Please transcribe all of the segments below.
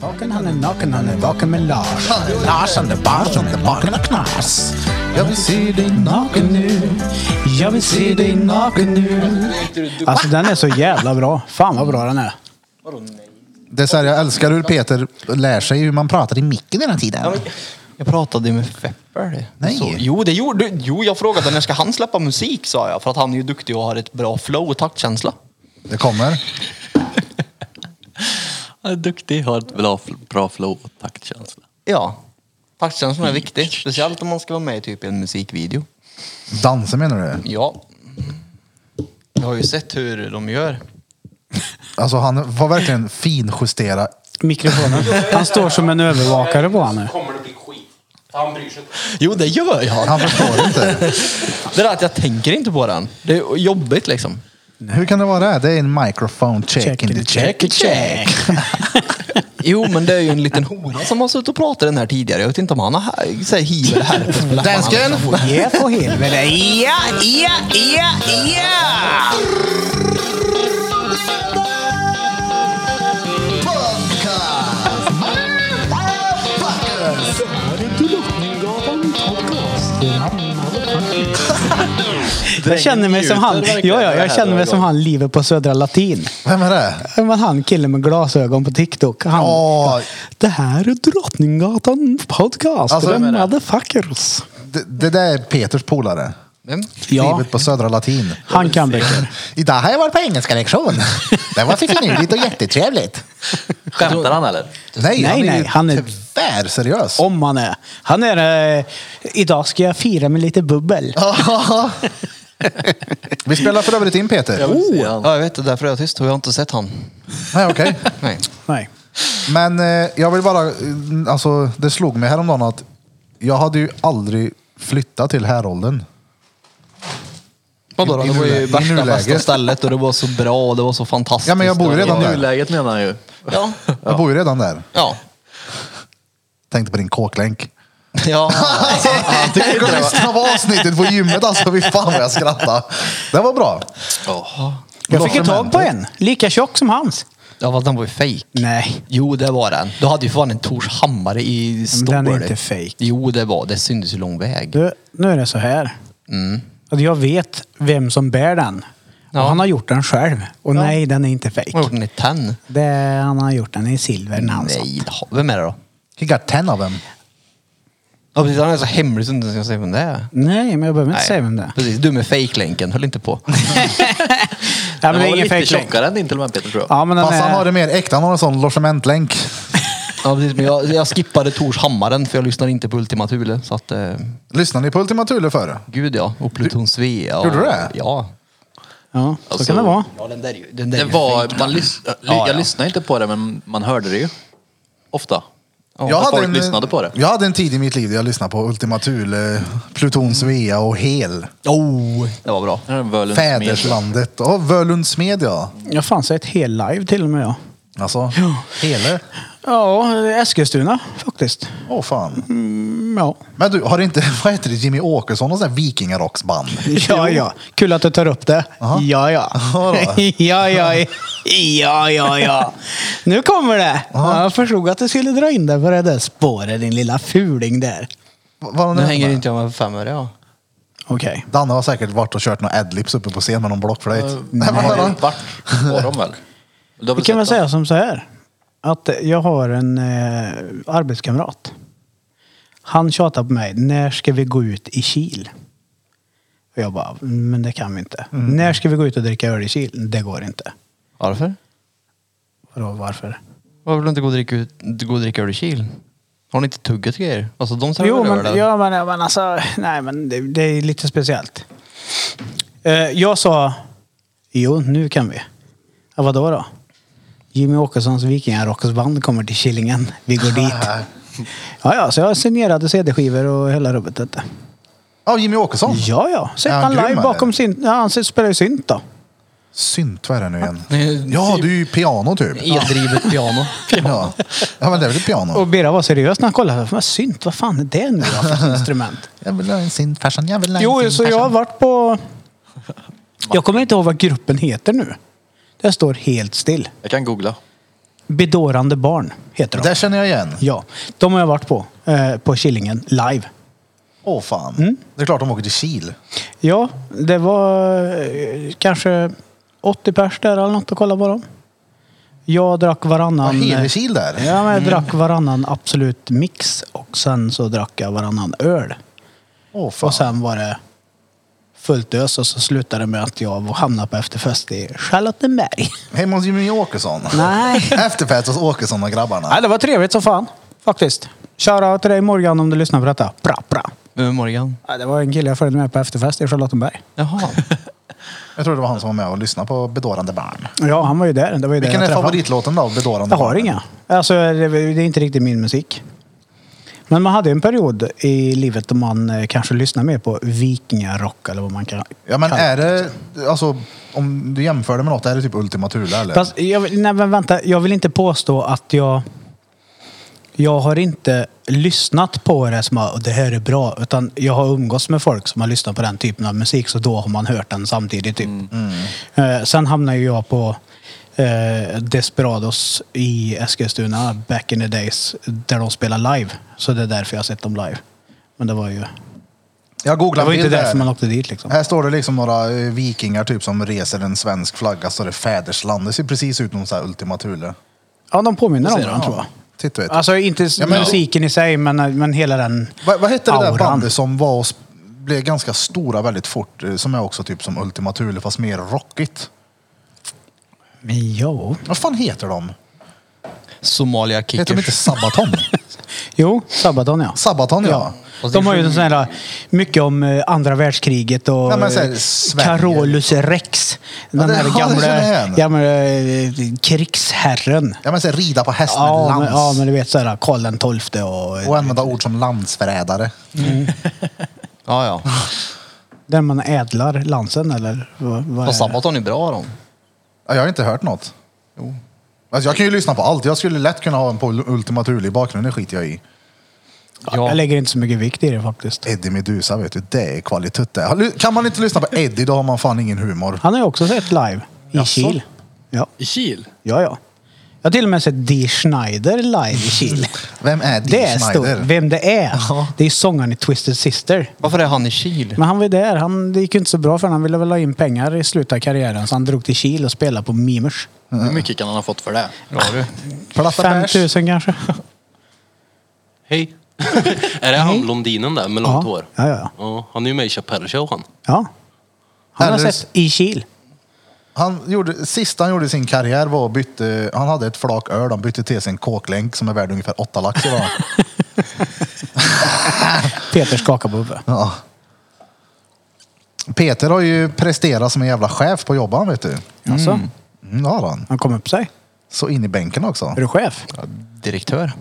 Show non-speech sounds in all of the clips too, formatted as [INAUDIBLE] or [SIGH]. Vaken han är naken, han är vaken med Lars. Lars han är barn som är vaken och knas. Jag vill se dig naken nu. Jag vill se dig naken nu. Alltså den är så jävla bra. Fan vad bra den är. Vadå nej? Det är så här, jag älskar hur Peter lär sig hur man pratar i micken hela tiden. Jag pratade ju med Fepper. Nej. Så, jo, det gjorde du. Jo, jag frågade när ska han släppa musik, sa jag. För att han är ju duktig och har ett bra flow och taktkänsla. Det kommer. Han är duktig, har ett bra, bra flow och taktkänsla. Ja. Taktkänslan är viktig. Speciellt om man ska vara med i typ en musikvideo. Dansa menar du? Ja. Jag har ju sett hur de gör. Alltså han var verkligen finjusterad. Mikrofonen. Han står som en övervakare på han nu. kommer det bli skit. Han bryr sig inte. Jo, det gör jag. Han förstår inte. Det där att jag tänker inte på den. Det är jobbigt liksom. Hur kan det vara det? Det är en microphone check, in the check. check. Jo, men det är ju en liten hora som har suttit och pratat den här tidigare. Jag vet inte om han har så här, hiver det [LAUGHS] här. på läpparna, Dansken! liksom. Ja, på helvete. Ja, ja, ja, ja. Jag känner mig som han. Ja, ja, jag känner mig som han livet på Södra Latin. Vem är det? Men han killen med glasögon på TikTok. Han, Ja. Det här är Drottninggatan podcast. Alltså, Alltså, vem är det? motherfuckers. Det, det där är Peters polare. Vem? Ja, Livet på Södra Latin. han kan böcker. Idag har jag varit på engelska lektion. Det var så finurligt och jättetrevligt. Skämtar han eller? Nej, Nej, han är, nej, ju han är- tyvärr seriös. Om han är. Han är... Eh, idag ska jag fira med lite bubbel. Vi spelar för övrigt in Peter. vill se han. Ja, jag vet. Det är därför jag är tyst. Jag har inte sett han. Nej, okej. Nej. Nej. Men eh, jag vill bara, eh, alltså det slog mig häromdagen att jag hade ju aldrig flyttat till Härolden. Vadå då? I Det var ju nuläge- i värsta nuläge. bästa stället och det var så bra och det var så fantastiskt. Ja, men jag bor ju redan I där. nuläget menar han ju. Ja. Jag bor ju redan där. Ja. Tänkte på [LAUGHS] din kåklänk. Ja. Tänk att lyssna på avsnittet på gymmet alltså. Fy fan vad jag skrattade. Det var bra. Jag fick ju tag på en. Lika tjock som hans. ja, fast den var ju fejk. Nej. Jo, det var den. Du hade ju för fan en Tors hammare i Men stål. den är inte fake. Jo, det var. Det syntes ju lång väg. Du, nu är det så här. Att jag vet vem som bär den. Ja. Och han har gjort den själv. Och nej, den är inte Hon har fake. gjort den i tenn. Det, han har gjort den i silver när han satt. Nej, ha- vem är det då? He got ten of them. Ja, precis. Han är så hemlig så jag inte ska säga vem det är. Nej, men jag behöver inte säga vem det är. Precis, du med fejklänken. Höll inte på. Ja, men det Den var är ingen lite fake länk. tjockare än din till och med Peter tror jag. Ja, men den Fast han har är... det mer äkta. Han har en sån logementlänk. Ja, precis, men jag, jag skippade Tors hammaren för jag lyssnade inte på Ultima Thule. Så att, eh, Lyssnade ni på Ultima Thule förr? gud ja. Och Pluton Svea. och- Gjorde du det? Ja. Ja, så Alltså- kan det vara. Ja, den där är ju... Den där Det är ju var, fake. man lys, jag Ja, ja. lyssnade inte på det men man hörde det ju. Ofta. Ja, att folk eh, lyssnade på det. Jag hade en tid i mitt liv där jag lyssnade på Ultima Thule, Mm. Pluton Svea och Hel. Oh, det var bra. Den här Völens med- Fäderslandet. Och Völunds smed ja. Jag fanns ett hel live till och med. Ja, Alltså, Hele. ja Eskilstuna faktiskt. Åh fan. Mm, Ja. Men du, har inte, [LAUGHS] vad heter det, Jimmy Åkesson och sånt där vikingarocksband? ja, ja. Kul att du tar upp det. Jaha. Ja, ja. Ja, då. [LAUGHS] ja, ja. Ja, ja, ja. Nu kommer det. Ja, jag förstod att du skulle dra in det på det där spåret, din lilla fuling där. Vad- vad har Nu ni- hänger inte jag med för fem öre, ja. Okej. Danne har säkert varit och kört några adlibs uppe på scen med någon blockflöjt. Nej, vad Eh, Har fan. du varit? Var de väl? Du Vi har väl kan väl sett säga dem? som så här. Att jag har en eh, arbetskamrat. Han tjatar på mig. När ska vi gå ut i Kil? Och jag bara, "Mm, men det kan vi inte. När ska vi gå ut och dricka öl i Kil? Det går inte. Varför? Vadå, varför? Varför vill du inte gå och dricka, ut- gå och dricka öl i Kil? Har ni inte tuggat grejer? Alltså de serverar Jo, öl men, där. ja, men, ja, men alltså, nej men det, det är lite speciellt. Eh, jag sa, jo nu kan vi. Ja, vadå då? Jimmy Åkessons Vikingarocksband kommer till Killingen. Vi går dit. Ja, ja, så jag signerade CD-skivor och hela rubbet. detta. Ja, Jimmy Åkesson. Ja, ja. Så Är han han Oh. grym, live bakom eller? sin... Ja, han spelar ju synt då. Synt, vad är det nu igen? Nej, Ja, du är ju piano typ. Eldrivet piano. [LAUGHS] Ja. ja, men det är väl ett Och piano? Bera var seriös när han kollade. Vad synt, vad fan är det nu då för instrument? Jag vill ha en synt farsan, jag vill ha en Jo, synt, så jag har farsan. varit på... Jag kommer inte ihåg vad gruppen heter nu. Det står helt still. Jag kan googla. Bedårande barn heter de. Där känner jag igen. Ja, de har jag varit på. Eh, på Killingen live. Åh fan. Mm. Det är klart de åker till Kil. Ja, det var eh, kanske 80 pers där eller något att kolla på dem. Jag drack Ja, varannan... Helekil där. Ja, men jag drack varannan Absolut Mix och sen så drack jag varannan öl. Åh fan. Och sen var det fullt ös och så slutade det med att jag hamnade på efterfest i Charlottenberg. Hemma hos Jimmy Åkesson. Nej. [LAUGHS] Efterfest hos Åkesson och grabbarna. Nej, det var trevligt som fan faktiskt. Shoutout till dig Morgan om du lyssnar på detta. Bra, bra. Vem är Morgan? Ja, det var en kille jag följde med på efterfest i Charlottenberg. Jaha. Jag tror det var han som var med och lyssnade på Bedårande barn. Ja, han var ju där. Det var ju där Vilken jag är träffade. favoritlåten då? Bedårande Jag har barn? inga. Alltså, det, det är inte riktigt min musik. Men man hade en period i livet då man eh, kanske lyssnade mer på vikingarock eller vad man kan Ja men kalla är det, alltså om du jämför det med något, är det typ Ultima Thule eller? Fast jag, vill- nej, men vänta, jag vill inte påstå att jag... Jag har inte lyssnat på det som att det här är bra. Utan jag har umgåtts med folk som har lyssnat på den typen av musik. Så då har man hört den samtidigt. Typ. Eh, sen hamnade ju jag på eh, Desperados i Eskilstuna back in the days. Där de spelar live. Så det är därför jag har sett dem live. Men det var ju... jag Det googlade var ju en inte bild därför här. man åkte dit liksom. Här står det liksom några eh, vikingar typ som reser en svensk flagga, så det är fädersland. Det ser precis ut som så här Ultima Thule. Ja, de påminner om varandra Ja, tror jag. Titt vet. Alltså inte s- Ja, men- musiken i sig, men, men hela den Vad, vad hette det där auran. bandet som var och sp- blev ganska stora väldigt fort, eh, som är också typ som Ultima Thule fast mer rockigt? Men jo. Vad fan heter de? [LAUGHS] Somalia Heter de inte [LAUGHS] Kickers. Sabaton? Jo, Sabaton ja. Sabaton ja. Och De har ju det- sån här, mycket om eh, andra världskriget och Ja, men så här, eh, Sverige. Carolus rex. Den det- här ja, det känner jag igen. gamla, gamla eh, krigsherren. Ja men så här, rida på häst med Ja lans. men, ja, men du vet såhär Karl den tolfte och eh, Och använda ord som landsförrädare. Ja, ja. där man ädlar lansen eller vad, vad Fast är det? Sabaton är bra de. Ja, jag har inte hört något. Jo. Alltså, jag kan ju lyssna på allt. Jag skulle lätt kunna ha en på Ultima Thule i bakgrunden, det skiter jag i. Ja. Jag lägger inte så mycket vikt i det faktiskt. Eddie Meduza vet du, det är kvalitet det. Har du- Kan man inte lyssna på Eddie då har man fan ingen humor. Han har ju också sett live i Jaså? Kil. Ja, I Kil? ja, ja. Jag har till och med sett Dee Schneider live i Kil. Vem är [LAUGHS] Dee det är Schneider? stort. Vem det är. Det är sångaren i Twisted Sister. Varför är han i Kil? Men han var ju där. Han, det gick ju inte så bra för honom. Han ville väl ha in pengar i slutet av karriären. Så han drog till Kil och spelade på Mimers. Hur mycket kan han ha fått för det? Bra du. Platta bärs. 5000 kanske. Hej. [LAUGHS] är det han blondinen där med långt hår? Ja, ja, ja. Ja, han är ju med i Chappelle Show han. ja. Han har Eller- sett i Kil. Han gjorde, sista han gjorde i sin karriär var att bytte, han hade ett flak öl, han bytte till sig en kåklänk som är värd ungefär åtta [LAUGHS] lax idag. Peter skakar på huvudet. ja. Peter har ju presterat som en jävla chef på jobbet vet du. Alltså, Mm, det har han. han kom upp sig. Så in i bänken också. Är du chef? Ja, direktör.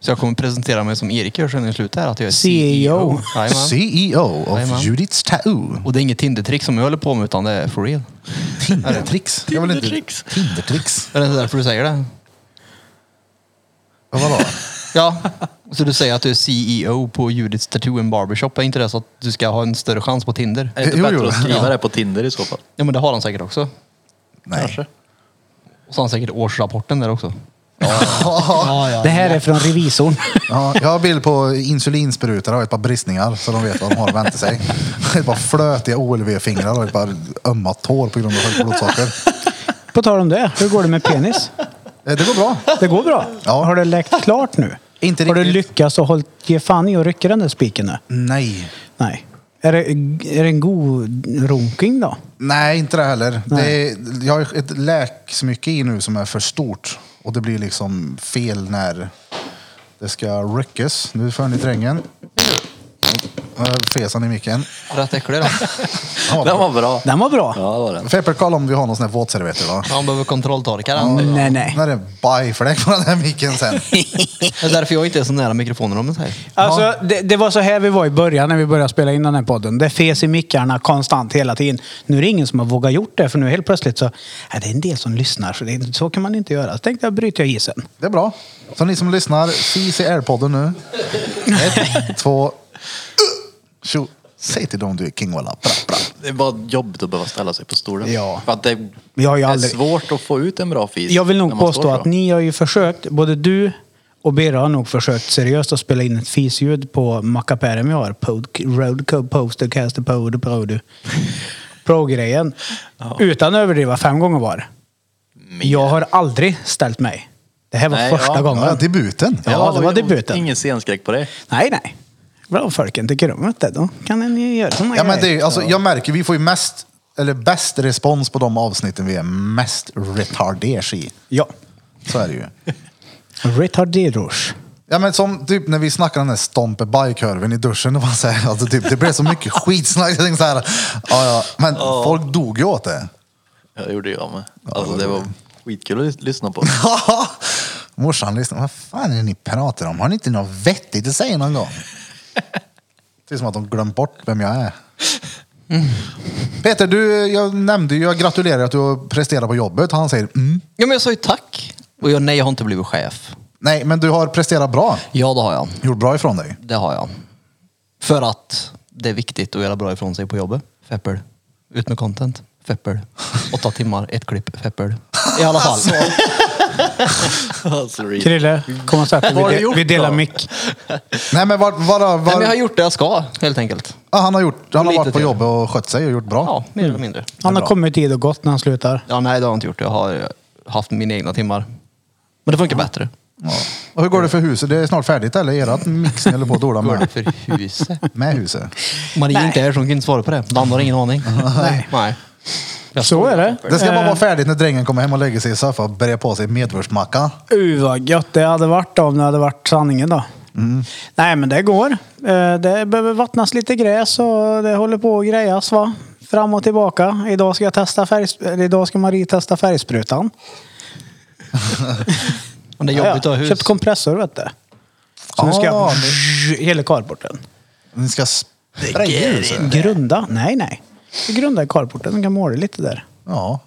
Så jag kommer presentera mig som Erik gör sen i slutet här, att jag är CEO. CEO. Jajamän. CEO Jajamän. E of Judiths Tattoo. [LAUGHS] Och det är inget Tinder-trick som jag håller på med utan det är for real. Mm. Tindertricks. Jag vill inte- Tindertricks. Tindertricks. Är det därför du säger det? [LAUGHS] Ja, Vadå? Ja. [LAUGHS] Så du säger att du är CEO på Judiths Tattoo and Barbershop. Är inte det så att du ska ha en större chans på Tinder? Är det inte Jo, bättre jo. att skriva det på Tinder i så fall? Ja men det har han säkert också. Nej. Och så har han säkert årsrapporten där också. det här är från revisorn. [LAUGHS] Ja, jag har bild på insulinsprutor och ett par bristningar så de vet vad de har att vänta sig. Ett par flötiga OLV-fingrar och ett par ömma tår på grund av högt blodsocker. på tal om det, hur går det med penis? Eh, Det går bra. Det går bra. Ja. Har det läkt klart nu? Inte Har du riktigt. lyckats och hållit, ge fan i att rycka den där spiken nu? Nej. Nej. Är det, är det en god runking då? Nej, inte det heller. Det Nej. är, jag har ett läksmycke i nu som är för stort och det blir liksom fel när det ska ryckas. Nu för ni drängen. Eh, Fes han i micken. Rätt äcklig då. Ja, Den var bra. Den var bra. Ja, det var den. Feppe, kolla om vi har någon sån här våtservetter då. Han behöver kontrolltorka den. Nej, nej. Nu är det en bajfläck på den här micken sen. Det är därför jag inte är så nära mikrofonen om det här. Alltså, det, det var så här vi var i början när vi började spela in den här podden. Det fes i mickarna konstant hela tiden. Nu är det ingen som har vågat gjort det för nu helt plötsligt så... Ja, det är en del som lyssnar så, det, så kan man inte göra. Så tänkte jag bryter jag isen. Det är bra. Så ni som lyssnar, CCR-podden nu. uh, Ett, två... Tjo. Säg till dem du är king walla. Bra, bra. Det är bara jobbigt att behöva ställa sig på stolen. Ja. För att det Jag har ju aldrig- är svårt att få ut en bra fis. Jag vill när nog man står påstå så. att ni har ju försökt, både du och Bera har nog försökt seriöst att spela in ett fisljud på mackapären vi har. Pod- Roadcode Poster Caster Pod Produ. Pro-grejen. Utan att överdriva fem gånger var. Jag har aldrig ställt mig. Det här var Nej, första ja. gången. Ja, debuten. Ja, det var typ och- debuten. Ingen scenskräck på dig. Nej, nej. Bra folken tycker om det. Då kan ni göra såna Ja, men det grejer. är, alltså, jag märker, vi får ju mest, eller bäst respons på de avsnitten vi är mest retarders i. Ja. Så är det ju. Retarderos. Ja, men som typ när vi snackade om den där stompe bajkurven i duschen. Och man säger, alltså, typ, det blev så mycket skitsnack. Jag tänkte så här, ja, ja, men folk dog ju åt det. Ja, det gjorde jag med. det Alltså det var var skitkul att lys- [LAUGHS] lyssna på. [LAUGHS] Morsan lyssnade. Vad fan är det ni pratar om? Har ni inte något vettigt att säga [LAUGHS] någon gång? Det är som att de glömt bort vem jag är. Peter, du, jag nämnde ju, jag gratulerar att du presterar på jobbet. Han säger mm. Ja, men jag sa ju tack. Och jag, nej, jag har inte blivit chef. Nej, men du har presterat bra. Ja, det har jag. Gjort bra ifrån dig. Det har jag. För att det är viktigt att göra bra ifrån sig på jobbet. Feppel. Ut med content. Feppel. Åtta timmar, ett klipp. Feppel. I alla fall. alltså, Reed. Krille, kom och sätt dig. Vad har Vi, du de- gjort vi delar då? mick. [LAUGHS] Nej, men var, var, var, Nej, men jag har gjort det jag ska, helt enkelt. ja, han har, gjort, han har Lite varit på till. jobbet och skött sig och gjort bra. Ja, mer eller mindre. Han har bra. kommit i tid och gått när han slutar. Ja, nej, det har jag inte gjort. Jag har haft mina egna timmar. Men det funkar bättre. Ja. Och hur går det för huset? Det är snart färdigt eller? Erat mix ni håller på att dola Går det med? för huset? Med huset? [LAUGHS] Marie är inte här så hon kan inte svara på det. Dan har ingen aning. Nej. [LAUGHS] nej. Jag Så står- är det. Det ska bara Eh, vara färdigt när drängen kommer hem och lägger sig i soffan och börjar på sig medvurstmacka. Uh, vad gött det hade varit då, om det hade varit sanningen då. Mm. Nej, men det går. Eh, Det behöver vattnas lite gräs och det håller på att grejas va. Fram och tillbaka. Idag ska, jag testa färgsp- eller idag ska Marie testa färgsprutan. Men det är jobbigt att ha hus. Köpt kompressor vet du. Så nu ska jag Ah, hela carporten. alltså. Ni ska spraya huset? Grunda? Nej, nej. Vi grundar carporten. Vi kan måla lite där. Ja.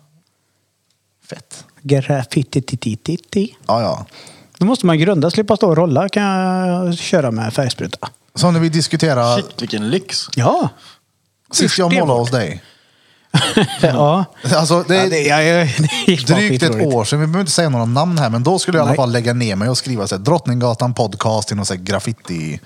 Fett. Graffiti-ti-ti-ti-ti. Ja, ja. Då måste man grunda, slippa stå och rolla. kan jag köra med färgspruta. Så när vi diskuterade, Shit, vilken lyx. Ja. sist jag det målade var- hos dig. ja. Alltså, det Ja, är det, jag, jag, [LAUGHS] det gick bara drygt ett skitroligt. år sedan, vi behöver inte säga några namn här, men då skulle jag i alla Nej. fall lägga ner mig och skriva så här, Drottninggatan podcast i någon så här graffiti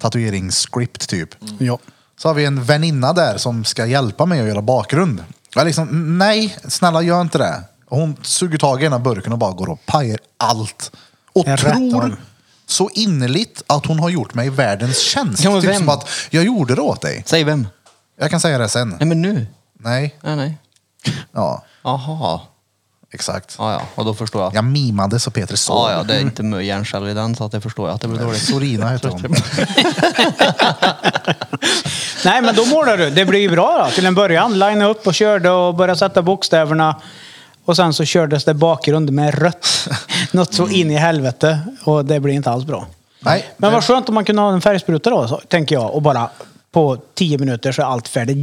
tatueringsscript typ. Ja. Så har vi en väninna där som ska hjälpa mig att göra bakgrund. Jag liksom, nej, snälla gör inte det. Och hon suger tag i ena burken och bara går och pajar allt. Och Jag rätt tror om. så innerligt att hon har gjort mig världens tjänst. Ja, men typ vem? som att jag gjorde det åt dig. Säg vem? Jag kan säga det sen. Nej, men nu. Nej, Nej, nej. ja, Jaha. exakt. Ja, ja. Och då förstår jag. Jag mimade så Peter såg. Ja, ja, det är inte mö- hjärnceller i den så att det förstår jag att det blir dåligt. Sorina [LAUGHS] heter hon. Nej, men då målar du. Det blir ju bra då, till en början. Line upp och körde och började sätta bokstäverna. Och sen så kördes det bakgrund med [LAUGHS] rött. Något så in i helvete. Och det blir inte alls bra. Nej, Men vad skönt om man kunde ha en färgspruta då, så, tänker jag. Och bara på tio minuter så är allt färdigt.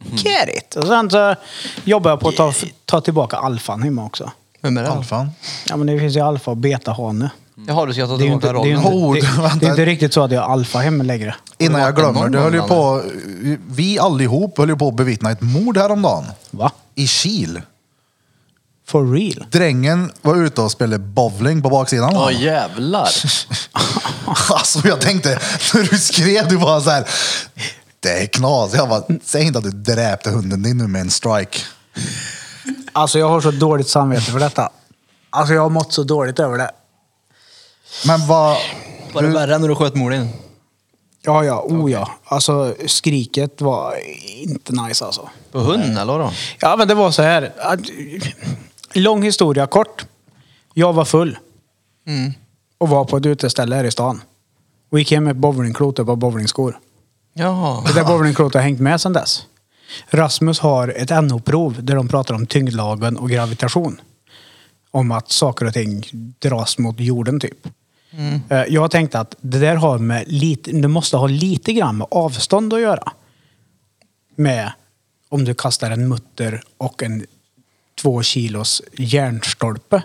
Mm. Get it! Och sen så jobbar jag på att ta, ta tillbaka alfan hemma också. Vem är det? då? Alfan. Ja, men det finns ju alfa och beta-hane. Jaha, du ska ta Det är ju tillbaka inte, det är ju rollen. inte, Oh, det, vänta. det är inte riktigt så att jag har alfa hemma längre. Innan jag varit en glömmer, det höll ju på, norrman, vi allihop höll ju på att bevittna ett mord häromdagen. Va? I Kil. For real? Drängen var ute och spelade bowling på baksidan. Ja jävlar. [LAUGHS] Alltså jag tänkte, när du skrev, du bara så här. Det är knas. Jag bara, säg inte att du dräpte hunden din nu med en strike. Alltså jag har så dåligt samvete för detta. Alltså jag har mått så dåligt över det. Men vad... Var det värre när du sköt morden? Ja, ja, oh ja. Alltså skriket var inte nice alltså. På hunden eller då? Ja, men det var så här. att- Lång historia kort. Jag var full Mm. och var på ett uteställe här i stan. Och gick hem med ett bowlingklot och ett par bowlingskor. Jaha. Det där bowlingklotet har hängt med sedan dess. Rasmus har ett NO-prov där de pratar om tyngdlagen och gravitation. Om att saker och ting dras mot jorden typ. Eh, Jag har tänkt att det där har med lite, det måste ha lite grann med avstånd att göra. Med om du kastar en mutter och en två kilos järnstolpe.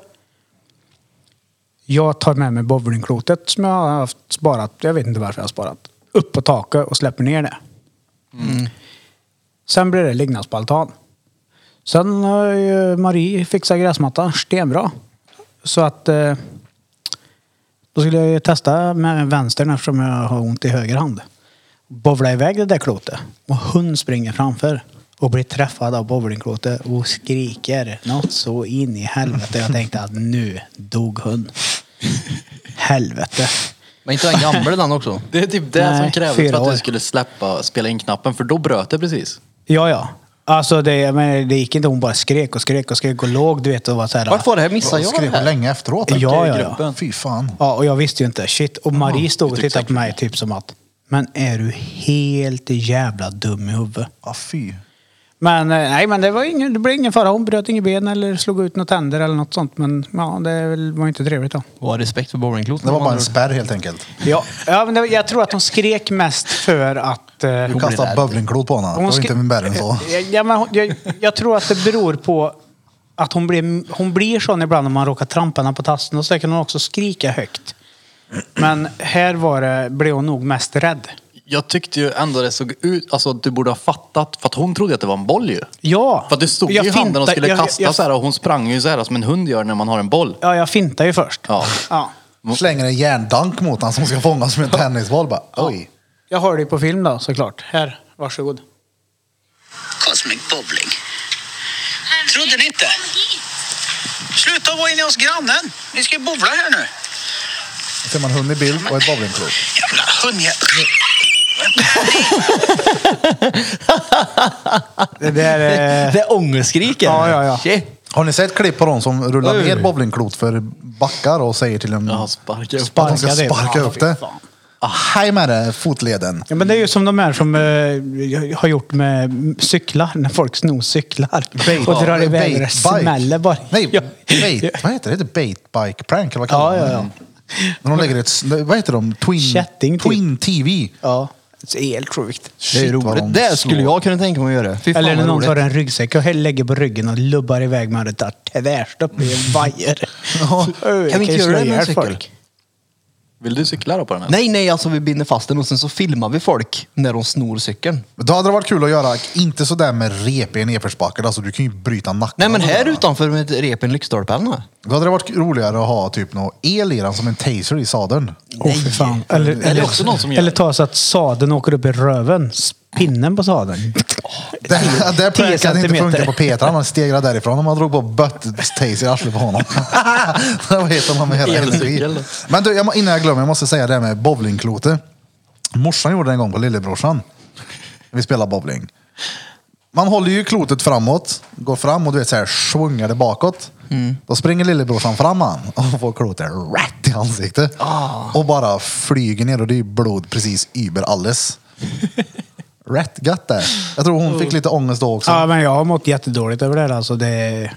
Jag tar med mig bowlingklotet som jag har haft sparat, jag vet inte varför jag har sparat, upp på taket och släpper ner det. Sen blir det liggas på altan. Sen har ju Marie fixat gräsmattan stenbra. Så att eh, då skulle jag ju testa med vänstern eftersom jag har ont i höger hand. Bovla iväg det där klotet och hon springer framför och blir träffad av bowlingklotet och skriker något så in i helvete. Jag tänkte att nu dog hon. Helvete. Men inte den gamla den också? Det är typ det Nej, som krävdes fyra för att år. du skulle släppa spela in knappen för då bröt det precis. Ja, ja. Alltså det, men det gick inte. Hon bara skrek och skrek och skrek och låg du vet och var så här. Vart var det här? Missade Jag jag det skrev här? länge efteråt. Ja, ja, ja. Fy fan. Ja, och jag visste ju inte. Shit. Och Marie stod och tittade på mig typ som att, men är du helt jävla dum i huvudet? Ja, fy. Men eh, nej, men det, var ingen, det blev ingen fara. Hon bröt inget ben eller slog ut några tänder eller något sånt. Men ja, det väl- var inte trevligt då. Och ha respekt för bowlingklotet. Det var bara en spärr helt enkelt. Ja, ja men det, jag tror att hon skrek mest för att... eh, Du blir kastade rädd. bowlingklot på honom. Det var skri- inte min bären så. Eh, Ja, men hon, jag, jag tror att det beror på att hon blir, hon blir sån ibland om man råkar trampa henne på tassen och så kan hon också skrika högt. Men här var det, blev hon nog mest rädd. Jag tyckte ju ändå det såg ut, alltså att du borde ha fattat, för att hon trodde att det var en boll ju. Ja! För att du stod ju i handen och fintar- skulle jag- kasta jag, så här och hon sprang ju så här som en hund gör när man har en boll. Ja, jag fintade ju först. Ja. Ja. Slänger en järndank mot honom som ska fångas med en tennisboll. Bara, oj. Jag har det ju på film då såklart. Här, varsågod. Cosmic Bubbling. Trodde ni inte? Sluta vara inne hos grannen. Ni ska ju bovla här nu. Då ser man hund i bild och ett bowlingklot. Jävla hundjävel. Det där är... Det är ångestskriken. Eh. Ja, ja, ja. Shit. Har ni sett klipp på de som rullar Oj. ner bowlingklot för backar och säger till en... Ja, sparka upp. att de ska Sparka det. sparka Ja, upp fy det. fan. Ah, Hej med det, fotleden. Ja, men det är ju som de här som eh, har gjort med cyklar, när folk snor cyklar och drar iväg och det bike. smäller bara. Nej, Ja. bait, vad heter det? Det är bait bike prank eller vad kallar Ja, man ja, det? Mm. ja. När de lägger ett... Vad heter de? Twin... Kätting typ. Twin TV. ja. Det är helt sjukt. Det är Shit, vad de roligt. Det skulle slår. jag kunna tänka mig att göra. Fy fan Eller när vad någon roligt. tar en ryggsäck och lägger på ryggen och lubbar iväg med det där tvärstopp i en vajer. [LAUGHS] Ja. Kan vi inte ju göra slå det med en ihjäl cykel? folk. Vill du cykla då på den här? Nej, nej, alltså vi binder fast den och sen så filmar vi folk när de snor cykeln. Men Då hade det varit kul att göra, inte sådär med rep i en nedförsbacke, alltså du kan ju bryta nacken. Alltså, Nej, men här utanför med ett rep i en lyktstolpe eller något. Då hade det varit roligare att ha typ någon el i den som en taser i sadeln. Åh, för fan. Eller, Är det också någon som gör eller det? ta så att sadeln åker upp i röven. Pinnen på sadeln. Det, 10 det pranket hade inte centimeter. funkat på Peter, han hade stegrat därifrån om man drog på bött-taser i arslet på honom. det var helt annan hela Elcykel. energi. Men du, jag, må- innan jag glömmer, jag måste säga det här med bowlingklotet. Morsan gjorde det en gång på lillebrorsan. Vi spelade bowling. Man håller ju klotet framåt, går fram och du vet så här svungar det bakåt. Då springer lillebrorsan fram han och får klotet rätt i ansiktet. Och bara flyger ner och det är ju blod precis über alles. Rätt gött där. Jag tror hon fick lite ångest då också. Ja, men jag har mått jättedåligt över det här. Alltså, det...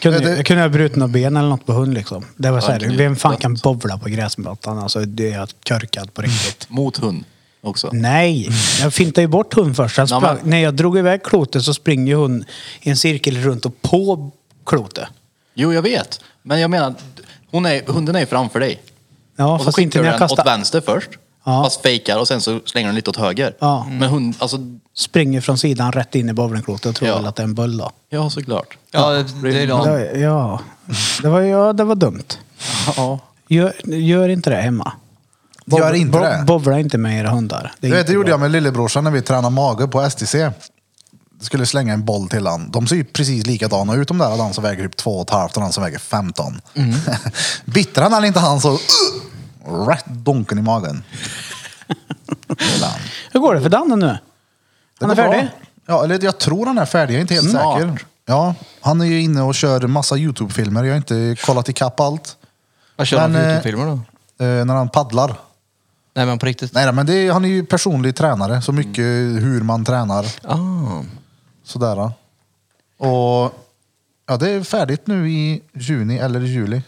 Kunde, Ja, det- Jag kunde ha brutit något ben eller något på hund liksom. Det var så här, det är vem fan dött. kan bovla på gräsmattan? Alltså, det är jag körkad på riktigt. Mot hund också. Mm. Nej, jag fintade ju bort hunden först. Han Ja, sprang, men- När jag drog iväg klotet så springer ju hunden i en cirkel runt och på klotet. Jo, jag vet. Men jag menar, hon är, hunden är ju framför dig. Ja, och så fast inte skickar när du jag den åt kastar. vänster först. Ja. Fast fejkar och sen så slänger den lite åt höger. Ja. Men hund, alltså, Springer från sidan rätt in i bowlingklotet och tror Ja. väl att det är en böld då. ja såklart. Ja, det, det är Ja, de. det, ja. Det, var, ja, det var dumt. Ja. Gör, gör inte det hemma. Gör inte det. Bovla inte med era hundar. Det är Du vet, inte det gjorde bra. jag med lillebrorsan när vi tränade mage på STC. Skulle slänga en boll till han. De ser ju precis likadana ut de där. Han som väger typ två och ett halvt och han som väger 15. [LAUGHS] Bitter han eller inte han så... Uh, rätt donken i magen. Hur går det för Danne nu? Han är går bra. färdig? Ja, eller jag tror han är färdig. Jag är inte helt Snart. säker. Ja, han är ju inne och kör massa YouTube-filmer. Jag har inte kollat ikapp allt. Vad kör han Men, för eh, Youtube-filmer då? Eh, när han paddlar. Nej, men på riktigt. Nej, men det är, han är ju personlig tränare. Så mycket hur man tränar. Ah. Sådär. Och ja, det är färdigt nu i juni eller i juli.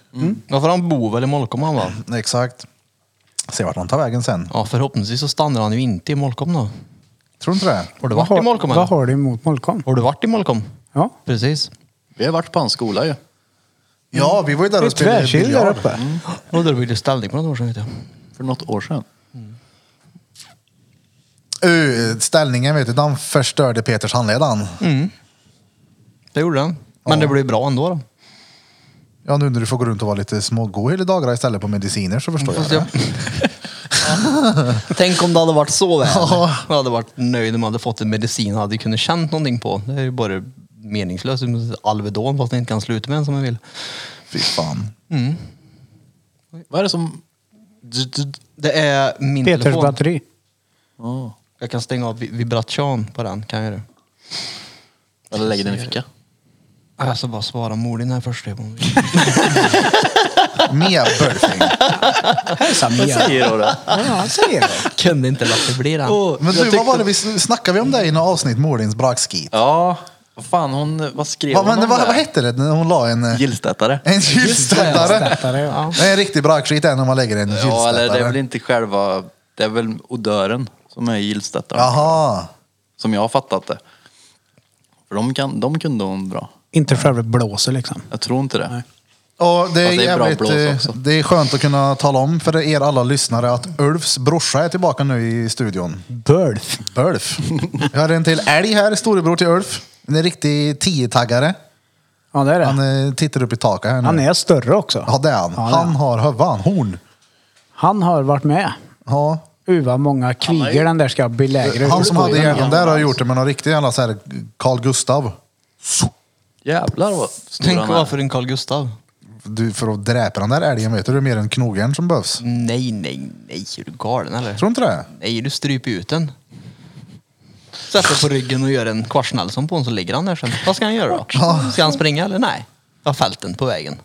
Varför han bor väl i Molkom han va? Mm. Exakt. Se vart han tar vägen sen. Ja, förhoppningsvis så stannar han ju inte i Molkom då. Tror du inte det? Har Vad du varit i har, Molkom vad eller? har du emot Molkom? Har du varit i Molkom? Ja. Precis. Vi har varit på hans skola ju. Ja, vi var ju Det där är och spelade tvärkyl där biljard. uppe. Och då byggde ställning på något år sedan vet jag. För något år sedan. Uh, ställningen vet du, den förstörde Peters handled han. Det gjorde den. Men Ja. det blev bra ändå. Då. Ja, nu när du får gå runt och vara lite smågo hela dagarna istället på mediciner så förstår Mm, Fast jag jag... det. [LAUGHS] Tänk om det hade varit så väl. Jag hade varit nöjd om jag hade fått en medicin jag hade kunnat känt någonting på. Det är ju bara meningslöst. Alvedon fast jag inte kan sluta med den som jag vill. Fy fan. Vad är det som... Det är min Peters telefon. batteri. Oh. Jag kan stänga av vi- vibration på den. Kan jag göra. Eller lägger den i ficka. Jag ska bara svara mor din här först. Simon. Mia Burfing. Hälsa Mia. Säger du det? Ja, han säger det. [LAUGHS] Kunde inte låta bli den. Men du, vad var det vi snackade vi om dig i något avsnitt? Målins brakskit. Ja. Vad fan hon... Vad skrev Vad, hon men, om vad, det? vad hette det när hon la en... eh, Gillstätare. En gylstöttare. Gylstöttare, ja. Det är en riktig brakskit än om man lägger en Ja, eller det är väl gylstöttare. inte själva... Det är väl odören som är gillstättaren. Jaha. Som jag har fattat det. För de, kan, de kunde hon bra. Inte själva blåser liksom. Jag tror inte det. Och det är, Ja, det är bra jävligt, blås eh, också. det är skönt att kunna tala om för er alla lyssnare att Ulfs brorsa är tillbaka nu i studion. Bulf. Ulf. Jag har en till älg här, storebror till Ulf. En riktig tiotaggare. Ja, det är det. Han eh, tittar upp i taket här nu. Han är större också. Ja, det är han. Ja, det är han. Han har hövan, horn. Han har varit med. Ja. Uh, vad många kvigor den där ska belägra. Han som hade Ja. hjärnan där har gjort det med någon riktig jävla så här Carl Gustav. Jävlar vad stor Tänk han är. vad för en Carl Gustav. Du, för att dräpa den där älgen vet du, det är mer en knogjärn som behövs. Nej, nej, nej. Är du galen eller? Tror du inte det? Nej, du stryper ut den. Sätter på ryggen och gör en korsnällson på honom så ligger han där sen. Vad ska han göra då? Ska han springa eller nej? Jag har fällt den på vägen.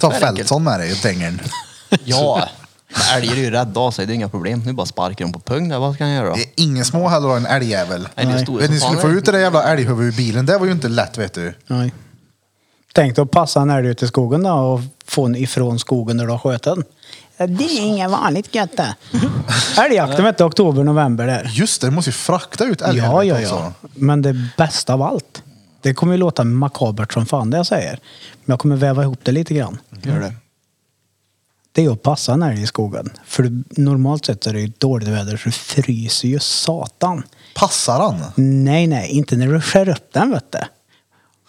Ta Det är Feltson med dig, dängern. Ja. Men Älgar är ju rädda av sig, det är inga problem. Nu bara sparkar de på pung där. Vad ska han göra då? Det är ingen små heller av en älgjävel. Nej, det är stora Vet ni, som skulle fan få är. ut det där jävla älghuvudet ur bilen, det var ju inte lätt vet du. Nej. Tänk dig att passa när du är ute i skogen då och få den ifrån skogen när du har sköt den. Ja, Det är inget vanligt gött det. Älgjakten vet du, oktober, november där. Just det, du måste ju frakta ut Ja, älghuvudet ja, också. ja. Men det bästa av allt. Det kommer ju låta makabert som fan det jag säger. Men jag kommer väva ihop det lite grann. Gör det. Det är att passa en älg i skogen. För du- normalt sett så är det ju dåligt väder så du fryser ju satan. Passar han? Nej, nej, inte när du skär upp den vet du.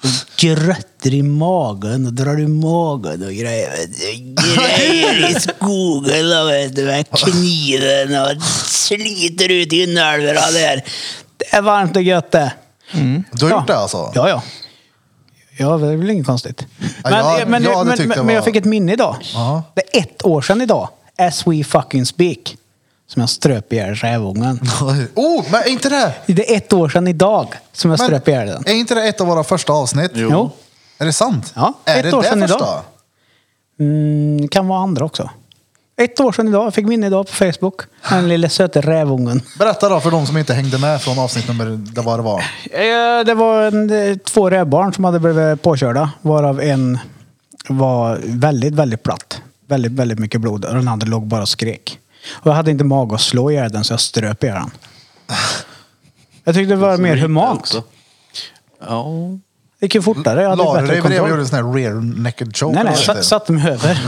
Och grötter i magen och drar i magen och grejer. vet du. Grejer i skogen och vet du med kniven och sliter ut inälvorna där. Det är varmt och gött det. Du har Ja. gjort det alltså? Ja, ja. Ja, det är väl inget konstigt. Ja, Men, jag- men, jag hade men, tyckt det men, men jag var- fick ett minne idag. Ja. Det är ett år sedan idag. As we fucking speak. Som jag ströp ihjäl rävungen. [LAUGHS] Oh, men är inte det? Det är ett år sedan idag som jag Men, ströp ihjäl den. är inte det ett av våra första avsnitt? Jo. Jo. Är det sant? Ja, är ett det år det sedan första? idag. Mm, kan vara andra också. Ett år sedan idag. Jag fick minne idag på Facebook. Den lille söta [LAUGHS] rävungen. Berätta då för de som inte hängde med från avsnitt nummer, det var det var. Eh, Det var en, eh, två rävbarn som hade blivit påkörda. Varav en var väldigt, väldigt platt. Väldigt, väldigt mycket blod. Och den andra låg bara och skrek. Och jag hade inte mag att slå ihjäl den så jag ströp ihjäl [LAUGHS] den. Jag tyckte det var mer humant. också. Ja. Det gick ju fortare. Jag hade La du bättre dig bredvid och gjorde kontroll. en sån här rear naked choke? Nej, nej. eller vad Jag heter satte mig över.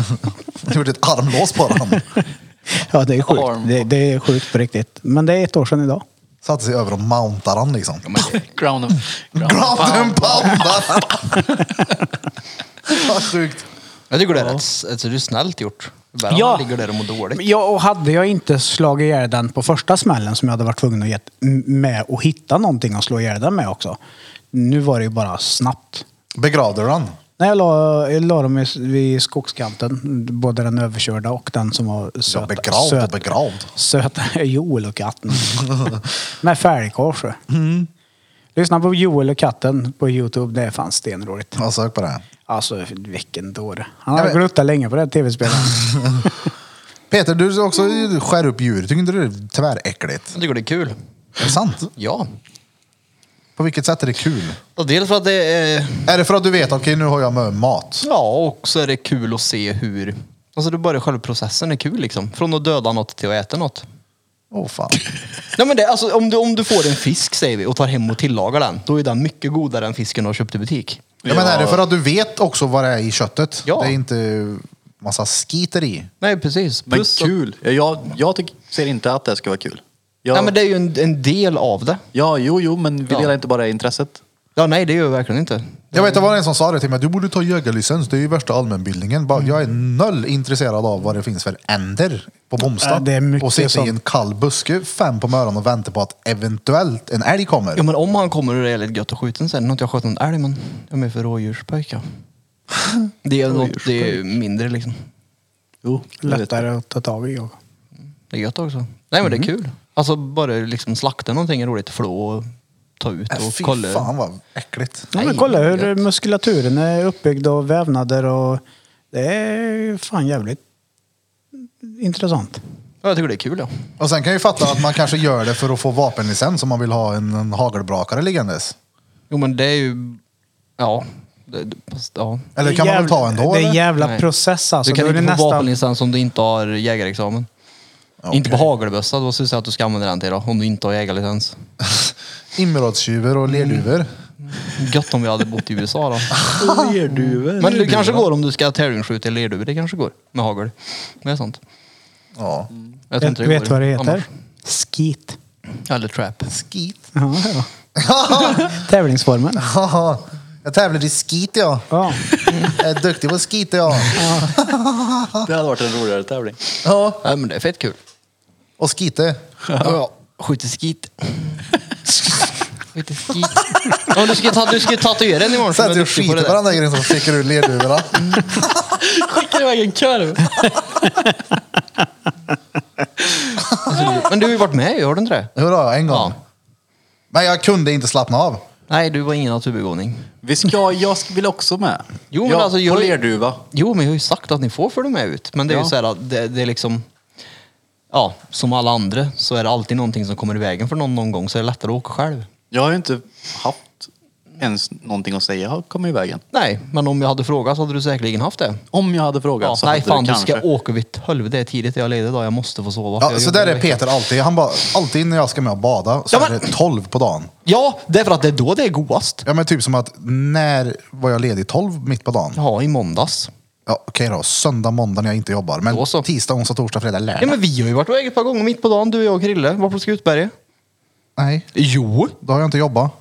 det? [LAUGHS] Gjorde ett armlås på honom. [LAUGHS] Ja, det är sjukt. Arm. Det, det är sjukt på riktigt. Men det är ett år sedan idag. Satte sig över och mountade han liksom. Ground and, ground and Ground pound. and pound! [LAUGHS] Vad sjukt. Jag tycker det är rätt alltså, det är snällt gjort. Bara ja. ligger där och mår dåligt. Ja, och hade jag inte slagit ihjäl den på första smällen som jag hade varit tvungen att get, m- med och hitta någonting att slå ihjäl den med också. Nu var det ju bara snabbt. Begravde du han? När jag la, jag la dem i- vid skogskanten, både den överkörda och den som var söt. Ja, begravd och söt, begravd. söta [LAUGHS] Joel och [LAUGHS] katten. med fälgkors. Mm. Lyssna på Joel och katten på Youtube. Det är fan stenroligt. Jag sök på det. Alltså vilken dåre. Han har Jag vet- gluttat länge på det här [LAUGHS] tv-spelet. Peter, du ska också skär upp djur. Tycker inte du det är tväräckligt? Jag tycker det är kul. Är det sant? Ja. På vilket sätt är det kul? Och dels för att det är... Är det för att du vet, okej nu har jag med mat. Ja, och så är det kul att se hur... Alltså det är bara själva processen är kul liksom. Från att döda något till att äta något. Åh fan. Nej men det, alltså, om, du, om du får en fisk säger vi och tar hem och tillagar den, då är den mycket godare än fisken du har köpt i butik. Ja, men är det för att du vet också vad det är i köttet? Ja. Det är inte massa skiter i. Nej precis. Men Plus att- kul. Jag, jag tycker, ser inte att det ska vara kul. Ja. Nej, men det är ju en, en del av det. Ja, jo, jo, men vi Ja. delar inte bara det intresset. Ja, nej, det är ju verkligen inte. Jag vet, det var en som sa det till mig. Du borde ta jägarlicens. Det är ju värsta allmänbildningen. Bara, Jag är Mm. noll intresserad av vad det finns för änder Ja, på Bomsta. det är mycket och sitta i sånt. en kall buske fem på morgonen och vänta på att eventuellt en älg kommer. Jo, men om han kommer och det är lite gött att skjuta en sen. Nu har inte jag skjutit någon älg, men jag är med för [LAUGHS] rådjurspöjka. Det är, något, det är mindre liksom. Jo, jag vet. Lättare att ta tag i. Och... Det är gött också. Nej, men det är Mm. kul. Alltså bara liksom slakta någonting är roligt. Flå och ta ut Äh, och Fy kolla. fan vad äckligt. Ja, Nej, men kolla hur gött. muskulaturen är uppbyggd och vävnader och det är fan jävligt intressant. Ja, jag tycker det är kul, ja. Och sen kan jag ju fatta att man kanske gör det för att få vapenlicens om man vill ha en, en hagelbrakare liggandes. Jo, men det är ju... Ja. Det, det, fast, ja. Eller kan Det är man väl ta jävla- ändå? Det är en Eller? jävla Nej. process alltså. du kan Då är inte det få nästan- vapenlicens om du inte har jägarexamen. Okej. Inte på hagelbössa, då skulle jag säga att du ska använda den till då, om du inte har jägarlicens. Inbrottstjuvar och lerduvor. Mm. Gött om vi hade bott i USA då. Men det kanske går om du ska tävlingsskjuta i lerduvor. Det kanske går med hagel. Med sånt. Jag Ja. tror Vet inte du vet går vad det heter? annars. [LAUGHS] Skit. Eller trap. Skit. Ja, ja. [LAUGHS] Tävlingsformen. Haha. jag tävlar i skit jag. [LAUGHS] Ja. Jag är duktig på skit jag. Det hade varit en roligare tävling. Ja. Nej, men det är fett kul. Och skite. Ja, skjuter skit. Skjuter skit. Ja, du ska, ta, du ska tatuera den imorgon. för Sen du är du duktig på det typ skiter där. på den där grejen som sticker ur lerduvorna. Skickar iväg en korv. Alltså, Men du har ju varit med ju, har du inte det? Hurra, en gång. Ja. Men jag kunde inte slappna av. Nej, du var ingen naturbegåvning. Vi ska, jag ska- vill också med. Jo, men ja, alltså, jag- På lerduva. Jo, men jag har ju sagt att ni får följa med ut. Men det är ju Ja. så här att det, det är liksom... Ja, som alla andra så är det alltid någonting som kommer i vägen för någon någon gång så är det lättare att åka själv. Jag har ju inte haft ens någonting att säga. Jag har kommit i vägen. Nej, men om jag hade frågat så hade du säkerligen haft det. Om jag hade frågat Ja, så nej hade fan, det du kanske... ska åka vid tolv. Det är tidigt, jag är ledig idag, jag måste få sova. för Ja, jag så jobbar där i är veckan. Peter alltid. Han bara, alltid när jag ska med och bada så Ja, är men- det 12 på dagen. Ja, det är för att det är då det är godast. Ja men typ som att när var jag ledig? 12 mitt på dagen? Ja, i måndags. Ja, Okej då, söndag, måndag när jag inte jobbar. Men Då så. tisdag, onsdag, torsdag, fredag, lördag. Ja, men vi har ju varit iväg ett par gånger mitt på dagen, du, jag och Krille. Var på Skutberget. Nej, Jo. då har jag inte jobbat.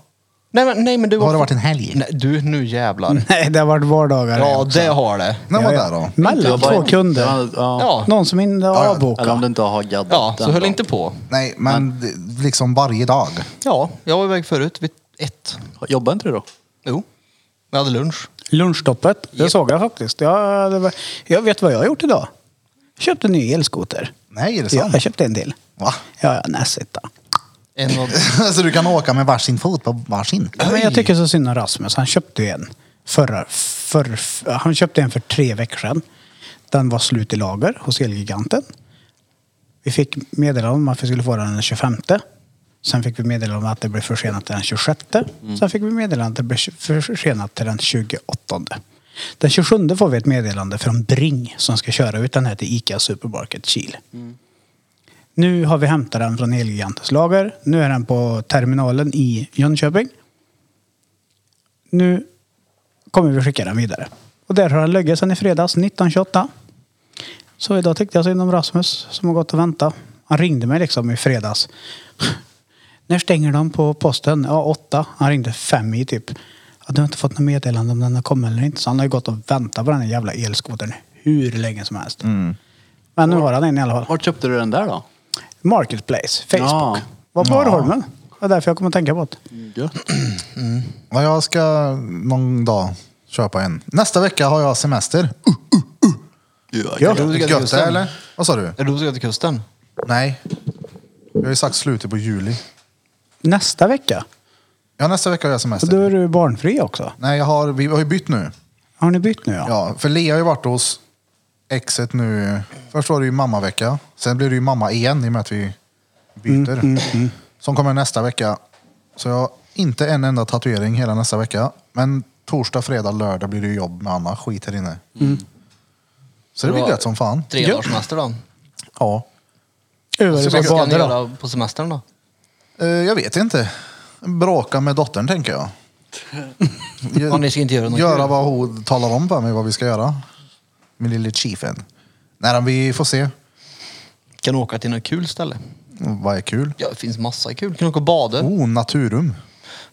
Nej men, nej, men du Då har det varit en helg. Mm. Nej, du, nu jävlar. Nej, det har varit vardagar. Ja, det har det. När var Ja, det ja. då? Mellan Jag bara- två Ja, kunder. ja. Ja, Någon som inte har ja. Eller om avbokat. du inte har gaddat ja så den höll dagen. inte på. Nej, men det- liksom varje dag. Ja, jag var iväg förut vid ett. Jobbar inte du då? Jo. Vi hade lunch. Lunchstoppet, det såg jag faktiskt. Jag, det var, jag vet vad jag har gjort idag. Jag köpte en ny elskoter. Nej, är det Ja, sant? jag köpte en till. Va? Ja, ja, näsitta. En [LAUGHS] och... [LAUGHS] så du kan åka med varsin fot på varsin? Ja, men jag tycker så synd om Rasmus. Han köpte ju en förra, för, f- Han köpte en för tre veckor sedan. Den var slut i lager hos Elgiganten. Vi fick meddelande om att vi skulle få den den 25. Sen fick vi meddelande om att det blev försenat till den 26. Sen fick vi meddelande om att det blev tj- försenat till den 28. Den 27 får vi ett meddelande från Bring som ska köra ut den här till ICA Supermarket Kil. Nu har vi hämtat den från Elgigantens lager. Nu är den på terminalen i Jönköping nu kommer vi skicka den vidare. Och där har den legat sedan i fredags 1928. Så idag tyckte jag synd om Rasmus som har gått och väntat. Han ringde mig liksom i fredags. [LAUGHS] När stänger de på posten? Ja, åtta. Han ringde fem i typ. Ja, du har inte fått något meddelande om den har kommit eller inte. Så han har ju gått och väntat på den här jävla elskotern hur länge som helst. Mm. Men nu har han en i alla fall. Vart köpte du den där då? Marketplace, Facebook. Ja. Var på Borgholmen. Det var därför jag kom att tänka på det. Ja, jag ska någon dag köpa en. Nästa vecka har jag semester. Uh, Ja, gött du ska till gött det kusten. eller? Vad sa du? Är du ska till kusten? Nej. Jag har ju sagt slutet på juli. Nästa vecka. Ja, nästa vecka har jag Och då semester. är du barnfri också. Nej, jag har, vi har ju bytt nu. Har ni bytt nu? Ja. Ja, för Lea har ju varit hos exet nu. Först var det ju mammavecka. Sen blir det ju mamma igen i och med att vi byter. Mm, Som kommer nästa vecka. Så jag har inte en enda tatuering hela nästa vecka. Men torsdag, fredag, lördag blir det ju jobb med Anna. Skit här inne. Mm. Så det blir gött som fan. Tre dagars semester då? Ja. Över Så i vad ska ni badet då? göra på semestern då? Eh, Jag vet inte. Bråka med dottern [LAUGHS] tänker jag. Ja, ni ska inte göra något Göra kul. vad hon talar om för mig vad vi ska göra. Min lille chiefen. Nej, men vi får se. Kan du åka till något kul ställe? Vad är kul? Ja, det finns massa kul. Kan åka och bada. Oh, naturum.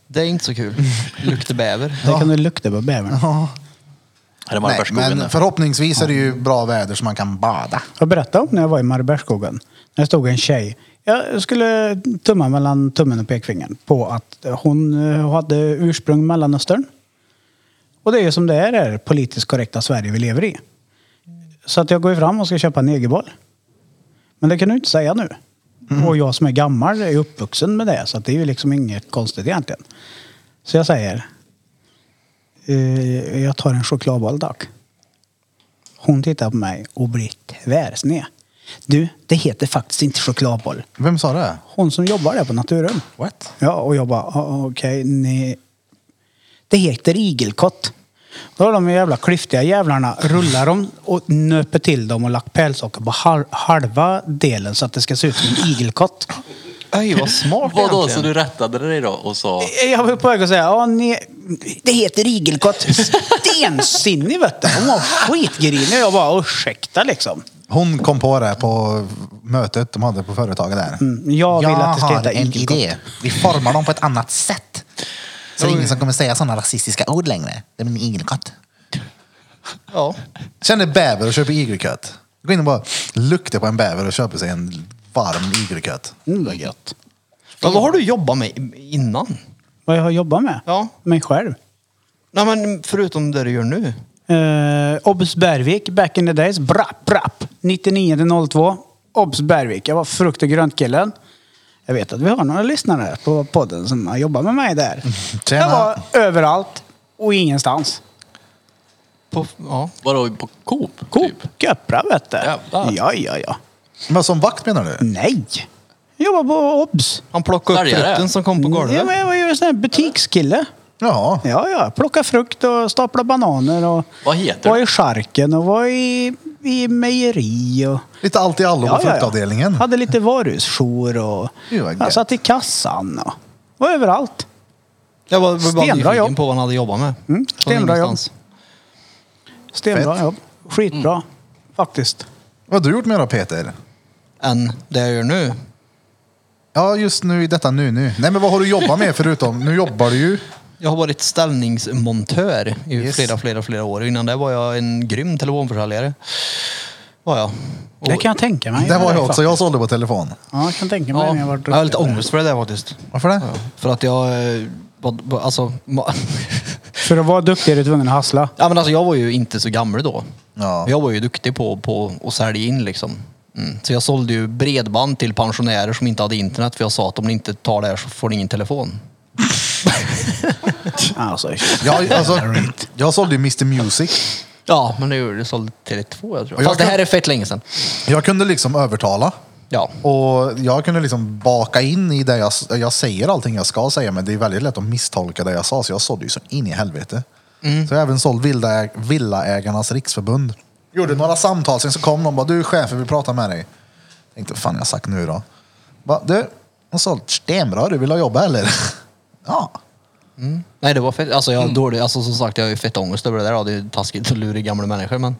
Det är inte så [LAUGHS] kul. Lukta bäver. Där kan du lukta på bävern. Är Nej, det Marbergsskogen? men där? förhoppningsvis är det ju bra väder så man kan bada. Jag berättade om när jag var i Mariebergsskogen. När stod en tjej. Jag skulle tumma mellan tummen och pekfingern på att hon eh, hade ursprung i Mellanöstern. Och det är ju som det är i det politiskt korrekta Sverige vi lever i. Så att jag går ju fram och ska köpa en negerboll. Men det kan du inte säga nu. Och jag som är gammal är uppvuxen med det. Så att det är ju liksom inget konstigt egentligen. Så jag säger. Eh, jag tar en chokladboll tack. Hon tittar på mig och blir tvärsned. Du, det heter faktiskt inte chokladboll. Vem sa det? Hon som jobbar där på Naturum. What? Ja, och jag bara, "Ah, okej, ni... Det heter igelkott. Då har de jävla klyftiga jävlarna rullar dem och nöper till dem och lagt pälssocker på hal- halva delen så att det ska se ut som en igelkott. Öj, vad smart Vadå, så egentligen. du rättade dig då och sa... Jag var på väg att säga, ja, ni... det heter igelkott. Stensinnig vet du. Hon var skitgrinig. Jag bara, ursäkta liksom. Hon kom på det på mötet de hade på företaget där. Mm, jag vill att det ska heta igelkott. Vi formar dem på ett annat sätt. Så det är ingen som kommer säga sådana rasistiska ord längre. Det blir en igelkott. Ja. Känner bäver och köper igelkött. Gå in och bara lukta på en bäver och köper sig en varm igelkött. Mm, vad gött. Men vad har du jobbat med innan? Vad jag har jobbat med? Ja. Mig själv. Nej, men förutom det du gör nu. Eh, Obs Bergvik, back in the days. Brapp, brapp. 99 till 02. Obs Bergvik. Jag var frukt och grönt-killen. Jag vet att vi har några lyssnare på podden som har jobbat med mig där. Tjena. Jag var överallt och ingenstans. På, ja. Vadå, på Coop? typ? Coop, Köpra vet du. Jävlar. Ja, ja, ja. Men som vakt menar du? Nej! Jag jobbar på Obs. Han plockade upp Sargare. frutten som kom på golvet. Jag, jag var ju en sån här butikskille. Jaha. Ja, ja. Plocka frukt och stapla bananer och Vad heter var det? i charken och var i, i mejeri och... Lite allt i allo på fruktavdelningen. Hade lite varusjour och Det var jag gött. satt i kassan och var överallt. Jag var, var bara Stenbra nyfiken jobb. på vad han hade jobbat med. Mm, Från stenbra jobb. ingenstans. Stenbra Fett. Mm. jobb. Skitbra. Faktiskt. Vad har du gjort med då Peter? Än det jag gör nu. Ja, just nu i detta nu nu. Nej, men vad har du jobbat med förutom? Nu jobbar du ju. Jag har varit ställningsmontör i Yes. flera, flera, flera år. Innan det var jag en grym telefonförsäljare. Var jag. Och, Det kan jag tänka mig. Det var jag också. Jag sålde på telefon. Ja, jag kan tänka mig Ja, när jag var jag har lite ångest för det där faktiskt. Varför det? Ja, För att jag... eh, var- var- Alltså, ma- [LAUGHS] För att vara duktig är du tvungen att hassla. ja, men alltså, jag var ju inte så gammal då. Ja. Jag var ju duktig på, på att sälja in liksom. Mm. Så jag sålde ju bredband till pensionärer som inte hade internet för jag sa att om ni inte tar det här så får ni ingen telefon. Alltså, Jag, alltså, jag sålde ju Mr Music. Ja, men det gjorde du. Sålde Tele2 jag tror. Och jag Fast det kan- här är fett länge sedan. Jag kunde liksom övertala. Ja. Och jag kunde liksom baka in i det jag, jag säger allting jag ska säga men det är väldigt lätt att misstolka det jag sa så jag sålde ju så in i helvete. Så jag har även såld Vilda, Villaägarnas riksförbund. Gjorde några samtal, sen så kom de och bara du chefen vill prata med dig. Tänkte vad fan har jag sagt nu då? Bara, du, jag har sålt stenbra, du vill ha jobb eller? [LAUGHS] ja. Nej, det var fett. Alltså, jag, dålig, alltså som sagt, jag har ju fett ångest över det där. Ja, Det är ju taskigt att lura gamla människor, men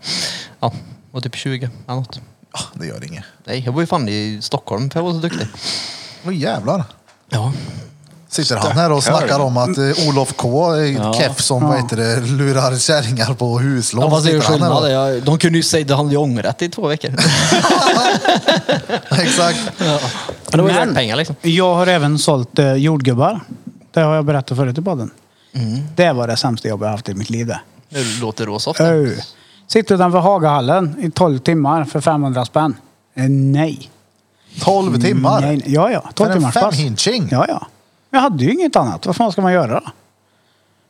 ja, jag var typ 20 eller något. ja, det gör inget. Nej, jag var ju fan i Stockholm för jag var så duktig. Åh jävlar. Ja. Sitter han här och snackar om att eh, Olof K är ja. keff som vad heter det, lurar kärringar på huslån. Ja, fast det är ju Sitter han här och- skillnad. Jag, de kunde ju säga att han hade ju ångrat i två veckor. [LAUGHS] Exakt. Men det var ju värt pengar liksom. Jag har även sålt eh, jordgubbar. Det har jag berättat förut i podden. Mm. Det var det sämsta jobb jag haft i mitt liv. Det. Nu låter det råsoft. Ö. Sitter utanför Hagahallen i 12 timmar för 500 spänn. Eh, Nej. 12 timmar. Mm, Nej, nej. ja, ja. 12 För en timmars pass. femhinching? Ja, ja. Jag hade ju inget annat. Vad fan ska man göra då?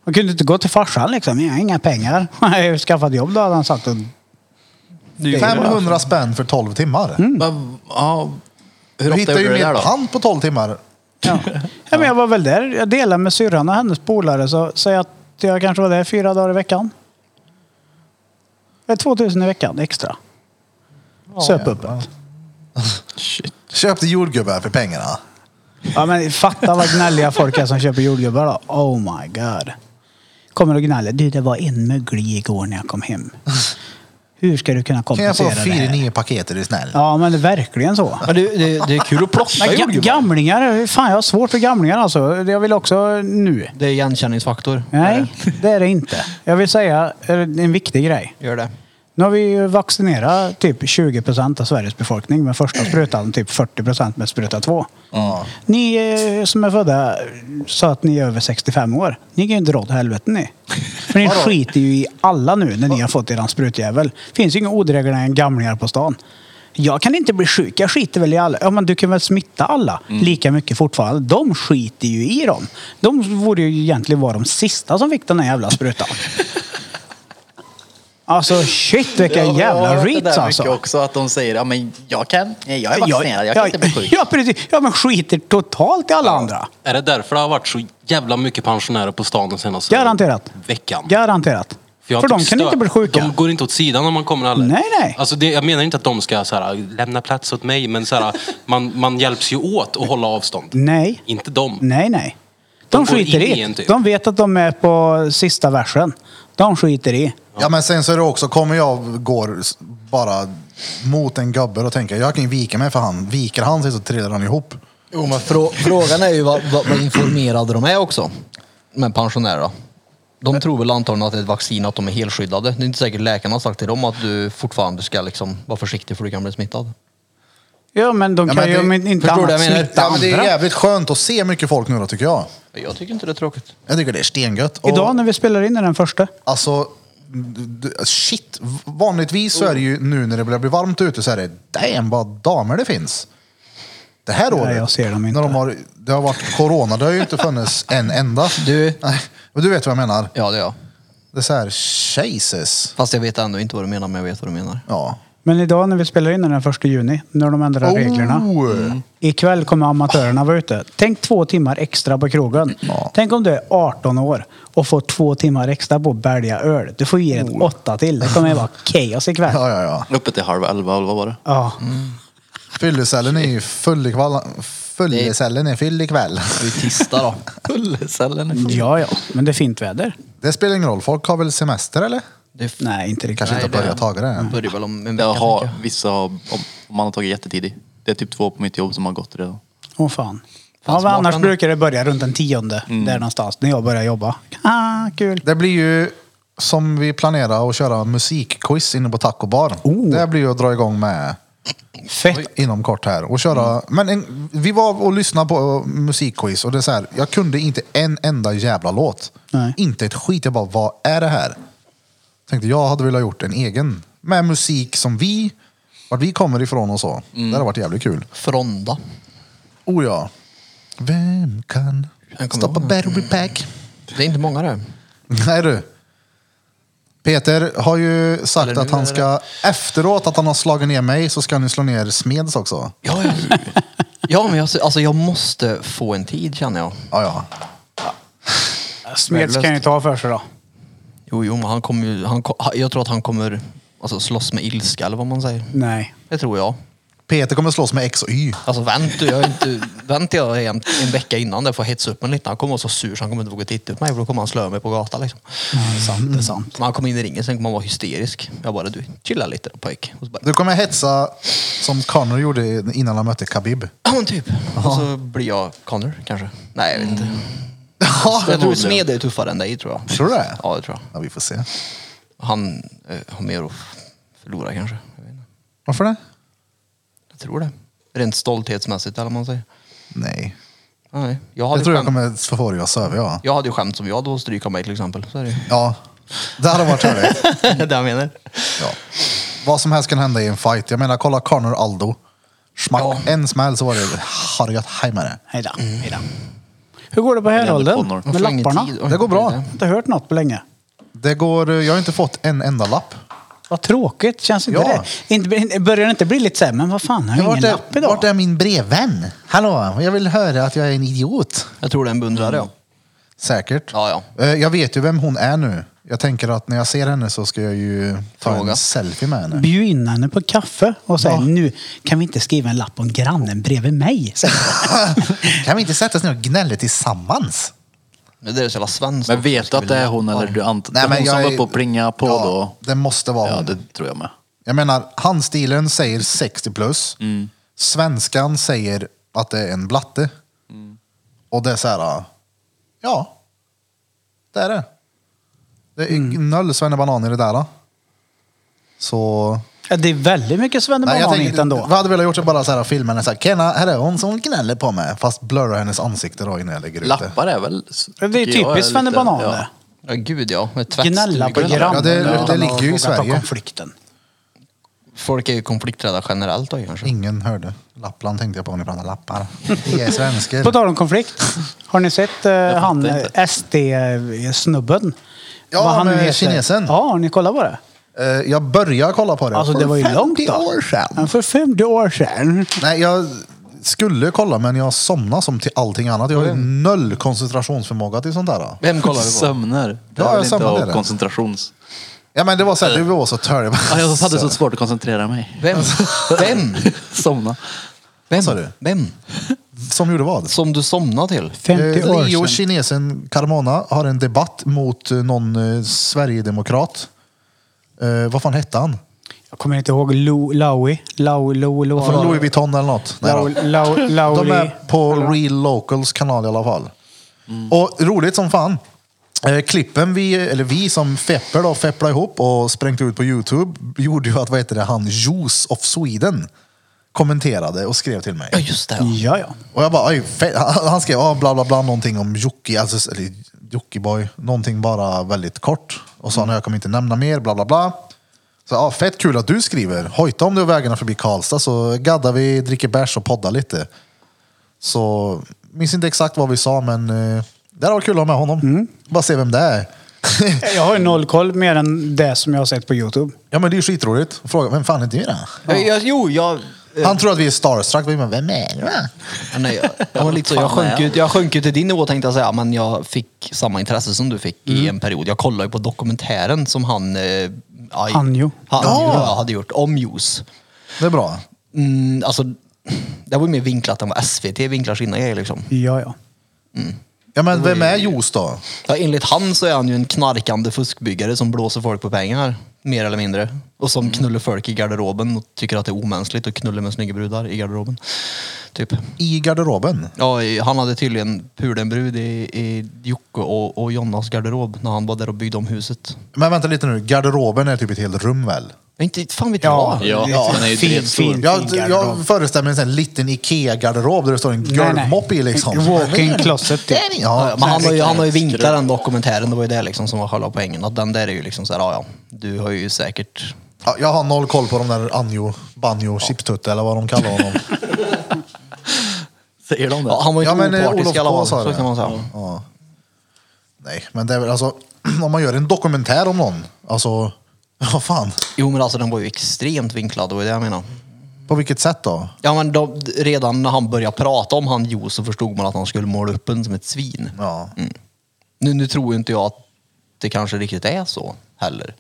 Man kunde inte gå till farsan liksom. Jag har inga pengar. [LAUGHS] Jag har ju skaffat jobb då hade han sagt. Och... Nu- 500 spänn för 12 timmar. Mm. Men, ja, hur Du ofta hittar gjorde ju du det mer där då? pant på 12 timmar. [LAUGHS] Ja. ja, men jag var väl där. Jag delade med syrran och hennes polare. Så säg att jag kanske var där fyra dagar i veckan. Det är 2000 i veckan extra. Söp upp det. Köpte jordgubbar för pengarna. Ja, men fatta vad gnälliga folk är som köper jordgubbar då. Oh my god. Kommer och gnäller. Du, det var en möglig igår när jag kom hem. Hur ska du kunna Kan kompensera jag få det här? fyra nya paket är du snäll? Ja, men det är verkligen så. Ja, det, det, det är kul att plocka Men ga- jordgubbar. gamlingar, fan jag har svårt för gamlingar alltså. Jag vill också nu. Det är igenkänningsfaktor. Nej, det är det inte. Jag vill säga eh, en viktig grej. Gör det. Nu har vi ju vaccinerat typ 20 procent av Sveriges befolkning med första sprutan, typ 40 procent med spruta två. Ja. Ni eh, som är födda så att ni är över 65 år, ni kan ju inte dra åt helvete ni. För ni skiter ju i alla nu när ni har fått eran sprutjävel. finns ju inga odrägligare än gamlingar på stan. Jag kan inte bli sjuk, jag skiter väl i alla. Ja men du kan väl smitta alla Mm. lika mycket fortfarande. De skiter ju i dem. De borde ju egentligen vara de sista som fick den här jävla [LAUGHS] sprutan. Alltså shit vilka jävla reats alltså. också att de säger, ja men jag kan, nej, jag är vaccinerad, jag kan ja, inte bli sjuk. ja, precis. Ja, men skiter totalt i alla andra. Är det därför det har varit så jävla mycket pensionärer på stan den senaste Garanterat. veckan? Garanterat. För, jag de typ kan stör- inte bli sjuka. De går inte åt sidan när man kommer heller. Nej, nej. Alltså det, jag menar inte att de ska så här, lämna plats åt mig, men så här, man, man hjälps ju åt att hålla avstånd. Nej, Inte dem. nej, nej. De, De går skiter in i. i en typ. De vet att de är på sista versen. De skiter i. Ja men sen så är det också, kommer jag går s- bara mot en gubbe och tänker jag kan ju vika mig för han. Viker han sig så trillar han ihop. Jo, men frå, frågan är ju vad, vad, vad informerade de är också. Men pensionärer då? De tror väl antagligen att det är ett vaccin att de är helskyddade. Det är inte säkert läkarna har sagt till dem att du fortfarande ska liksom vara försiktig för du kan bli smittad. Ja, men de Ja, kan men ju det- men inte Förstår du annat vad jag menar? smitta Ja, men det är andra. jävligt skönt att se mycket folk nu då tycker jag. Jag tycker inte det är tråkigt. Jag tycker det är stengött. Och, Idag när vi spelar in den första. Alltså, d- d- shit. V- Vanligtvis så är det ju nu när det börjar bli varmt ute så är det damn vad damer det finns. Det här året. jag ser dem inte. När de har, det har varit corona, det har ju [LAUGHS] inte funnits en enda. Du. Nej, men du vet vad jag menar. Ja, det är jag. Det är så här, Jesus. Fast jag vet ändå inte vad du menar, men jag vet vad du menar. Ja. Men idag när vi spelar in den första juni, när de ändrar reglerna. Oh. Ikväll kommer amatörerna vara ute. Tänk två timmar extra på krogen. Ja. Tänk om du är 18 år och får två timmar extra på att bälja öl. Du får ge en åtta till. Det kommer ju vara kaos ikväll. Oh. Ja, Mm. ja, ja. Uppe till halv elva, eller vad var det? Ja. Fyllecellen är ju full ikväll. Fyllecellen är full ikväll. Vi tisdag [LAUGHS] då. Fyllecellen. ja, ja. Men det är fint väder. Det spelar ingen roll. Folk har väl semester eller? Det är Nej, inte riktigt. Kanske Nej, inte har det- börjat taga det än. börjar väl om en vecka. Jag har, tänker jag. vissa har, om, om man har tagit jättetidigt. Det är typ två på mitt jobb som har gått redan. Åh fan. Fan, ja, men annars smaken. brukar det börja runt den tionde. Där någonstans. När jag börjar jobba. Ah, kul. Det blir ju som vi planerar att köra musikquiz inne på Taco Bar. Oh. Det blir ju att dra igång med Fett. inom kort här och köra. Mm. Men en, vi var och lyssnade på musikquiz och det är så här. Jag kunde inte en enda jävla låt. Nej. Inte ett skit. Jag bara, vad är det här? Tänkte jag hade velat gjort en egen med musik som vi, vart vi kommer ifrån och så. Mm. Det hade varit jävligt kul. Fronda. Oh ja. Vem kan Jag kommer stoppa ihåg. Battery Pack? Det är inte många det. [LAUGHS] Nej du. Peter har ju sagt Eller att nu han är det- ska, efteråt att han har slagit ner mig så ska han ju slå ner Smeds också. Ja, ja. [LAUGHS] ja men jag, alltså, jag måste få en tid känner jag. Ja, ja. Smeds Värdelöst. kan ju ta för sig då. Jo, jo, men han kommer ju, han, ko- jag tror att han kommer alltså, slåss med ilska eller vad man säger. Nej. Det tror jag. Peter kommer slåss med X och Y. Alltså vänt du, jag är inte, [LAUGHS] vänt jag en, en vecka innan där får jag hetsa upp mig lite. Han kommer vara så sur så han kommer inte våga titta på mig för då kommer han slöa mig på gatan liksom. Ja, det är sant. Det är sant. Men han kommer in i ringen sen kommer han vara hysterisk. Jag bara, du chilla lite då pojk. Och så bara, Du kommer hetsa som Connor gjorde innan han mötte Khabib. ja men typ. Och så blir jag Connor kanske. Nej jag vet inte. [LAUGHS] jag tror Smed är tuffare än dig tror jag. Mm. Tror du det? Ja det tror jag. Ja, vi får se. Han eh, har mer att förlora kanske. Jag, vet inte. Varför det? jag tror det. Rent stolthetsmässigt eller vad man säger. Nej. Nej, jag hade Jag tror ju skämt. jag kommer få för dig att söva, ja. Jag hade ju skämt som jag då stryka mig till exempel. Så är det ju. Ja. Det hade varit härligt. [LAUGHS] det jag menar. Ja. Vad som helst kan hända i en fight. Jag menar, kolla Connor Aldo. Smack, en smäll så var det hargat hem med det. Hejdå. Hejdå. Hur går det på härolden? Connor. Med Jag får ingen lapparna? tid. Jag Oj, Det går bra. det är det. har inte hört något på länge. Det går, jag har inte fått en enda lapp. Vad tråkigt. Känns inte Ja. det? Inte, inte- börjar det inte bli lite så här, men vad fan, jag har ingen lapp idag. min brevvän? Hallå, jag vill höra att jag är en idiot. Jag tror det är en beundrare ja. Säkert. Ja, Eh, Jag vet ju vem hon är nu. Jag tänker att när jag ser henne så ska jag ju ta Fråga. en selfie med henne. Bjud in henne på kaffe och säg nu kan vi inte skriva en lapp om grannen bredvid mig. Säger jag. kan vi inte sätta oss ner och gnälla tillsammans? Det där är så jävla svenskt. Men vet du att det är hon eller du ant... Nej, men hon som var uppe och plinga på ja, då? Det måste vara Ja, hon. det tror jag med. Jag menar, handstilen säger 60 plus. Svenskan säger att det är en blatte. Och det är så här, ja, det är det. Det är Mm. noll svennebanan i det där. Så... Ja, det är väldigt mycket svennebanan hit ändå. vad hade velat gjort är bara så här filmen, är så här, Kena, här är hon som gnäller på mig. Fast blurra hennes ansikte då innan jag lägger ut det. Lappar är väl... Det är tycker jag, typiskt lite- svennebanan ja. det. Ja, gud ja. Med Gnälla på tvättstugan. grannen. Ja, det- det utan att ligger ju i våga ta Sverige. Konflikten. Folk är ju konflikträdda generellt då kanske. Ingen hörde. Lappland tänkte jag på när ni pratade lappar. Vi är [LAUGHS] svenskar. På tal om konflikt. Har ni sett eh, han eh, SD-snubben? Ja, Vad han med nu heter? kinesen. Ja, har ni kollat på det? Eh, Jag började kolla på det. Alltså för det var ju 50 långt då. år Men sedan. för 50 år sedan. Nej, jag skulle kolla men jag somnade som till allting annat. Jag har ju Mm. noll koncentrationsförmåga till sånt där. Vem kollar du på? Sömner. Det Ja, är jag väl inte sömnar, det är av det. koncentrations... Ja men det var så här, det var så törligt. Ja, jag hade så svårt att koncentrera mig. Vem? Vem? [LAUGHS] Somna. Vem? sa du? Vem? Som gjorde vad? Som du somnade till? 50 Eh, år Leo sedan. kinesen Carmona har en debatt mot eh, någon eh, Sverigedemokrat. Eh, vad fan hette han? Jag kommer inte ihåg. Lou- Lowie. Lowie. Lowie. Lowie. Från Louis Vuitton eller något? Nej, då. Low- Low- Lowly. De är på Real Locals kanal i alla fall. Och roligt som fan. Eh, klippen vi, eller vi som feppar då, fepplar ihop och sprängt ut på Youtube gjorde ju att, vad heter det, han Juice of Sweden kommenterade och skrev till mig. Ja, just det. Ja. Ja, ja. Och jag bara, oj, fe- [LAUGHS] han han skrev ah, bla bla bla någonting om Jocke, alltså, eller Jockiboi, någonting bara väldigt kort. Och sa, mm. jag kommer inte nämna mer, bla bla bla. Så ah, fett kul att du skriver. Hojta om du har vägarna förbi Karlstad så gaddar vi, dricker bärs och poddar lite. Så, minns inte exakt vad vi sa men eh, det var kul att ha med honom. Bara se vem det är. [LAUGHS] Jag har ju noll koll mer än det som jag har sett på Youtube. ja men det är ju skitroligt. Fråga, vem fan är du då? Jag, jo, jag... Han tror att vi är starstruck, vi bara, vem är du? Ja, Nej, jag, jag, var lite så, jag, sjönk ut, jag sjönk ut till din nivå tänkte jag säga, men jag fick samma intresse som du fick i en period. Jag kollade ju på dokumentären som han... Eh, aj, Anjo. Han, Ja. ja. hade gjort om juice. Det är bra. Mm, alltså, det var ju mer vinklat än vad SVT vinklar sina grejer liksom. Ja, ja. Ja men vem är Juice då? Ja, enligt han så är han ju en knarkande fuskbyggare som blåser folk på pengar, mer eller mindre. Och som knullar folk i garderoben och tycker att det är omänskligt att knulla med snygga brudar i garderoben. Typ. I garderoben? Ja, i- han hade tydligen pulat en brud i, i Jocke och, och Jonas garderob när han var där och byggde om huset. Men vänta lite nu, garderoben är typ ett helt rum väl? Men Inte fan vet Ja, jag. Ja, den är ju fin, dretstor. fin, fin Jag, garderob. jag föreställer mig en sån här liten Ikea-garderob där det står en golvmopp i liksom. Walk-in closet. Det Typ. är det- Ja, Ja, men han har, ju, han har ju vinklat den dokumentären, det var ju det liksom som var själva poängen. Att den där är ju liksom såhär, ja ja, du har ju säkert... ja, jag har noll koll på de där Anjo, Banjo, Chipstutte eller vad de kallar [LAUGHS] honom. Säger de det? Ja, han var ju Ja, inte men, eh, Olof opartisk i alla K fall, sa så det. kan man säga. ja. Nej, men det är väl alltså, [CLEARS THROAT] om man gör en dokumentär om någon, alltså, [LAUGHS] vad fan, Jo men alltså den var ju extremt vinklad, det var ju det jag menar. på vilket sätt då? Ja men då, redan när han började prata om han Jo så förstod man att han skulle måla upp en som ett svin. Ja. Mm. Nu, nu tror ju inte jag att det kanske riktigt är så heller.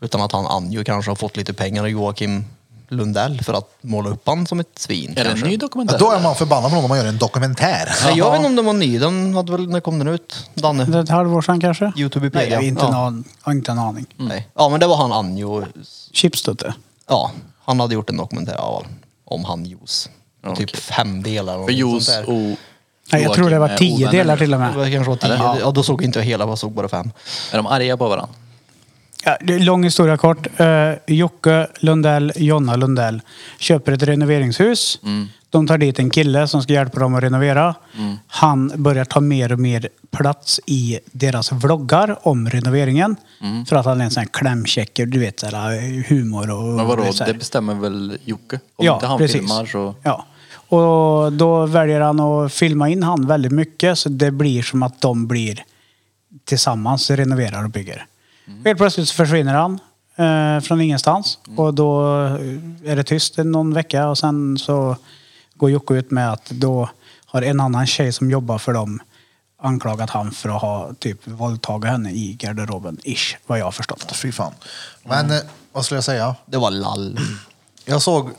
Utan att han Anjo kanske har fått lite pengar av Joakim Lundell för att måla upp han som ett svin. Är det en kanske. ny Ja, dokumentär? då är man förbannad på någon om man gör en dokumentär. Nej, jag vet inte om den var ny, den hade väl, när kom den ut? Danne? Mm. Det är ett halvår sedan kanske? Nej, jag Youtubepedia? har inte, ja. en aning. Jag har inte en aning. Nej. ja men det var han Anjo, Chipstutte. ja han hade gjort en dokumentär ja, om han Jos. Ja, typ fem delar. För Jos och och... Nej, jag tror det var Joakim tio är ovänner. delar till och Det var med. kanske var tio. Ja. då såg inte jag hela, jag såg bara fem. Är de arga på varandra? Ja, det är lång historia kort. Eh, Jocke Lundell, Jonna Lundell, köper ett renoveringshus. Mm. De tar dit en kille som ska hjälpa dem att renovera. Han börjar ta mer och mer plats i deras vloggar om renoveringen. Mm. För att han är en sån här klämkäcker, du vet, så här, humor och... Men vadå, så här. det bestämmer väl Jocke? Om inte han filmar så... Ja. Och då väljer han att filma in han väldigt mycket så det blir som att de blir tillsammans, renoverar och bygger. Helt plötsligt så försvinner han eh, från ingenstans och då eh, är det tyst i någon vecka och sen så går Jocke ut med att då har en annan tjej som jobbar för dem anklagat han för att ha typ våldtagit henne i garderoben, ish, vad jag har förstått. Fy fan. Men eh, vad skulle jag säga? Det var lall. Mm. Jag såg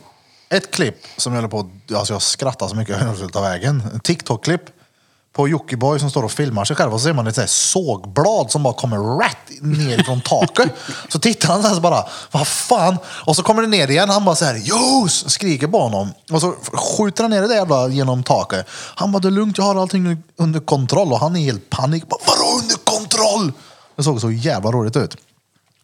ett klipp som jag höll på att- alltså jag skrattade så mycket jag höll på att ta vägen. En TikTok-klipp på Jockiboi som står och filmar sig själv och så ser man ett så här sågblad som bara kommer rätt ner från taket. Så tittar han så här så bara, vad fan? Och så kommer det ner igen, han bara så här, juice! Skriker på honom. Och så skjuter han ner det där jävla genom taket. Han bara, det är lugnt, jag har allting under kontroll. Och han är helt panik. Bara, Vadå under kontroll? Det såg så jävla roligt ut.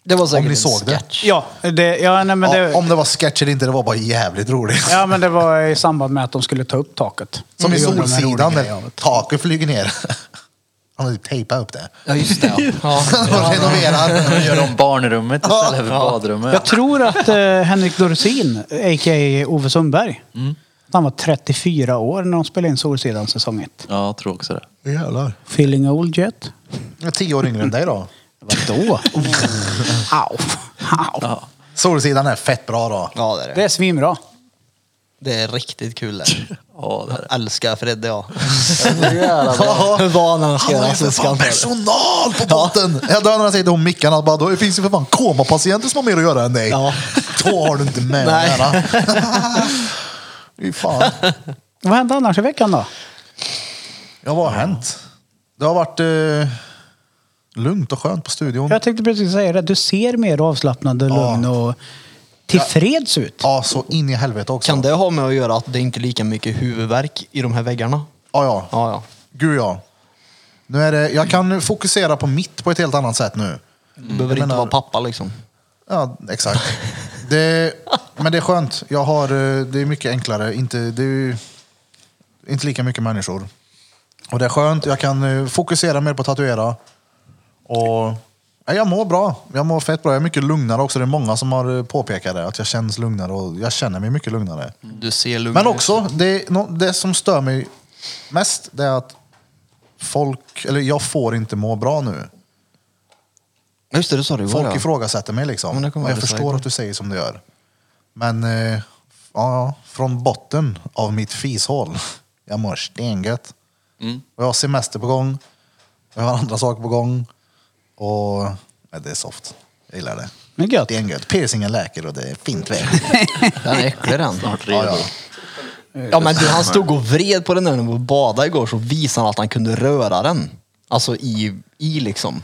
Det var säkert ni en såg det. sketch. Ja, det, ja, nej, men ja, det, om det var sketch eller inte, det var bara jävligt roligt. ja, men det var i samband med att de skulle ta upp taket. Som i Det Mm. gjorde de en rolig Solsidan grej där av det. taket flyger ner. [LAUGHS] Han har typ tejpat upp det. Ja, just det. [LAUGHS] Ja. [LAUGHS] Ja. Och renoverar. De gör om barnrummet istället för badrummet. Jag tror att eh, Henrik Dorsin, a.k.a. Ove Sundberg, Mm. han var 34 år när de spelade in Solsidan säsong 1. Ja, jag tror också det. Jävlar. Feeling old yet? Jag är tio år yngre än dig då. [LAUGHS] Vadå? Au. Au. Solsidan är fett bra då. ja, det är Det det. är svinbra. Det är riktigt kul [LAUGHS] där. Ja, det är det. Älskar Fredde, ja. Hur van han ska Han göra har ju för fan allsvenskan. personal på botten! Jag dör när han säger till hon Mickan att bara, då finns det för fan komapatienter som har mer att göra än dig. Ja. [LAUGHS] Då har du inte med Nej. att [LAUGHS] göra. Fy fan. Vad hände annars i veckan då? Ja, vad har hänt? Det har varit eh, lugnt och skönt på studion. Jag tänkte precis säga det. Du ser mer avslappnad och Ja. lugn och tillfreds ut. Ja, så in i helvete också. Kan det ha med att göra att det inte är lika mycket huvudvärk i de här väggarna? Ja, ja. Ja, ja. Gud ja. Nu är det, jag kan fokusera på mitt på ett helt annat sätt nu. Du behöver inte menar- vara pappa liksom. Ja, exakt. Det, men det är skönt. Jag har, eh, det är mycket enklare. Inte, det är ju inte lika mycket människor. Och det är skönt. Jag kan eh, fokusera mer på att tatuera. Och, ja, jag mår bra. Jag mår fett bra. Jag är mycket lugnare också. Det är många som har eh, påpekat det. Att jag känns lugnare och jag känner mig mycket lugnare. Du ser lugn Men också, det, nå- det som stör mig mest det är att folk, eller jag får inte må bra nu. Just det, det sa du var Folk det. ifrågasätter mig Men liksom. det kommer Och jag aldrig förstår säga. att du säger som du gör. Men eh, ja, ja, från botten av mitt fishål. [LAUGHS] Jag mår stengött. Mm. Och jag har semester på gång. Jag har andra saker på gång. Och ja, det är soft. Jag gillar det. Men gött. Stengött. Piercingen läker och det är fint väder. [LAUGHS] Den är äcklig den. Ja, ja. Ja men du, han stod och vred på den där när vi badade igår så visade han att han kunde röra den. Alltså i, i liksom.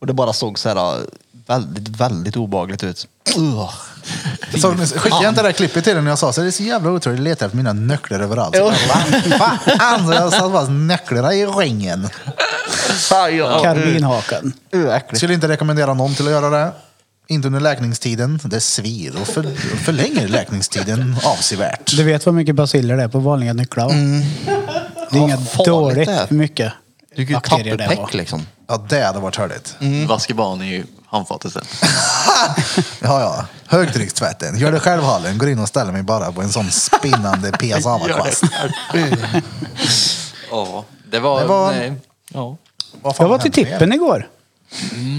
Och det bara såg så här äh, väldigt, väldigt obehagligt ut. Ugh. Så, skickade jag Alltså, inte det där klippet till dig när jag sa så det är så jävla otroligt, jag letar efter mina nycklar överallt. Så, bara, Fan, så jag satt fast nycklarna i ringen. Karbinhaken. Ugh, äckligt. Skulle inte rekommendera någon till att göra det. Inte under läkningstiden, det svir och för, förlänger läkningstiden avsevärt. Du vet vad mycket basiller det är på vanliga nycklar va? Det är Vad inget Mm. farligt dåligt det är. hur mycket Du kan ju bakterier det tapperpäck var. liksom. Ja, det hade varit hörligt. Mm. Vaskar barn i handfatet sen. Ja, ja. Högtryckstvätten. Gör det själv Hallen. Går in och ställer mig bara på en sån spinnande [LAUGHS] PSA-kvast. Ja, det var... Det var- Nej. Ja. Vad fan Jag var har till hänt med er? Mm. tippen igår.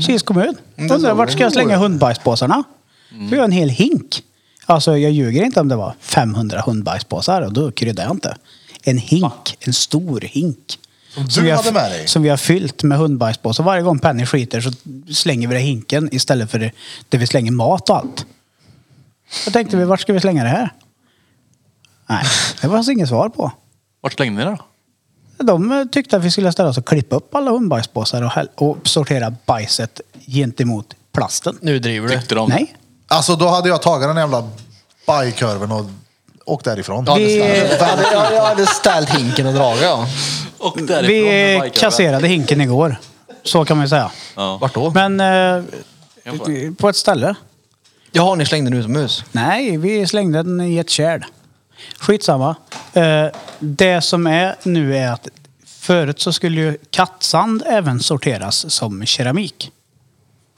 Kils kommun. Undrar vart ska jag slänga hundbajspåsarna? Mm. För jag har en hel hink. Alltså jag ljuger inte om det var 500 hundbajspåsar och då kryddade jag inte. En hink. En stor hink. Som du vi har- hade med dig? Som vi har fyllt med hundbajspåsar. Varje gång Penny skiter så slänger vi det i hinken istället för det- där vi slänger mat och allt. Då tänkte vi, vart ska vi slänga det här? Nej, det fanns inget svar på. Vart slängde ni det då? De eh, tyckte att vi skulle ställa oss och klippa upp alla hundbajspåsar och, häll- och sortera bajset gentemot plasten. Nu driver du. Tyckte de? Nej. Alltså, då hade jag tagit den jävla bajkurven och åkt därifrån. Ja, det Vi- ställer. jag, hade, jag, jag hade ställt hinken och dragit ja. Och därifrån med Vi bikar, kasserade hinken igår. Så kan man ju säga. Ja. Vart då? Men eh, får- på ett ställe. Jaha, ni slängde den utomhus? Nej, vi slängde den i ett kärl. Skitsamma. Eh, det som är nu är att förut så skulle ju kattsand även sorteras som keramik.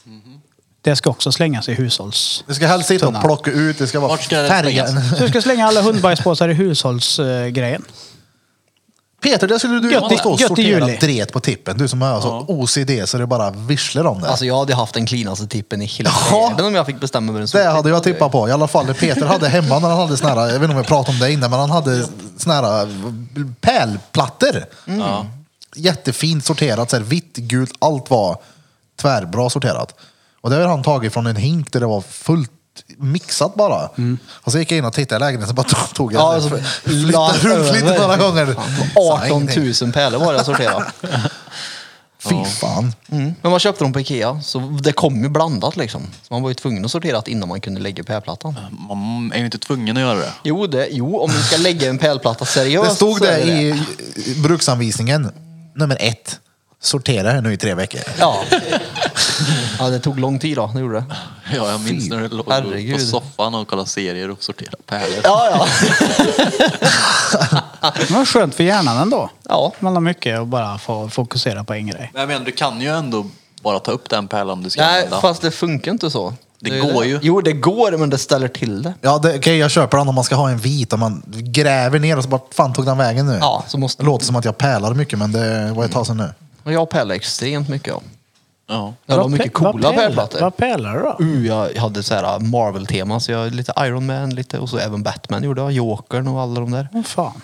Mhm. Det ska också slängas i hushålls... Det ska helst sitta och Tunna. plocka ut, det ska vara Vart ska det slängas? Så du ska slänga alla hundbajspåsar i hushållsgrejen. Peter, det skulle du Gött i- måste stå och gött i sortera juli. dret på tippen. Du som har så OCD så det bara visslar om det. Alltså jag hade haft den cleanaste tippen i hela Ja. världen om jag fick bestämma över en sån det hade jag tipp. tippat på. I alla fall det Peter hade hemma när han hade såna här, jag vet inte om jag pratade om det innan, men han hade såna här eh, pärlplattor. Mm. Ja. Jättefint sorterat, så här vitt, gult, allt var tvärbra sorterat. Och det har han tagit från en hink där det var fullt mixat bara. Och så gick jag in och tittade i lägenheten och bara tog jag Mm. Ja, det. alltså, flyttade la runt lite över. några gånger. Sa 18 ingenting. 000 pärlor var det jag [LAUGHS] sorterade. Fy fan. Mm. Men man köpte dem på Ikea, så det kom ju blandat liksom. Så man var ju tvungen att sortera det innan man kunde lägga pärlplattan. Man är ju inte tvungen att göra det. Mm. Jo, det, jo om du ska lägga en pärlplatta seriöst Det stod så är det i bruksanvisningen. Nummer ett. Sortera här nu i tre veckor. [LAUGHS] Ja. ja, det tog lång tid då, det gjorde det. Ja, jag minns när du låg herregud. på soffan och kollade serier och sorterade pärlor. Ja, ja. Men det var skönt för hjärnan ändå. Ja. Man har mycket att bara få fokusera på en grej. Men jag menar, du kan ju ändå bara ta upp den pärlan du ska Nej, använda. fast det funkar inte så. Det är går ju. Jo, det går, men det ställer till det. Ja, det, okej, jag köper den om man ska ha en vit. Om man gräver ner och så bara, fan tog den vägen nu? Ja, så måste Det låter som att jag pälar mycket, men det var ett tag sedan nu. Och jag pärlar extremt mycket av. Ja. Jag har Vad mycket pe- vad coola pärl- pärlplattor. Vad pärlar du då? Uh, jag hade så här Marvel-tema, så jag lite Iron Man lite och så även Batman gjorde jag. Jokern och alla de där. Åh fan.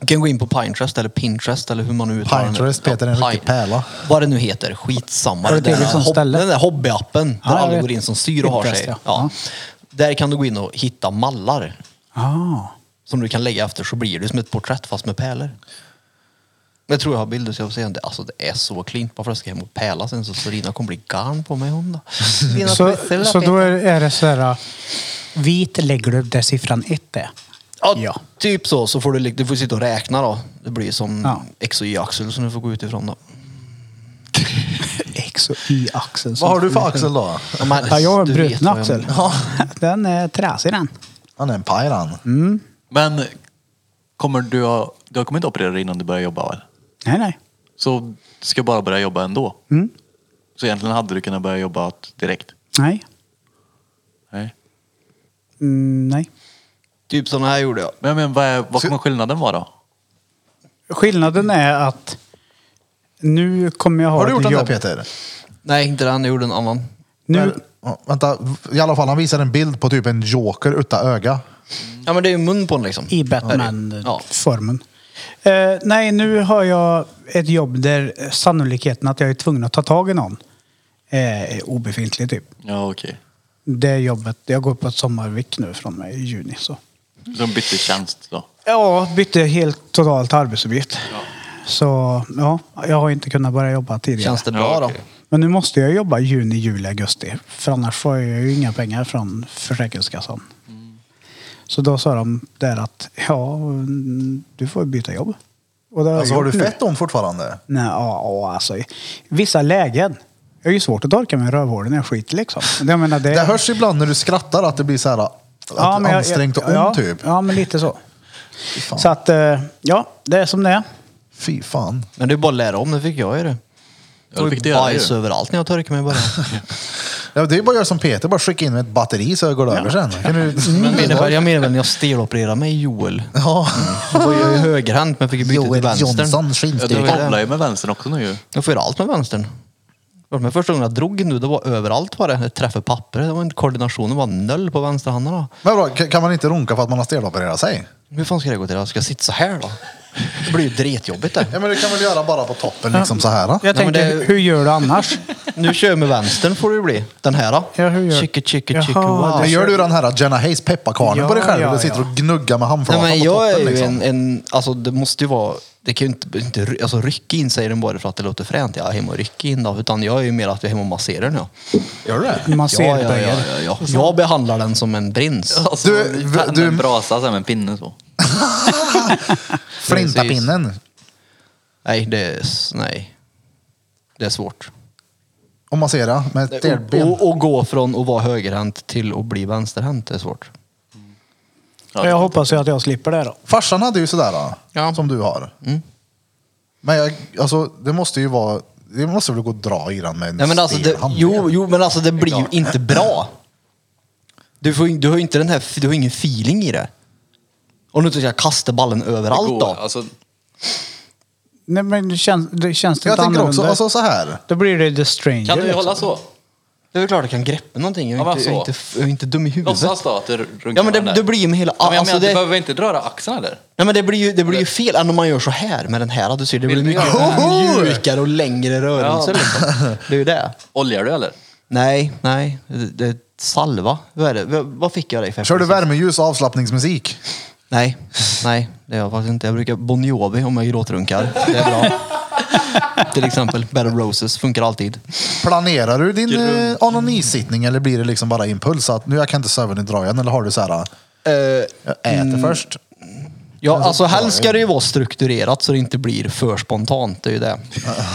Du kan gå in på Pinterest eller Pinterest eller hur man nu uttalar det. Pinterest, Peter, en Ja, riktig Pine- pärla. Vad det nu heter, skitsamma. Har du Den där ett eget sånt hob- ställe? Den där hobbyappen Ja, där jag alla vet. går in som syr och har sig. Pinterest, Ja. ja. Ja. Där kan du gå in och hitta mallar Ah. som du kan lägga efter så blir det som ett porträtt fast med pärlor. Jag tror jag har bilder så jag får se. Det- Alltså det är så klint. Bara för att jag ska hem och pärla sen så Sorina kommer bli garn på mig hon då. Sorina Så, Priscilla, så då Peter. är, är det så här. äh, Vit lägger du där siffran ett är. Ja, Ja. typ så. Så får du, lik- du får sitta och räkna då. Det blir som Ja. X och Y-axel som du får gå utifrån då. X och Y-axeln. som- Vad har du för axel då? Ja, men, [LAUGHS] Ja, jag har en du vet bruten vad jag axel. menar. [LAUGHS] Den är trasig den. Han är en paj han. Mm, Men kommer du, ha, du kommer inte operera dig innan du börjar jobba väl? Nej, nej. Så du ska bara börja jobba ändå? Mm. Så egentligen hade du kunnat börja jobba att- direkt? Nej. Nej. Mm, nej. Typ sådana här gjorde jag. Men jag menar, vad, är, vad kommer skillnaden vara då? Skillnaden är att nu kommer jag ha Har du ett gjort den där jobb. Peter? Nej, inte den. Jag gjorde en annan. Nu, Ja, vänta, i alla fall han visar en bild på typ en joker utan öga. Ja, men det är ju mun på den liksom. I Ja. Batman-formen. Eh, nej, nu har jag ett jobb där sannolikheten att jag är tvungen att ta tag i någon eh, är obefintlig typ. Ja, okej. Det jobbet, jag går på ett sommarvik nu från mig i juni. Så. Så de bytte tjänst då? Ja, bytte helt totalt arbetsuppgift. Så ja, jag har inte kunnat börja jobba tidigare. Känns det bra Ja, då? okej. Men nu måste jag jobba juni, juli, augusti. För annars får jag ju inga pengar från Försäkringskassan. Mm. Så då sa de där att ja, mm, du får byta jobb. Och det jag Alltså har du gjort nu. fett om fortfarande? Nej, ja, ja, alltså. i Vissa lägen. Jag är ju svårt att torka med rövhålen när jag skiter liksom. Jag menar, det, Det hörs ibland när du skrattar att det blir så här att jag- ansträngt och ont ja, typ. Ja, men lite så. Fy fan. Så att, eh, ja, det är som det är. Fy fan. Men det är bara att lära om. Det fick jag ju det. Ja, det fick du ju göra bajs ju. överallt när jag torkade mig i början. [LAUGHS] Ja, det är bara att göra som Peter, bara skicka in med ett batteri så går det över sen. Kan du... Mm. Men det var- jag menar väl när jag stelopererade mig i Joel. Ja. Då var jag ju högerhänt men fick ju byta till vänstern. Ja, skinnstyr. du Det är det. kobblar ju med vänstern också nu ju. Jag får göra allt med vänstern. Men första gången jag drog nu, det var överallt var det. Jag träffade papper. Det var en koordinationen var noll på vänsterhanden. Men bra, kan kan man inte runka för att man har stelopererat sig? Hur fan ska det gå till? då? Ska jag sitta så här då? Det blir ju dretjobbigt det. Ja, men det kan väl göra bara på toppen liksom så här. Då. Jag Nej, men tänkte, det- hur gör du annars? Nu kör jag med vänstern får det ju bli. Den här då. Ja, hur gör- Chicka, chicka, Jaha, chicka, wow. Men gör du den här Jenna Hayes pepparkvarnen Ja, på dig själv ja, och sitter ja. och gnuggar med handflatan Nej, men på jag är toppen ju en, liksom? en, alltså det måste ju vara, det kan ju inte, inte ry- alltså rycka in sig i den bara för att det låter fränt. Jag är hemma och rycker in då, utan jag är ju mer att jag är hemma och masserar den. Ja. Gör du det? Man ser ja, det på ja, ja, er. ja, ja. Jag behandlar den som en prins. Alltså, Du- du, du- en brasa så här med en pinne så. Flintapinnen. Nej, det är, s- nej. Det är svårt. Och massera med ett Och, delben. och, och gå från att vara högerhänt till att bli vänsterhänt är svårt. Ja, Jag hoppas ju att jag slipper det då. Farsan hade ju sådär då, Ja. som du har. Mm. Men jag, alltså, det måste ju vara... Det måste väl gå att dra i den med en Nej, men alltså, stel det, hand? jo, jo, men alltså det blir ju inte bra. Du, får, ju- du har ju inte den här, du har ingen feeling i det. Om du inte ska kasta ballen överallt går- då. Alltså, Nej, men det känns det, känns det Jag inte tänker annorlunda? också, alltså så här. Då blir det The Stranger. Kan du liksom. hålla så? Det är väl klart jag kan greppa någonting. Jag är, Ja, men inte, jag är, så. inte, jag är inte dum i huvudet. Låtsas då att du runkar Ja men det, med den det där. blir ju med hela... Ja, men jag alltså menar, du det, behöver inte röra axlarna där. nej, men det blir ju, det blir ju fel än om man gör så här med den här. Du ser, det blir Vill du mycket göra mjukare och längre rörelser. Ja. Liksom. Det är ju det. Oljar du eller? Nej, nej. Det, det Salva? Vad, är det? V- vad fick jag dig för? Kör du present? värmeljus och avslappningsmusik? Nej, nej, det gör jag faktiskt inte. Jag brukar Bon Jovi om jag gråtrunkar. Det är bra. Till exempel Bed of Roses funkar alltid. Planerar du din eh, onanisittning eller blir det liksom bara impuls att nu jag kan inte söva, nu drar jag den? Eller har du så här, jag äter först? Ja, alltså helst ska det ju vara strukturerat så det inte blir för spontant. Det är ju det.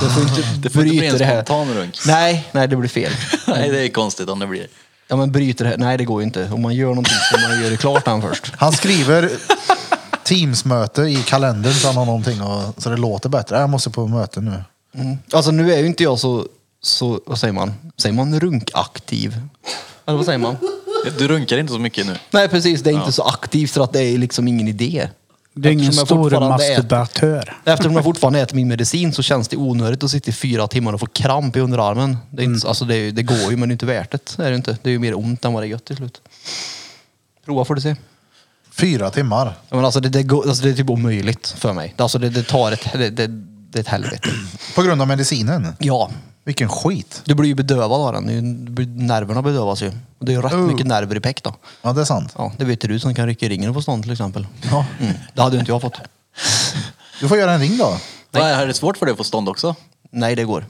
Det får inte, det får inte bli en spontan runk. Nej, nej, det blir fel. [LAUGHS] Nej, det är konstigt om det blir. Ja, men bryter det här. Nej, det går ju inte. Om man gör någonting så man gör det klart den först. Han skriver Teams-möte i kalendern så han har någonting och, så det låter bättre. Jag måste på möte nu. Alltså nu är ju inte jag så, så vad säger man? Säger man runkaktiv? Eller vad säger man? Du runkar inte så mycket nu. Nej, precis. Det är inte så aktivt för att det är liksom ingen idé. Du är ingen Eftersom jag stor fortfarande äter- masturbatör. Eftersom jag fortfarande äter min medicin så känns det onödigt att sitta i fyra timmar och få kramp i underarmen. Det, är inte, Mm. så- alltså det, är ju- det går ju, men det är inte värt det. Det är, det, inte. det är ju mer ont än vad det är gött till slut. Prova får du se. Fyra timmar. Ja, Men alltså det, det, går, alltså det är typ omöjligt för mig. Alltså det, det tar ett, det, det, det är ett helvete. På grund av medicinen. Ja, Vilken skit. du blir ju bedövad av den. Det är ju- du blir- Nerverna bedövas ju. Och det är ju rätt mycket nerver i peck då. Ja, det är sant. Ja, det vet ju du som kan rycka i ringen och få stånd till exempel. Ja. Mm. Det hade ju inte jag fått. Du får göra en ring då. Nej. Är det svårt för dig att få stånd också? Nej, det går.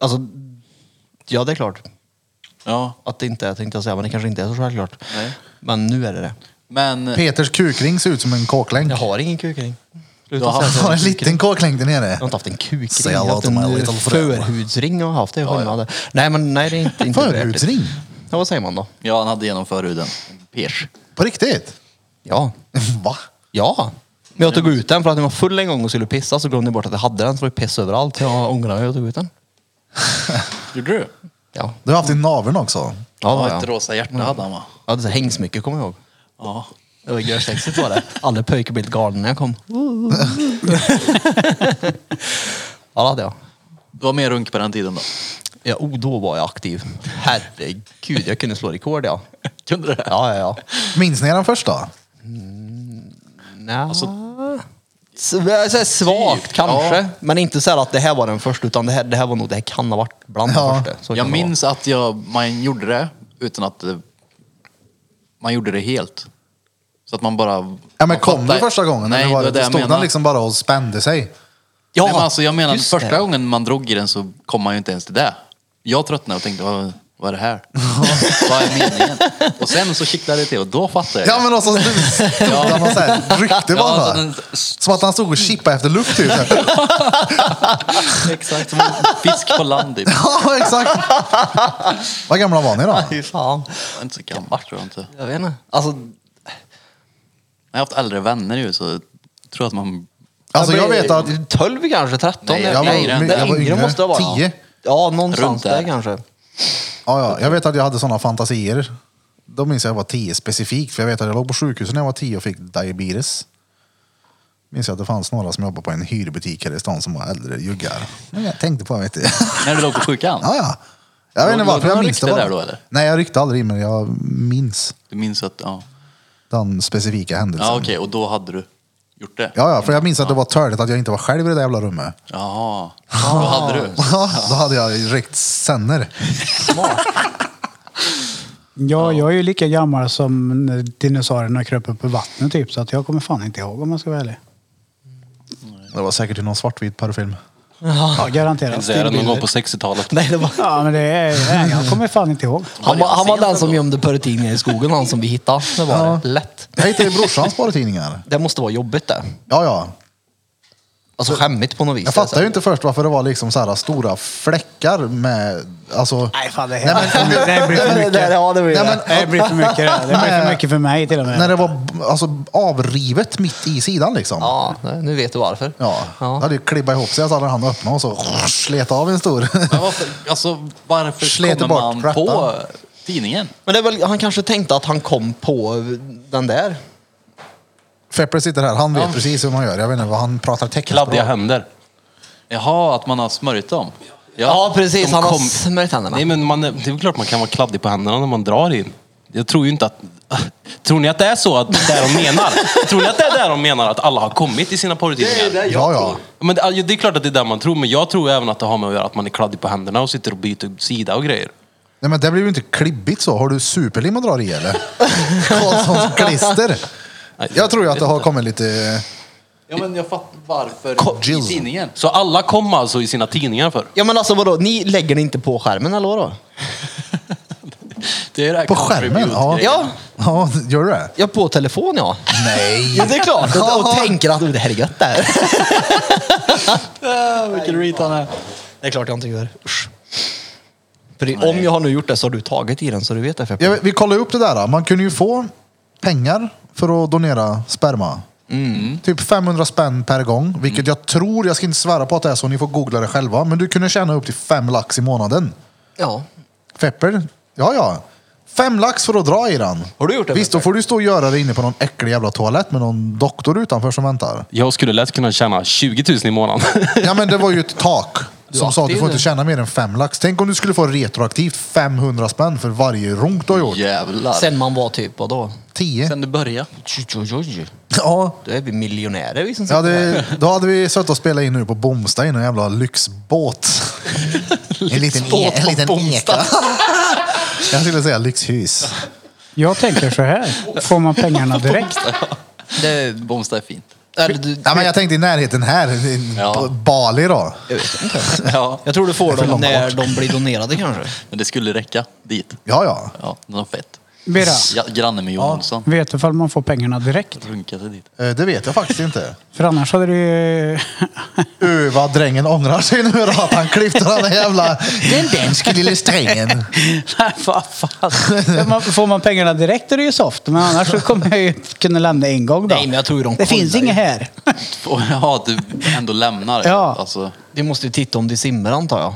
Alltså, ja det är klart. Ja. att det inte är tänkte jag säga, men det kanske inte är så självklart. Nej. Men nu är det det. Men Peters kukring ser ut som en kåklänk. [LAUGHS] Jag har ingen kukring. Sluta Du har säga Han så. har en liten kåklänk där nere. Jag har inte haft en kukring. Say Jag har hello haft to en my eh, little friend. förhudsring har jag haft. Det är skillnad. Nej, men nej, det är inte, inte värt det. Förhudsring? Ja, vad säger man då? ja, han hade genom förhuden. Pers. På riktigt? Ja. Va? Ja. Men jag tog ut den för att när jag var full en gång och skulle pissa så glömde jag bort att jag hade den. Så det var ju piss överallt. Jag ångrar mig och tog ut den. Gjorde du? Ja. Du har haft i naveln också. Ja, Ett ja. rosa hjärta hade han va? Jag hade så hängsmycke kommer jag ihåg. Ja. Det var görsexigt var det. Alla pojkar blev helt galna när jag kom. [LAUGHS] ja, det hade jag. Du var mer runk på den tiden då? Ja, oh, då var jag aktiv. Herregud, jag kunde slå rekord ja. Kunde du det? Ja, ja, ja. Minns ni den första? Nja. Alltså- Så- jag säger svagt kanske, men inte så här att det här var den första, utan det här, det här var nog, det här kan ha varit bland Ja. den första. Så kan Jag det vara. minns att jag, man gjorde det utan att eh, man gjorde det helt. Så att man bara... Ja, men man kom fattar- du första gången? Nej, eller det var var det, det jag stod menar. den liksom bara och spände sig? Ja, Nej, men alltså jag menar, just första det. gången man drog i den så kom man ju inte ens till det. Jag tröttnade och tänkte, vad, vad är [LAUGHS] det här? vad är meningen? Och sen så kittlade det till och då fattade jag. Ja, men också stod [LAUGHS] den och så här ryckte Ja, bara. alltså, den- Som att han stod och chippade efter luft [LAUGHS] typ. Exakt som en fisk på land. Typ. ja, exakt. Vad gamla var ni då? [LAUGHS] Fy fan. Jag är inte så gammal tror jag inte. När Jag vet inte. Alltså, jag har haft äldre vänner ju så jag tror att man... Alltså jag vet att 12 kanske, 13? Nej, jag eller- var- Nej, jag den- var den yngre yngre. måste jag vara. 10. Ja, någonstans Runt där. där kanske. Ja, ja. Jag vet att jag hade sådana fantasier. Då minns jag att jag var 10 specifikt, för jag vet att jag låg på sjukhuset när jag var 10 och fick diabetes. Minns jag att det fanns några som jobbade på en hyrbutik här i stan som var äldre juggar. Men jag tänkte på det, vet du. När du låg på sjukan? Ja, ja. Jag vet Låg- inte låg varför det jag någon minns det rykte bara. där då, eller? Nej, jag ryckte aldrig i, men jag minns Du minns att, ja. den specifika händelsen. Ja okej, och då hade du gjort det? ja, ja, för jag minns att det var törligt att jag inte var själv i det där jävla rummet. Jaha, då hade du. Ja, då hade jag ryckt sönder. Ja, jag är ju lika gammal som när dinosaurierna kröp upp ur vattnet typ. Så att jag kommer fan inte ihåg om jag ska vara ärlig. Det var säkert i någon svartvit porrfilm. Ja, garanterat. Det är det någon gång på 60-talet. Nej, det var... Ja, men det är... nej, Jag kommer fan inte ihåg. Han, var- han var den som gömde perrutiner i skogen, han som vi hittade. Det var Ja. det. Lätt. Jag hittade ju [LAUGHS] brorsans porrtidningar. Det måste vara jobbigt det. Ja, ja. Alltså skämmigt på något vis. Jag fattar ju inte först varför det var liksom så här stora fläckar med, alltså. Nej, fan det, Nej, men- det här blir för Det där, mycket. ja, det blir Nej, det. men- det blir för mycket. Det Det blir för mycket för mig till och När med. det var alltså, avrivet mitt i sidan liksom. Ja. Ja, nu vet du varför. Det hade ju klibbat ihop sig, så hade han öppnat och så slet av en stor. Men varför, alltså, varför Slet kommer bort man rattan. på tidningen? Men det är väl, han kanske tänkte att han kom på den där. Feppe sitter här, han vet precis hur man gör. Jag vet inte vad han pratar teckenspråk. Kladdiga händer. Jaha, att man har smörjt dem? Ja, precis. de Han har kom- smörjt händerna. Nej, men man, är- det är väl klart man kan vara kladdig på händerna när man drar in. Jag tror ju inte att... [LAUGHS] Tror ni att det är så att det är de menar? tror ni att det är det de menar? Att alla har kommit i sina porrtidningar? Det, Ja, ja. men det, ja, det är klart att det är det man tror, men jag tror även att det har med att göra att man är kladdig på händerna och sitter och byter sida och grejer. Nej men det blir ju inte klibbigt så. Har du superlim att dra i eller? Karlssons klister. Jag tror ju att det har kommit lite... Ja, men jag fattar Ko- varför Jill. i tidningen. Så alla kom alltså i sina tidningar för? Ja men alltså vadå, ni lägger det inte på skärmen eller vadå? Det är det här På country skärmen? Ja. music-grejen. Ja, Ja, gör du det? ja på telefon ja. [LAUGHS] Nej. Ja, det är klart. Och, och tänker att "Oh, det här är gött det här. Vilken reet han är. Det är klart jag inte gör. Usch. För det, om jag har nu gjort det så har du tagit i den så du vet det. För Ja, vi kollade upp det där. då. Man kunde ju få pengar för att donera sperma. Typ 500 spänn per gång, vilket jag tror, jag ska inte svära på att det är så, ni får googla det själva, men du kunde tjäna upp till fem lax i månaden. ja. Fepper? Ja, ja. Fem lax för att dra i den. Har du gjort det, Visst, då får du stå och göra det inne på någon äcklig jävla toalett med någon doktor utanför som väntar. Jag skulle lätt kunna tjäna 20 000 i [LAUGHS] månaden. Ja, men det var ju [LAUGHS] ett tak som sa att du får inte tjäna mer än fem lax. Tänk om du skulle få retroaktivt 500 spänn för varje runk du har gjort. Jävlar. Sen, Sen man var typ vadå? Tio. du började. Oj, oj, oj. Ja, Då är vi miljonärer vi som Ja, sitter här. det, då hade vi suttit och spelat in nu på Bomsta i någon jävla lyxbåt. [LAUGHS] en liten, e, en liten eka. [LAUGHS] Jag skulle säga lyxhus. Jag tänker så här. Får man pengarna direkt? Det, Bomsta är fint. Eller, du, Ja, men jag tänkte i närheten här, i Ja. Bali då. Ja, jag tror du får för dem långt när de blir donerade kanske. men det skulle räcka dit. Ja, ja. Ja, den har fett. Birra, Ja, granne med Johansson. vet du ifall man får pengarna direkt? Runka sig dit. Eh, Det vet jag faktiskt inte. För annars hade du ju... Uh, vad drängen ångrar sig nu då, att han klippte den där jävla... Den danske lille strängen. Nej, vad fan. Får man- Får man pengarna direkt är det ju soft. Men annars så kommer jag ju kunna lämna en gång då. Nej, men jag tror ju de det finns kollar ju. inget här. Och, ja, du ändå lämnar. Ja. Alltså, Du måste ju titta om det simmar antar jag.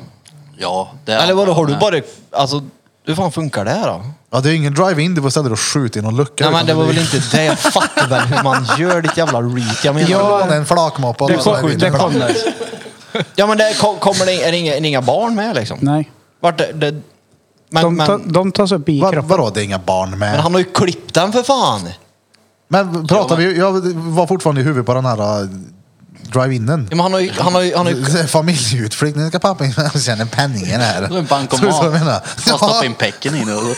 ja, det är- Eller vadå, har du bara... Alltså, hur fan funkar det här då? Ja, det är ingen drive-in, det var istället att skjuta i någon lucka. Nej men utan det var blir- väl inte det. Jag fattar väl hur man gör ditt jävla reet. Jag menar, Ja. ja. Det var en flakmopp. och Det någon sån här kom, det vinterplatta. kom där. men det kom, kommer det, är det inga, är det inga barn med liksom? Nej. Vart det, det, men, De, men, ta, de tas upp i Va- kroppen. Vadå, det är inga barn med? men han har ju klippt den för fan. Men pratar vi, jag var fortfarande i huvudet på den här äh, drive-inen. Ja, men han har ju... Han har ju, han har ju Det är Familjeutflykt, nu ska pappa in och känner penningen här. Det är en Tror du så jag menar? bankomat. Man stoppar in pecken i nu och då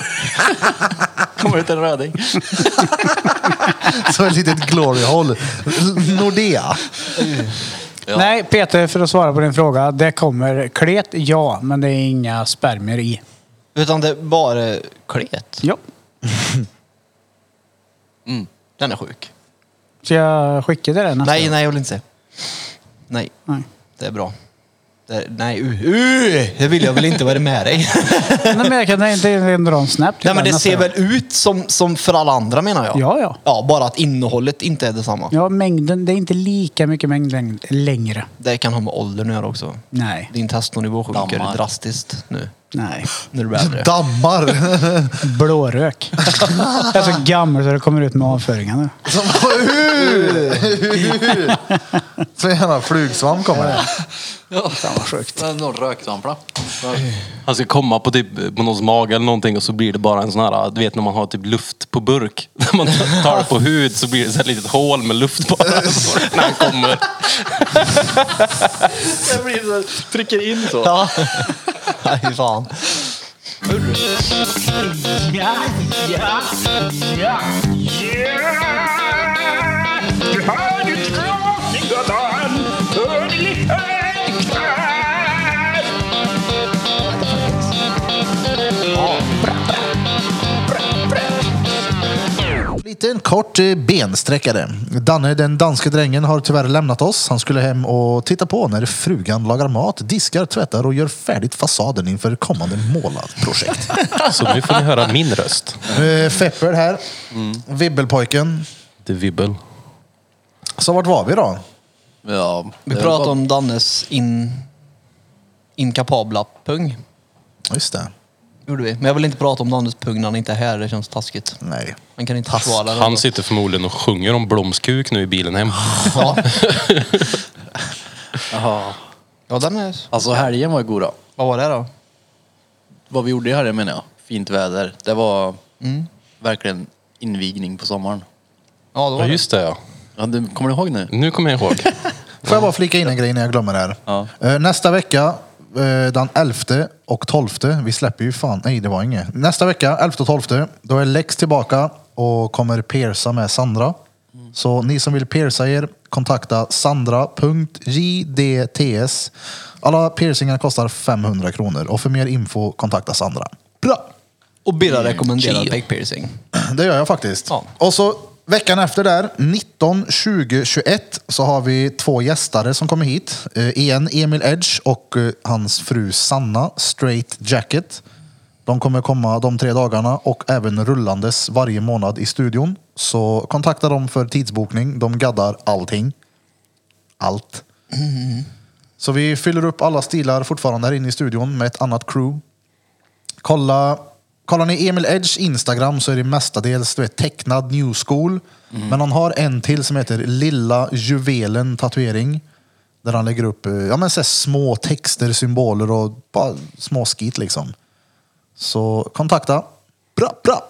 kommer ut en röding. Ja, så ett litet glory hole. Nordea. Nej, Peter, för att svara på din fråga. Det kommer klet, ja. Men det är inga spermier i. utan det är bara klet. [LAUGHS] Ja. Mm, Den är sjuk. Så jag skickar det där nästa Nej, gång? nej jag vill inte se. Nej, nej. det är bra. Det, nej, uh, uh, det vill jag väl inte vara med [LAUGHS] dig. Nej, men jag kan inte ens dra en snap till nej den men det nästa ser gång. väl ut som, som för alla andra menar jag. Ja, ja. Ja, bara att innehållet inte är detsamma. Ja, mängden. Det är inte lika mycket mängd läng- längre. Det kan ha med åldern att göra också. Nej. Din testoninivå sjunker Dammar. drastiskt nu. Nej. När du blir äldre. Dammar. Blårök. jag är så gammal så det kommer ut med avföringar nu. Som, så gärna flugsvamp kommer det. Ja. Fan vad sjukt. Det är någon rökdampla. Han ska komma på, typ, på någons mage eller någonting och så blir det bara en sån här, du vet när man har typ luft på burk. [LAUGHS] När man tar det på hud så blir det så här ett litet hål med luft bara. [LAUGHS] När han kommer. Trycker in så. Ja. [LAUGHS] Nej, fan. Lite en kort eh, bensträckare. Danne, den danske drängen, har tyvärr lämnat oss. Han skulle hem och titta på när frugan lagar mat, diskar, tvättar och gör färdigt fasaden inför kommande måladprojekt. Så nu får ni höra min röst. Eh, Fepper här. Vibbelpojken. Det är vibbel. Så vart var vi då? Ja, Vi pratade om Dannes in, inkapabla pung. Just det. Gjorde vi. Men jag vill inte prata om Dannes pung när han inte är här. Det känns taskigt. Nej. Han kan inte försvara Han det. sitter förmodligen och sjunger om blomskuk nu i bilen hem. Ja. ja, den är... Alltså helgen var ju god då. Vad var det då? Vad vi gjorde i helgen menar jag. Fint väder. Det var Mm. verkligen invigning på sommaren. Ja, det var Ja det. just det ja. Ja, du, kommer du ihåg nu? Nu kommer jag ihåg. Får jag bara flika in en grej när jag glömmer det här? Ja. Eh, Nästa vecka eh, den 11 och 12. Vi släpper ju fan, nej det var inget. Nästa vecka, 11 och 12, då är Lex tillbaka och kommer persa med Sandra. Så ni som vill persa er, kontakta sandra.jdts. Alla piercingar kostar 500 kronor och för mer info kontakta Sandra. Bra! Och Birra rekommenderar peg piercing. Det gör jag faktiskt. Ja. Och så veckan efter där, 19, 20, 21, så har vi två gästare som kommer hit. Eh, en Emil Edge och eh, hans fru Sanna, Straight Jacket. De kommer komma de tre dagarna och även rullandes varje månad i studion. Så kontakta dem för tidsbokning. De gaddar allting. Allt. Så vi fyller upp alla stilar fortfarande här inne i studion med ett annat crew. Kolla, kollar ni Emil Edge Instagram så är det mestadels du vet, tecknad new school. Mm. Men han har en till som heter Lilla Juvelen tatuering. Där han lägger upp eh, ja, men, så här, små texter, symboler och bara små skit liksom. Så kontakta. Bra, bra.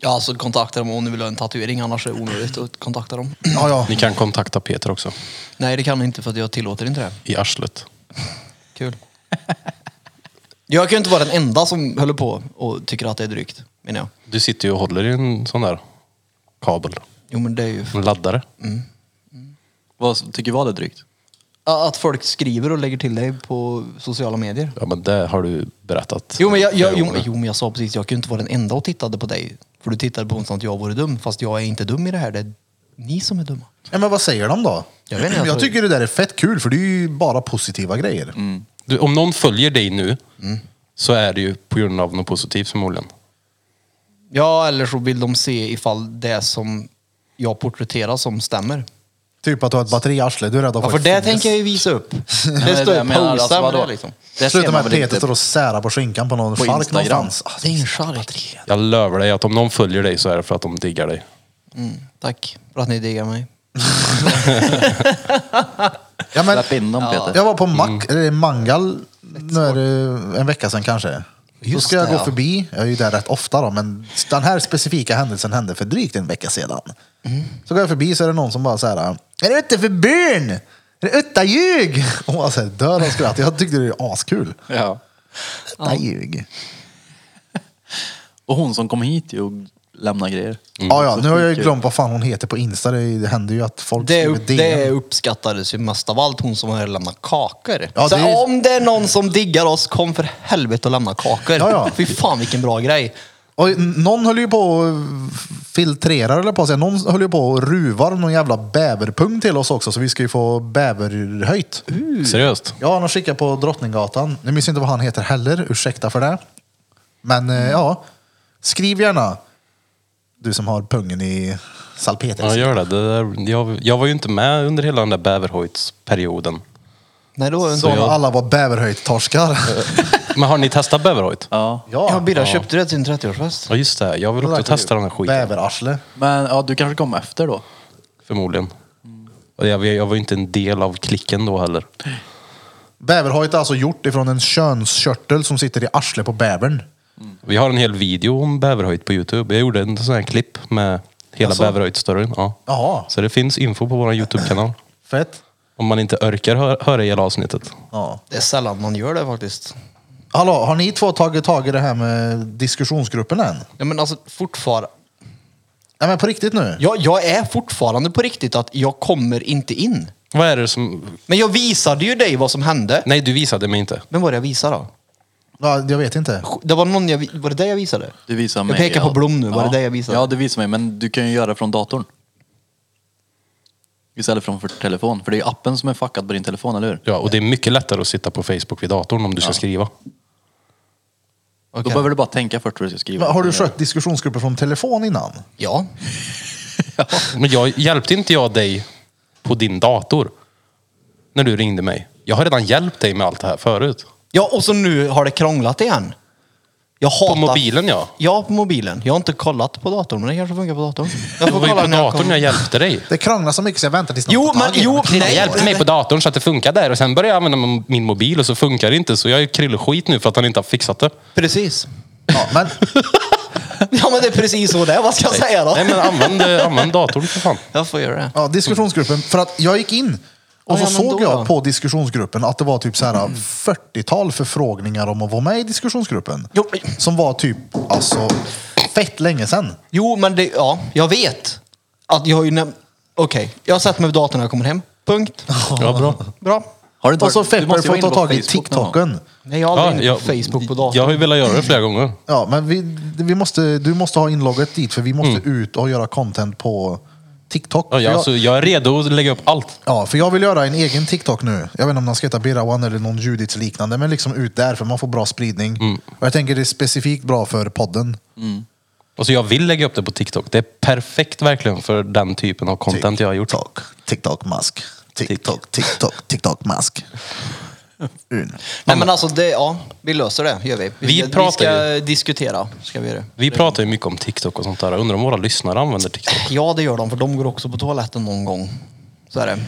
Ja, alltså kontakta dem om ni vill ha en tatuering, annars är det onödigt att kontakta dem. [CLEARS THROAT] Ja, ja. Ni kan kontakta Peter också. Nej, det kan ni inte för att jag tillåter inte det. I arslet. [LAUGHS] Kul. Jag kan ju inte vara den enda som håller på och tycker att det är drygt, menar jag. Du sitter ju och håller i en sån där kabel. Jo, men det är ju... En laddare. Vad tycker vad är drygt? Att folk skriver och lägger till dig på sociala medier. Ja men det har du berättat. Jo men, jag, jag, flera jo, gånger. men- jo, men jag sa precis, jag kan ju inte vara den enda och tittade på dig. För du tittade på mig som att jag vore dum, fast jag är inte dum i det här. Det är ni som är dumma. ja men vad säger de då? Jag vet inte, jag tror- Mm. tycker det där är fett kul för det är ju bara positiva grejer. Du, om någon följer dig nu så är det ju på grund av något positivt förmodligen. Ja, eller så vill de se ifall det som jag porträtterar som stämmer. Typ att du har ett batteri i arslet, du är rädd att Ja, få för ett det finger- tänker jag ju visa [LAUGHS] upp. det Det står ju jag menar, alltså, posa med vadå? det liksom. Det ser Sluta man med att väl Peter inte. står och särar på skinkan på någon På chark Instagram. någonstans. Ah, Det är en chark. Jag lövar dig att om någon följer dig så är det för att de diggar dig. Mm, tack för att ni diggar mig. Ja, men, Släpp in dem Peter. jag var på Mm. Mac, eller Mangal nu är det en vecka sedan kanske. då Just ska jag det, gå ja. förbi, jag är ju där rätt ofta då, men den här specifika händelsen hände för drygt en vecka sedan. Mm. Så går jag förbi så är det någon som bara så här, är du ute för byn? Är du utta ljug? [LAUGHS] Och man så här, dör av skratt. Jag tyckte det var askul. Ja. Utta ljug. Mm. Och hon som kom hit ju och lämnade grejer. Mm. Ja, ja, nu har jag ju skitkul. glömt vad fan hon heter på Insta. Det det händer ju att folk Det, skriver upp, det DM. uppskattades ju mest av allt, hon som har lämnat kakor. Ja, så det är- om det är någon som diggar oss, kom för helvete och lämna kakor. Ja, ja. [LAUGHS] Fy fan vilken bra grej. Och n- någon höll ju på och filtrerar eller på sig. Någon höll ju på och ruvar någon jävla bäverpung till oss också så vi ska ju få bäverhöjt. Mm. Seriöst? Ja, han har skickat på Drottninggatan. Nu minns jag inte vad han heter heller, ursäkta för det. Men eh, ja, skriv gärna. Du som har pungen i salpeter. Ja gör det. det där, jag, jag var ju inte med under hela den där bäverhojtsperioden. Nej, då var det så inte... när alla var [LAUGHS] bäverhöjt-torskar. Men har ni testat bäverhojt? Ja. Ja, Birra, köpte du det till din 30-årsfest? Ja just det, jag vill också testa den här skiten. Bäverarsle. Men ja, du kanske kom efter då? Förmodligen. Och jag, jag var ju inte en del av klicken då heller. Bäverhöjt är alltså gjort ifrån en könskörtel som sitter i arslet på bävern. Vi har en hel video om bäverhöjd på Youtube. Jag gjorde en sån här klipp med hela Jaså? bäverhöjdstörren. Ja. Jaha. Så det finns info på vår Youtube-kanal. Fett. Om man inte orkar hö- höra hela avsnittet. Ja. Det är sällan man gör det faktiskt. Hallå, har ni två tagit tag i det här med diskussionsgruppen än? Ja, men alltså, fortfarande... Nej men på riktigt nu. Jag, jag är fortfarande på riktigt att jag kommer inte in. Vad är det som... Men jag visade ju dig vad som hände. Nej, du visade mig inte. Vem var det jag visade då? Ja, jag vet inte. Det var någon jag... vi- Var det det jag visade? Du visar mig. Jag pekar ja. på Blom nu. Var ja. det det jag visade? Ja, du visar mig. Men du kan ju göra det från datorn. Istället från för telefon. För det är ju appen som är fuckad på din telefon, eller hur? Ja, och det är mycket lättare att sitta på Facebook vid datorn om du ska skriva. Då behöver du bara tänka först vad du ska skriva. Men har du skött diskussionsgrupper från telefon innan? Ja. Men jag, hjälpte inte jag dig på din dator? När du ringde mig. Jag har redan hjälpt dig med allt det här förut. Ja, och så nu har det krånglat igen. Jag hatar... På mobilen ja. Ja, på mobilen. Jag har inte kollat på datorn, men det kanske funkar på datorn. Jag Det var ju på när jag datorn kommer. jag hjälpte dig. Det krånglar så mycket så jag väntar tills någon Jo, tar tag men- i det. jo, Det knallar Jag nej. ju. hjälpte mig på datorn så att det funkar där och sen började jag använda min mobil och så funkar det inte så jag är krillskit nu för att han inte har fixat det. Precis. [LAUGHS] Ja, men Ja, men det är precis så det är. Vad ska jag säga då? Nej men använd, eh, använd datorn för fan. Jag får göra det. ja, diskussionsgruppen, för att jag gick in Och Ja, ja, så men såg då då. jag på diskussionsgruppen att det var typ så här 40-tal förfrågningar om att vara med i diskussionsgruppen. Jo. Som var typ, alltså, fett länge sedan. Jo, men det, ja, jag vet. Att jag har ju näm- Okej, jag har satt mig vid datorn när jag kommer hem. Punkt. Ja, bra. Bra. Har du inte Och så varit- du Fepper måste ju får vara ta inne på tag i Facebook någon gång. TikToken. Nej, jag har aldrig inne på Facebook på datorn. Jag har ju velat göra det flera gånger. Ja, men vi, vi måste, du måste ha inlogget dit för vi måste ut och göra content på TikTok. Mm. Ja, jag, För alltså, jag är redo att lägga upp allt. Ja, för jag vill göra en egen TikTok nu. Jag vet inte om den ska heta Birawan eller någon Judits liknande, men liksom ut där för man får bra spridning. Mm. Och jag tänker det är specifikt bra för podden. Och så Alltså, jag vill lägga upp det på TikTok. Det är perfekt verkligen för den typen av Typ. content jag har gjort. TikTok, TikTok mask. TikTok, TikTok, TikTok mask. Un. Nej, men alltså, det, ja, vi löser det, gör vi. Vi, Vi ska- pratar vi ska diskutera. Ska vi göra det. Vi pratar ju mycket om TikTok och sånt där. Jag undrar om våra lyssnare använder TikTok. Ja, det gör de, för de går också på toaletten någon gång. Så är det.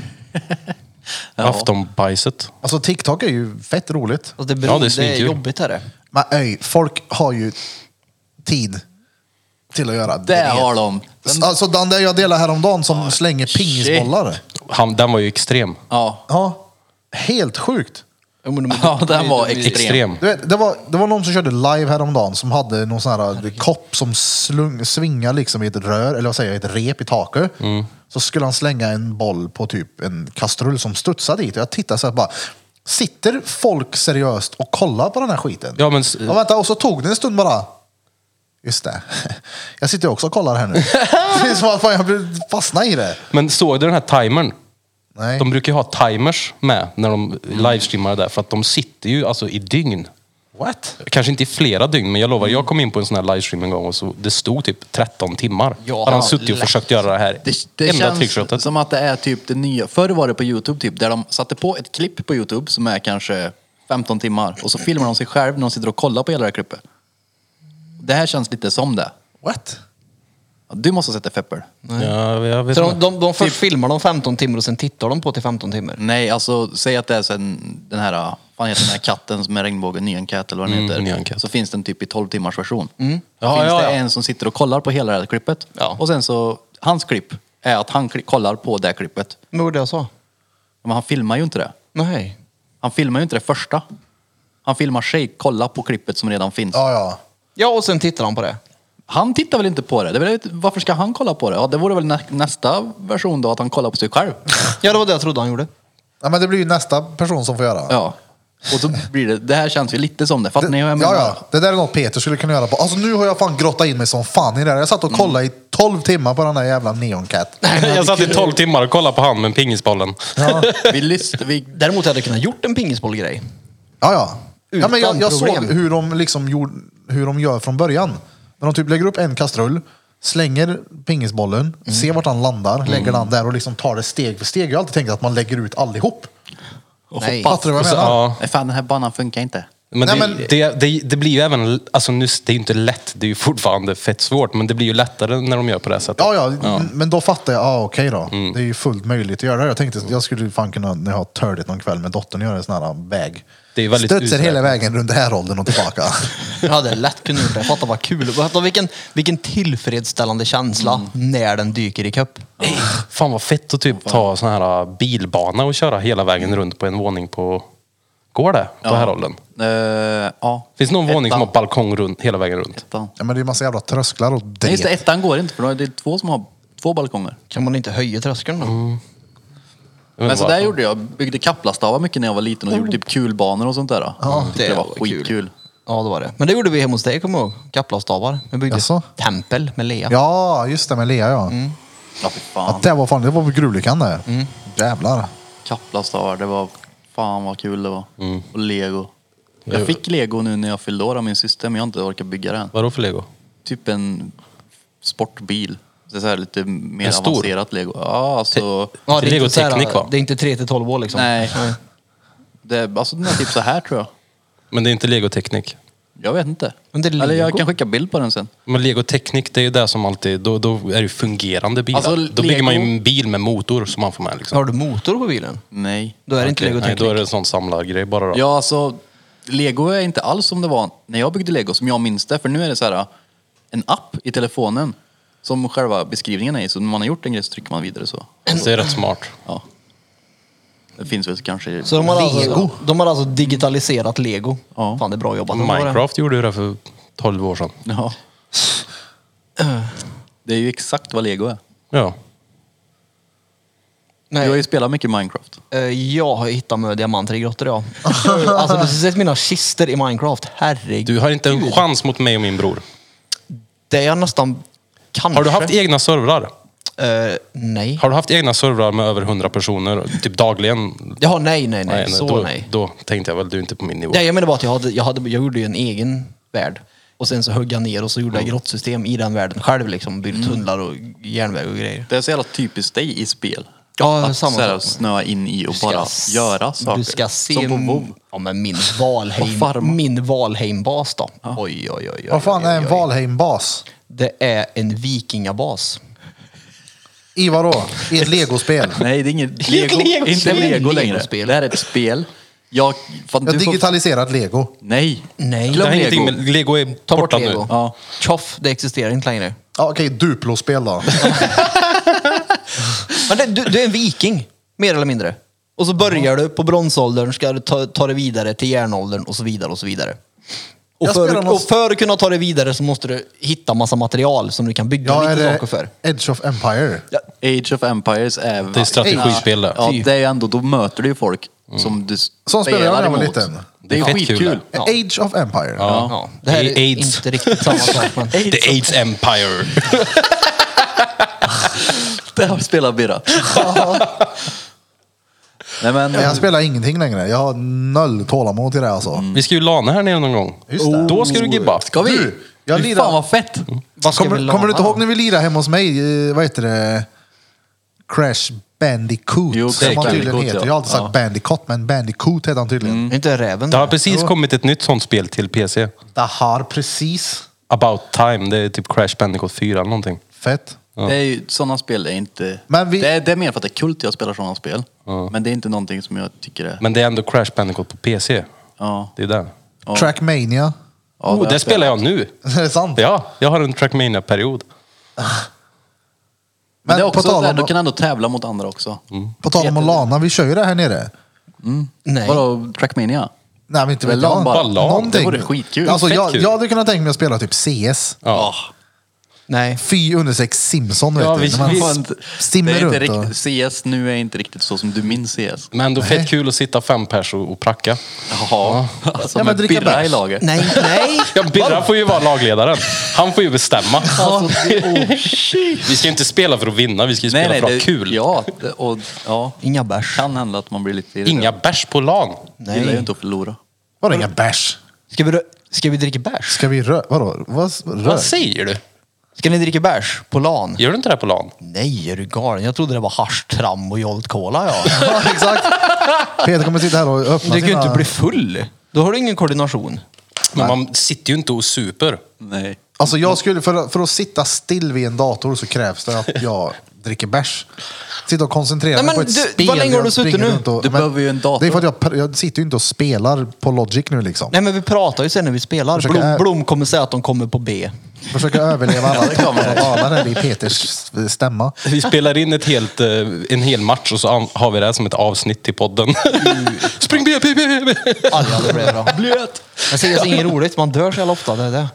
Aftonbajset. Alltså TikTok är ju fett roligt. Alltså, det, Ja, beror, det är det, är svinkul. jobbigt, är det. Men öj, folk har ju tid till att göra Det har de. Den, Alltså den där jag delade häromdagen som slänger pingisbollar. Han, den var ju extrem. ja. Ja, helt sjukt. Jo, men de- ja, den var de- de- extrem. Extrem. Du vet, det, var, det var någon som körde live häromdagen som hade någon sån här eh, kopp som slung, svingar liksom i ett rör, eller vad säger jag, ett rep i taket. Mm. Så skulle han slänga en boll på typ en kastrull som studsade dit. Och jag tittade så här bara, sitter folk seriöst och kollar på den här skiten? Ja, men s- Ja, vänta, och så tog det en stund bara. Just det. [LAUGHS] Jag sitter också och kollar [LAUGHS] här nu. Det är som att fan, jag blir- fastnar i det. Men såg du den här timern? Nej. De brukar ju ha timers med när de Mm. livestreamar där. För att de sitter ju alltså i dygn. What? Kanske inte i flera dygn, men jag lovar. Mm. Jag kom in på en sån här livestream en gång och så, det stod typ 13 timmar. Ja, Ja, han suttit och lätt. försökt göra det här. Det, det enda känns tryckshotet. som att det är typ det nya. Förr var det på Youtube typ, där de satte på ett klipp på Youtube som är kanske 15 timmar och så filmar de sig själv när de sitter och kollar på hela det här klippet. Det här känns lite som det. What? Ja, Du måste sätta Fepper. Ja, jag vet Så inte. de, de, de Typ- först filmar de 15 timmar och sen tittar de på till 15 timmar. Mm. Nej, alltså säg att det är sen den här, vad fan heter den här katten som är regnbågen, Nyan Cat eller vad Mm, den heter. Nyan Cat. Så finns den typ i 12 timmars version. Då Ja, finns ja, det ja. en som sitter och kollar på hela det här klippet. Ja. Och sen så, hans klipp är att han kli- kollar på det här klippet. Men vad var det jag sa? Men han filmar ju inte det. Nej. Han filmar ju inte det första. Han filmar sig kolla på klippet som redan finns. Ja, ja. Ja, och sen tittar de på det. Han tittar väl inte på det? det är väl, varför ska han kolla på det? Ja, det vore väl nä nästa version då, att han kollar på sig själv. Ja, det var det jag trodde han gjorde. ja men det blir ju nästa person som får göra. ja. Och så blir det, det här känns ju lite som det. Fattar ni vad jag menar? Ja, ja. Det där är något Peter skulle kunna göra. På. Alltså nu har jag fan grottat in mig som fan i det här. Jag Mm. satt och kollade i 12 timmar på den där jävla Neon Cat. Jag satt i 12 timmar och kollade på han med pingisbollen. Vi lyssn- vi, Däremot hade jag kunnat gjort en pingisbollgrej. Ja, ja. ja men jag Utan jag såg problem. hur de, liksom gjorde, hur de gör från början. När de typ lägger upp en kastrull, slänger pingisbollen, Mm. ser vart han landar, lägger den där och liksom tar det steg för steg. Jag har alltid tänkt att man lägger ut allihop. Nej. Fattar du vad jag Alltså, Så, menar? ja. nej fan den här banan funkar inte. Men, Nej, det, men- Det, det, det blir ju även, alltså nu, det är ju inte lätt, det är ju fortfarande fett svårt, men det blir ju lättare när de gör på det här sättet. Ja, ja, men då fattar jag. Ah, Okej då. Mm. Det är ju fullt möjligt att göra det. Jag tänkte jag skulle fan kunna, när jag har tördigt någon kväll med dottern, göra en sån här väg. Det är väldigt Studsar hela uträknat. vägen runt häråldern och tillbaka. [LAUGHS] Jag hade lätt kunnat gjort det. Fatta vad kul. Fatta vilken, vilken tillfredsställande känsla Mm. när den dyker i kapp. Fan vad fett att typ ta sån här bilbana och köra hela vägen runt på en våning på... Går det? På Härolden? Eh, ja. Finns det någon våning som Ettan. har balkong runt, hela vägen runt? Ettan. ja, men det är ju massa jävla trösklar och Nej, just det, det. ettan går inte för då är det är två som har två balkonger. Kan man inte höja tröskeln då? Jag vet Men inte så där varför. gjorde jag. Byggde kaplastavar mycket när jag var liten och gjorde typ kulbanor och sånt där. Ja, det, det var skitkul. Ja, det var det. Men det gjorde vi hemma hos dig, kommer jag ihåg. Kaplastavar. Vi byggde Jaså? tempel med lea. Ja, just det med Lea ja. Mm. Ja, fy Att fan. det var fan, det var på Gruvlyckan det. Jävlar. Kaplastavar, det var... Fan vad kul det var. Och lego. Jag fick lego nu när jag fyllde år av min syster, men jag har inte orkat bygga den. Vadå för lego? Typ en sportbil. Det är så här lite mer En stor? avancerat lego. Ja, alltså... Ja, det, är inte så här- Legoteknik, va? det är inte 3 till 12 år liksom. Nej. Det, är- alltså den är typ så här tror jag. Men det är inte legoteknik. Jag vet inte. Men det är Eller jag Lego. kan skicka bild på den sen. Men legoteknik, det är ju det som alltid... Då, då är det ju fungerande bilar. Alltså, då bygger Lego- man ju en bil med motor som man får med. Liksom. Har du motor på bilen? Nej. Då är det inte Okej, nej, legoteknik. då är det en sån samlargrej bara. Då. Ja, alltså lego är inte alls som det var när jag byggde lego, som jag minns det. För nu är det så här äh, en app i telefonen som själva beskrivningen är i. Så när man har gjort en grej så trycker man vidare så. Så det är rätt smart. Ja. Det finns väl kanske... Så de har, alltså, de har alltså digitaliserat lego. Ja. Fan, det är bra jobbat. Minecraft gjorde ju det för 12 år sedan. [LAUGHS] Ja. Det är ju exakt vad lego är. Ja. Jag har Nej, ju spelat mycket Minecraft. eh, jag har hittat med diamanter i grottor, ja. [LAUGHS] alltså, du har sett mina kister i Minecraft. Herregud. Du har inte en chans mot mig och min bror. Det är jag nästan... Kanske. Har du haft egna servrar? Eh, nej. Har du haft egna servrar med över 100 personer, typ dagligen? Jaha, nej, nej, nej. Så då, nej. Då tänkte jag väl, du är inte på min nivå. Nej, jag menar bara att jag, hade, jag, hade, jag gjorde ju en egen värld. Och sen så högg jag ner och så gjorde jag grottsystem i den världen själv. Liksom, byggde tunnlar och järnväg och grejer. Det är så jävla typiskt dig i spel. Ja, Att samma så här, sak. snöa in i och Du ska bara s- göra saker. Du ska se... Som på en- WoW. Ja, men min [LAUGHS] Och Valheim, farma. min Valheim-bas då. Oj, oj, oj, oj. Vad fan oj, är oj, en oj. Valheim-bas? Det är en vikingabas. I vadå? I [LAUGHS] ett legospel? Nej, det är inget lego. Lego- inte spel. lego längre. Legospel. Det här är ett spel. Jag, fan, Jag du får, digitaliserat lego. nej. Nej. det Glöm har ingenting lego. med... Lego är Ta bort borta lego. nu. Ja. Tjoff, det existerar inte längre. Ja, Okej, [LAUGHS] Duplo-spel då. Men det, du, du är en viking, mer eller mindre. Och så börjar du på bronsåldern, ska du ta, ta dig vidare till järnåldern och så vidare och så vidare. Och Jag för, spelar någon- och för att kunna ta dig vidare så måste du hitta massa material som du kan bygga Ja, är lite det saker för. Edge of Empire? Age of Empires är... Det är strategispel det. Ja, det är ju ändå, då möter du ju folk som du Som spelade jag när jag var emot. liten. Det är Det är fett kul skitkul. [LAUGHS] det. Ja. Age of Empire? Ja. Ja, det här är AIDS. inte riktigt samma sak. [LAUGHS] Men... The AIDS Empire. Det har spelat Birra. [LAUGHS] Nej men... Nej, Jag spelar ingenting längre. Jag har noll tålamod till det alltså. Mm. Vi ska ju lana här nere någon gång. Just det. Då ska du gibba. Ska vi? Du, jag Fy lirar- Fan vad fett! Mm. Vad ska vi Kommer, lana kommer du inte då? ihåg när vi lirade hemma hos mig? eh, Vad heter det? Crash Bandicoot. Jo, som Crash han tydligen Bandicoot, heter. ja. Jag har alltid sagt Ja. Mm. Bandicoot, men Bandicoot heter han tydligen. Är inte räven Det har där? precis kommit ett nytt sånt spel till PC. Det har precis. About time. Det är typ Crash Bandicoot 4 eller någonting. Fett. Det är ju, sådana spel är inte... Men vi- det, är, det är mer för att det är kul att jag spelar sådana spel. Men det är inte någonting som jag tycker är... Men det är ändå Crash Bandicoot på PC. Ja. Det är där. Trackmania. [LAUGHS] ja oh, har det jag spelar jag nu. Är det sant? Ja, jag har en Trackmania-period. Men det är Men på också tal där, du om, kan ändå tävla mot andra också. Mm. på tal om att lana, vi kör ju det här nere. Nej. Vadå, Trackmania? Nej, men inte Men vet LAN jag. bara- LAN, det Någonting. vore skitkul. Alltså, Fett jag, kul. jag hade kunnat tänka mig att spela typ CS. Ja. Nej. Fy understreck Simpson vet Ja, du. vi- När man vi- s- Fan, stimmer det är inte runt och- riktigt, CS nu är inte riktigt så som du minns CS. Men ändå fett kul att sitta fem pers och, och pracka. Jaha. Alltså, Ja, men med dricka Birra bärs. i laget. Nej, nej. Ja, Birra får ju vara lagledaren. Han får ju bestämma. Alltså, vi ska ju inte spela för att vinna, vi ska ju spela för att ha kul. Ja, det- och, ja, Inga bärs. kan hända att man blir lite... Inga bärs på LAN. Jag gillar ju Nej. inte att förlora. Var det inga bärs? Ska vi, rö- ska vi dricka bärs? Ska vi rö... Vadå? Vad, rö? Vad säger du? Ska ni dricka bärs på LAN? Gör du inte det här på LAN? Nej, är du galen? Jag trodde det var haschtram och Jolt Cola. Ja. [LAUGHS] Ja, exakt. Peter kommer sitta här och öppna Du kan ju sina... inte bli full. Då har du ingen koordination. Men man sitter ju inte och super. Nej. Alltså jag skulle, för, att- för att sitta still vid en dator så krävs [LAUGHS] det att jag dricker bärs. Sitta och koncentrera Nej, mig men på ett du, spel. vad länge har jag du suttit springer nu? runt och- Du men behöver ju en dator. Det är för att jag, per- jag sitter ju inte och spelar på Logic nu liksom. Nej, men vi pratar ju sen när vi spelar. Försöker Blom, ä- Blom kommer säga att de kommer på B. [LAUGHS] Försöka överleva alla toppar och dalar här i Peters stämma. Vi spelar in ett helt, eh, en hel match och så an- har vi det här som ett avsnitt till podden. [LAUGHS] Spring B, B, B, B! Aldrig, aldrig blev bra. Jag ser det [LAUGHS] inget roligt. Man dör så jävla ofta. Det är det.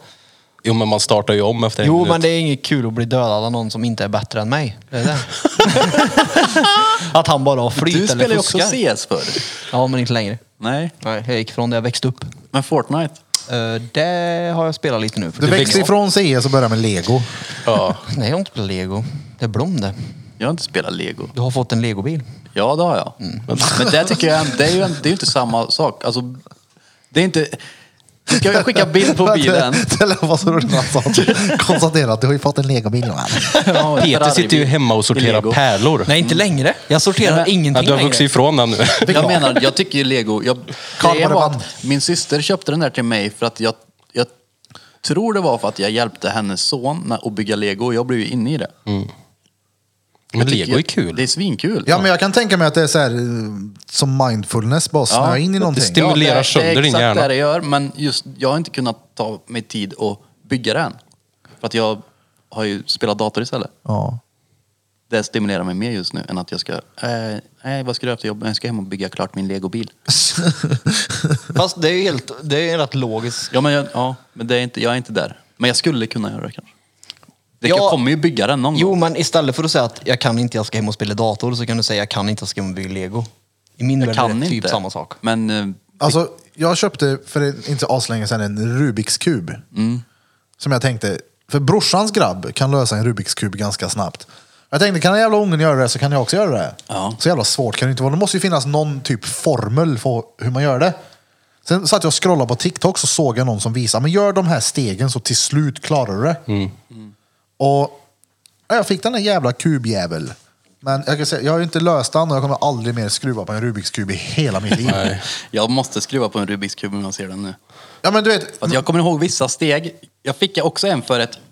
Jo, men man startar ju om efter en Jo, minut. men det är inget kul att bli dödad av någon som inte är bättre än mig. Det är det. [LAUGHS] att han bara har Du flyt spelar ju eller också fuskar. CS förr. Ja, men inte längre. Nej. Nej, jag gick från det jag växte upp. Men Fortnite? Eh, det har jag spelat lite nu. Du växte ifrån CS och började med lego. Ja. Nej, jag har inte spelat lego. Det är Blom det. Jag har inte spelat lego. Du har fått en legobil. Ja, det har jag. Men det tycker jag det är ju en, det är ju inte samma sak. Alltså, det är inte... Ska jag skicka [LAUGHS] bild [LAUGHS] på bilen? Det lät vara så roligt när han sa [LAUGHS] det. Konstatera att du har ju fått en legobil. va? Ja, en Peter sitter ju Ferrari-bil hemma och i sorterar Lego. pärlor. Nej, inte längre. Jag sorterar Nej, men- ingenting ja, du har vuxit längre. ifrån den nu. Jag menar, jag tycker ju lego... Jag, Karl, det var det var band? att min syster köpte den där till mig för att jag, jag tror det var för att jag hjälpte hennes son med att bygga lego och jag blev ju inne i det. Men Jag tycker lego är ju- Det är kul. svinkul. Ja, men jag kan tänka mig att det är så här, eh, som mindfulness, bara snöa in i någonting. stämmer. stimulerar det, sönder det är din exakt hjärna. det det gör, men just, jag har inte kunnat ta mig tid att bygga den. För att jag har ju spelat dator istället. Ja. Det stimulerar mig mer just nu än att jag ska, eh, nej vad ska du göra efter jobbet? Jag ska hem och bygga klart min legobil. Fast det är ju helt, det är rätt logiskt. Ja men, jag, ja, men det är inte, jag är inte där. Men jag skulle kunna göra det kanske. Det, Ja. Jag kommer ju bygga den någon Jo, gång. men istället för att säga att jag kan inte, jag ska hem och spela dator, så kan du säga jag kan inte, jag ska hem och bygga lego. I min Jag värld är kan det inte. typ samma sak. Men eh, Alltså, jag köpte för inte aslänge sedan en Rubiks kub. Som jag tänkte, för brorsans grabb kan lösa en Rubiks kub ganska snabbt. Jag tänkte, kan den jävla ungen göra det så kan jag också göra det. Ja. Så jävla svårt kan det inte vara. Det måste ju finnas någon typ formel för hur man gör det. Sen satt jag och scrollade på TikTok så såg jag någon som visade, men gör de här stegen så till slut klarar du det. Och ja, jag fick den där jävla kubjävel. Men jag kan säga, jag har ju inte löst den och jag kommer aldrig mer skruva på en Rubiks kub i hela mitt liv. [LAUGHS] jag måste skruva på en Rubiks kub om jag ser den nu. Ja, men du vet, För att jag kommer ihåg vissa steg. Jag fick också en för ett... [CLEARS THROAT]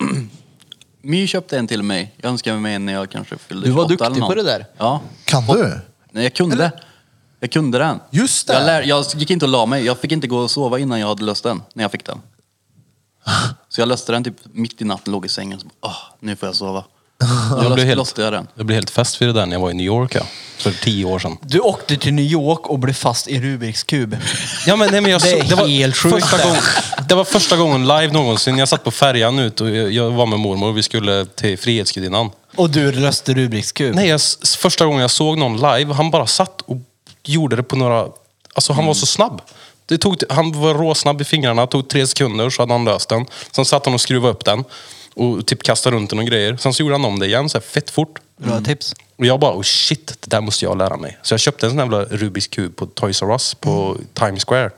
My köpte en till mig. Jag önskade mig en när jag kanske fyllde Du var 28 eller duktig på något. det där. Ja. Kan du? Nej, jag kunde. Jag kunde den. Just det. Jag, lär, jag gick inte och la mig. Jag fick inte gå och sova innan jag hade löst den. När jag fick den. Så jag löste den typ mitt i natten. Låg i sängen. Så, bara, åh, nu får jag sova. Jag Jag löste, blev helt, löste jag den. jag blev helt fäst vid det där när jag var i New York ja, för tio år sedan. Du åkte till New York och blev fast i Rubiks kub. Ja, men, nej, men jag, Det är så- var helt sjukt första det. gång, Det var första gången live någonsin. Jag satt på färjan ut och jag jag var med mormor och vi skulle till Frihetsgudinnan. Och du löste Rubiks kub. Nej, jag, s- första gången jag såg någon live, han bara satt och gjorde det på några... Alltså han var så snabb. Det tog, han var råsnabb i fingrarna, tog tre sekunder så hade han löst den. Sen satt han och skruvade upp den och typ kastade runt den och grejer. Sen så gjorde han om det igen, så här, fett fort. Bra Mm. tips. Och jag bara, oh shit, det där måste jag lära mig. Så jag köpte en sån jävla Rubiks kub på Toys R Us på Times Square.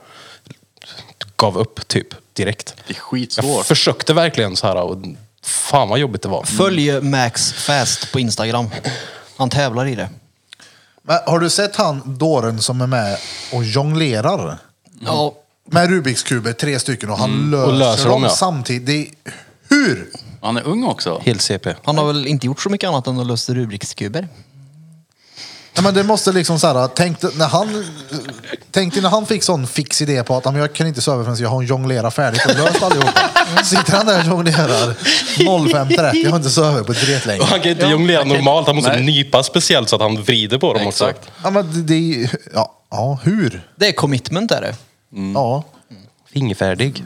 Gav upp typ direkt. Det är Jag skitsvårt. försökte verkligen så här och fan vad jobbigt det var. Följ Max Fast på Instagram. Han tävlar i det. Men har du sett han dåren som är med och jonglerar? Ja. Med Rubiks kuber, tre stycken, och han löser, och löser dem dem, ja. samtidigt. Det är, hur? Han är ung också. Helt CP. Han har väl inte gjort så mycket annat än att lösa Rubiks kuber. Nej, men det måste liksom så här, tänk, dig när han, tänk dig när han fick sån fix idé på att "Ja, men jag kan inte sova förrän jag har jonglerat färdigt och löst allihopa. Sitter han där och jonglerar 05.30, jag har inte sovit på ett länge. Och [LAUGHS] han kan inte jonglera normalt, han måste nypa speciellt så att han vrider på dem också. Exakt. Ja, men det- det är, ja, ja, hur? Det är commitment är det. Ja. Fingerfärdig.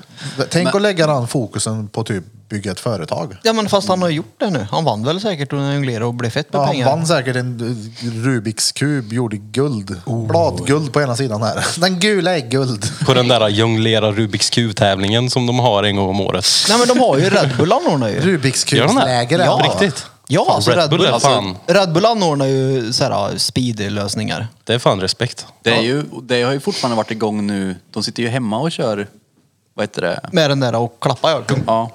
Tänk att lägga den fokusen på typ bygga ett företag. Ja men fast han har gjort det nu. Han vann väl säkert och jonglerade och blev fett med Ja, han pengar. vann säkert en eh, Rubiks kub gjord i guld. Oh. Bladguld på ena sidan här. [LAUGHS] Den gula är guld. På den där jonglera Rubiks kub-tävlingen som de har en gång om året. Nej men de har ju Red Bull anordnar ju. Rubiks Gör de det? kubsläger Ja, är det, på va? riktigt. Ja, alltså Red Red Bull, Bull är alltså, fan- Red Bull anordnar ju så här speedlösningar. Det är fan respekt. Det, är ju, det har ju fortfarande varit igång nu. De sitter ju hemma och kör... Vad heter det? Med den där och klappa ja. Ja.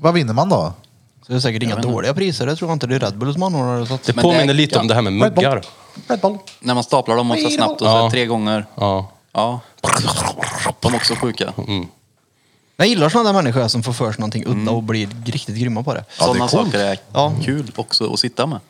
Vad vinner man då? Så det är säkert inga vet inte. dåliga priser. Det tror jag inte. Det är Red Bull som anordnar det. Så att... Det Men påminner det- lite om det här med Red Bull. muggar. Red Bull. När man staplar dem och så snabbt och så Ja. tre gånger. Ja. Mm. Ja. De är också sjuka. Jag gillar sådana där människor som får för sig någonting udda och blir riktigt grymma på det. Sådana saker är Ja. kul också att sitta med.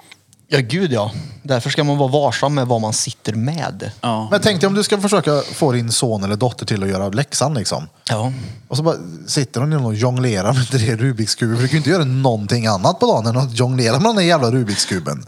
Ja, gud ja. Därför ska man vara varsam med vad man sitter med. Ja. Men tänk dig om du ska försöka få din son eller dotter till att göra läxan liksom. Ja. Och så bara sitter hon och jonglerar med tre Rubiks kuber. För du kan ju inte göra någonting annat på dagen än att jonglera med den där jävla Rubiks kuben.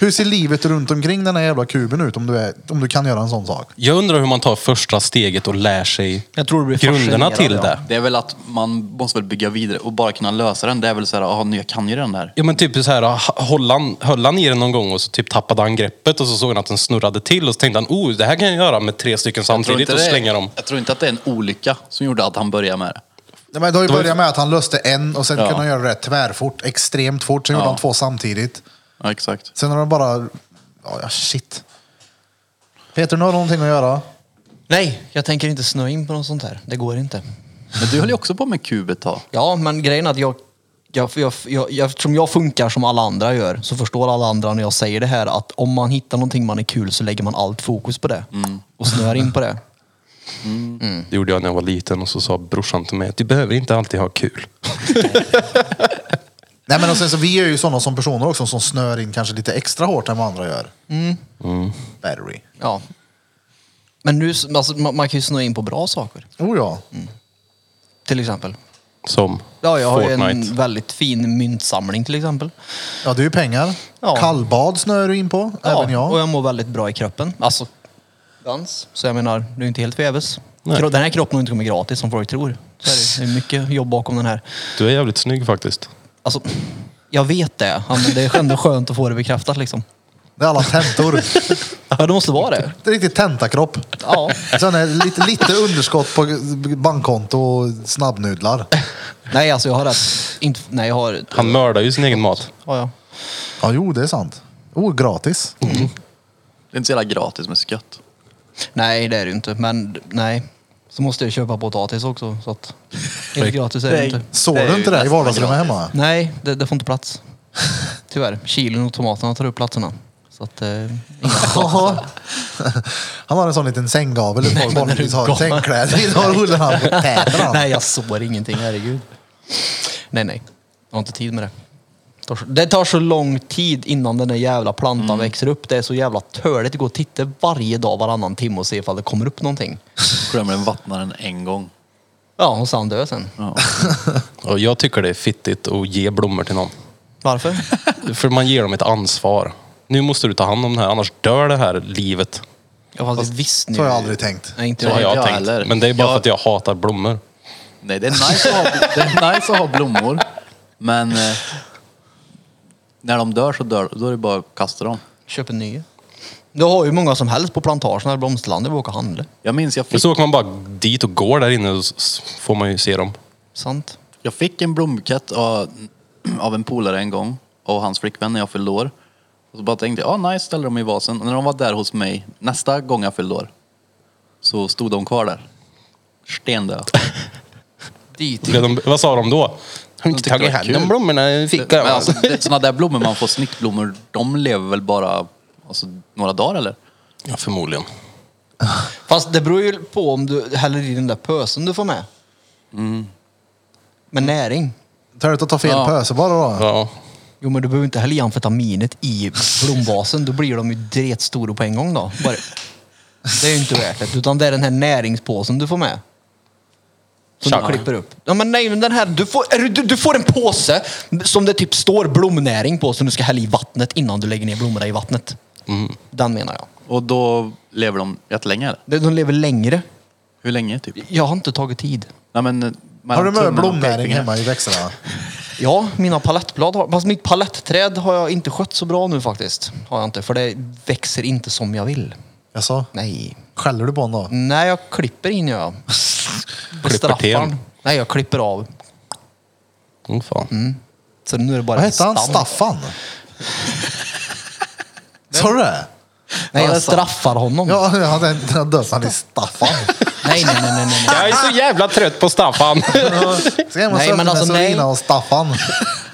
Hur ser livet runt omkring den här jävla kuben ut om du, är, om du kan göra en sån sak? Jag undrar hur man tar första steget och lär sig Jag tror det blir grunderna fascinerande, till ja. det. Det är väl att man måste väl bygga vidare och bara kunna lösa den. Det är väl så här, ah, nu jag kan ju den där. Ja men typ så här, h- höll han, höll han i den någon gång och så typ tappade han greppet och så såg han att den snurrade till och så tänkte han, oh det här kan jag göra med tre stycken Jag tror samtidigt inte och det är- slänga dem. Mm. Jag tror inte att det är en olycka som gjorde att han började med det. Nej, men det har ju var ju- börjat med att han löste en och sen Ja. kunde han göra det tvärfort, extremt fort. Sen gjorde Ja. han två samtidigt. Ja, exakt. Sen har de bara... Ja, ja, shit. Peter, nu har du någonting att göra. Nej, jag tänker inte snöa in på något sånt här. Det går inte. Men du höll ju också på med kubet då. Ja, men grejen är att jag, jag, jag, jag, jag, eftersom jag funkar som alla andra gör så förstår alla andra när jag säger det här att om man hittar någonting man är kul så lägger man allt fokus på det och snöar in på det. Det gjorde jag när jag var liten och så sa brorsan till mig att du behöver inte alltid ha kul. Nej, men och sen, så, vi är ju sådana som personer också som snör in kanske lite extra hårt än vad andra gör. Mm. Battery. Ja. Men nu, alltså, man, man kan ju snöa in på bra saker, Oh ja. till exempel. Som Ja, jag har ju Fortnite. en väldigt fin myntsamling till exempel. Ja, det är ju pengar. Ja. Kallbad snöar du in på, även jag. Och jag mår väldigt bra i kroppen. Alltså, dans. Så jag menar, det är inte helt förgäves. Kro- Den här kroppen har inte kommit gratis som folk tror. Så är det. det är mycket jobb bakom den här. Du är jävligt snygg faktiskt. Alltså, jag vet det. Ja, men det är ändå skönt att få det bekräftat liksom. Det är [LAUGHS] alla tentor. Ja, det måste vara det. Det är riktigt tentakropp. Ja. Sen är det lite, lite underskott på bankkonto och snabbnudlar. Nej, alltså jag har rätt. Inte, nej, jag har... Han mördar ju sin egen mat. Ja, ja. Ja, jo, det är sant. Oh, gratis. Det är inte så jävla gratis med skött. Nej, det är det ju inte. Men nej. Så måste jag köpa potatis också. Så att, helt gratis är det inte. Såg Det är du ju inte det i nästan vardagsrummet gratis. [LAUGHS] hemma? Nej, det, det får inte plats. Tyvärr. Kilon och tomaterna tar upp platserna. Så att, eh, inga [LAUGHS] potatisar. [LAUGHS] Han har en sån liten sänggavel där folk men är vanligtvis du har galen? Liksom, sängkläder i. Då rullar han på [LAUGHS] täderna. nej, jag sår ingenting. Herregud. Nej, nej. Jag har inte tid med det. Det tar så- Det tar så lång tid innan den där jävla plantan växer upp. Det är så jävla töligt att gå och titta varje dag, varannan timme och se ifall det kommer upp någonting. Glömmer den vattna den en gång. Ja, och sen dö sen. Ja. Och jag tycker det är fittigt att ge blommor till någon. Varför? För man ger dem ett ansvar. Nu måste du ta hand om det här, annars dör det här livet. Jag fast, visst nu. Så har jag aldrig tänkt. Nej, inte Så har jag. jag jag tänkt. heller. Men det är bara Jag- för att jag hatar blommor. Nej, det är, nice att ha, det är nice att ha blommor. Men eh, när de dör så dör Då är det bara att kasta dem. Köp en ny. Du har ju många som helst på plantagen eller blomsterlandet. Vi åker och handla. Jag minns jag För fick, så åker man bara dit och går där inne och s- s- får man ju se dem. Sant. jag fick en blombukett av, av en polare en gång och hans flickvän när jag fyllde år. Och så bara tänkte jag, ah, nice, ställer dem i vasen. Och när de var där hos mig nästa gång jag fyllde år så stod de kvar där. Stendöda. Dit. Blev De, vad sa de då? Har inte tagit hand om blommorna i Men fickan? alltså, det är sådana där blommor man får, snittblommor, de lever väl bara alltså, några dagar eller? Ja, förmodligen. Fast det beror ju på om du häller i den där pösen du får med. Med näring. Töligt att ta fel Ja. pöse bara då. Ja. Jo men du behöver inte hälla i amfetaminet i blomvasen. Då blir de ju dretstora på en gång då. Bara. Det är ju inte värt det. Utan det är den här näringspåsen du får med. Som Tjack. du klipper upp. Ja men nej men den här. Du får, är du, du, du får en påse som det typ står blomnäring på som du ska hälla i vattnet innan du lägger ner blommorna i vattnet. Den menar jag. Och då lever de jättelänge eller? De- De lever längre. Hur länge typ? Jag har inte tagit tid. Nej, men, eh, Har mellan du med tummen och blomnäring pekfingret. hemma i växterna? Ja, mina palettblad har... Fast mitt palettträd har jag inte skött så bra nu faktiskt. Har jag inte. För det växer inte som jag vill. Jaså? Nej. Skäller du på honom då? Nej, jag klipper in gör jag. Klipper Bestraffar till. den. Nej, jag klipper av. Åh, mm, fan. Så nu är det bara Vad hette han? stam. Staffan? Sa du det? Nej, jag straffar honom. Ja, han han döpte han [LAUGHS] till Staffan. Nej, nej, nej, nej, nej. Jag är så jävla trött på Staffan. Ska hem och Nej, men söka med alltså, nej. Sorina och Staffan.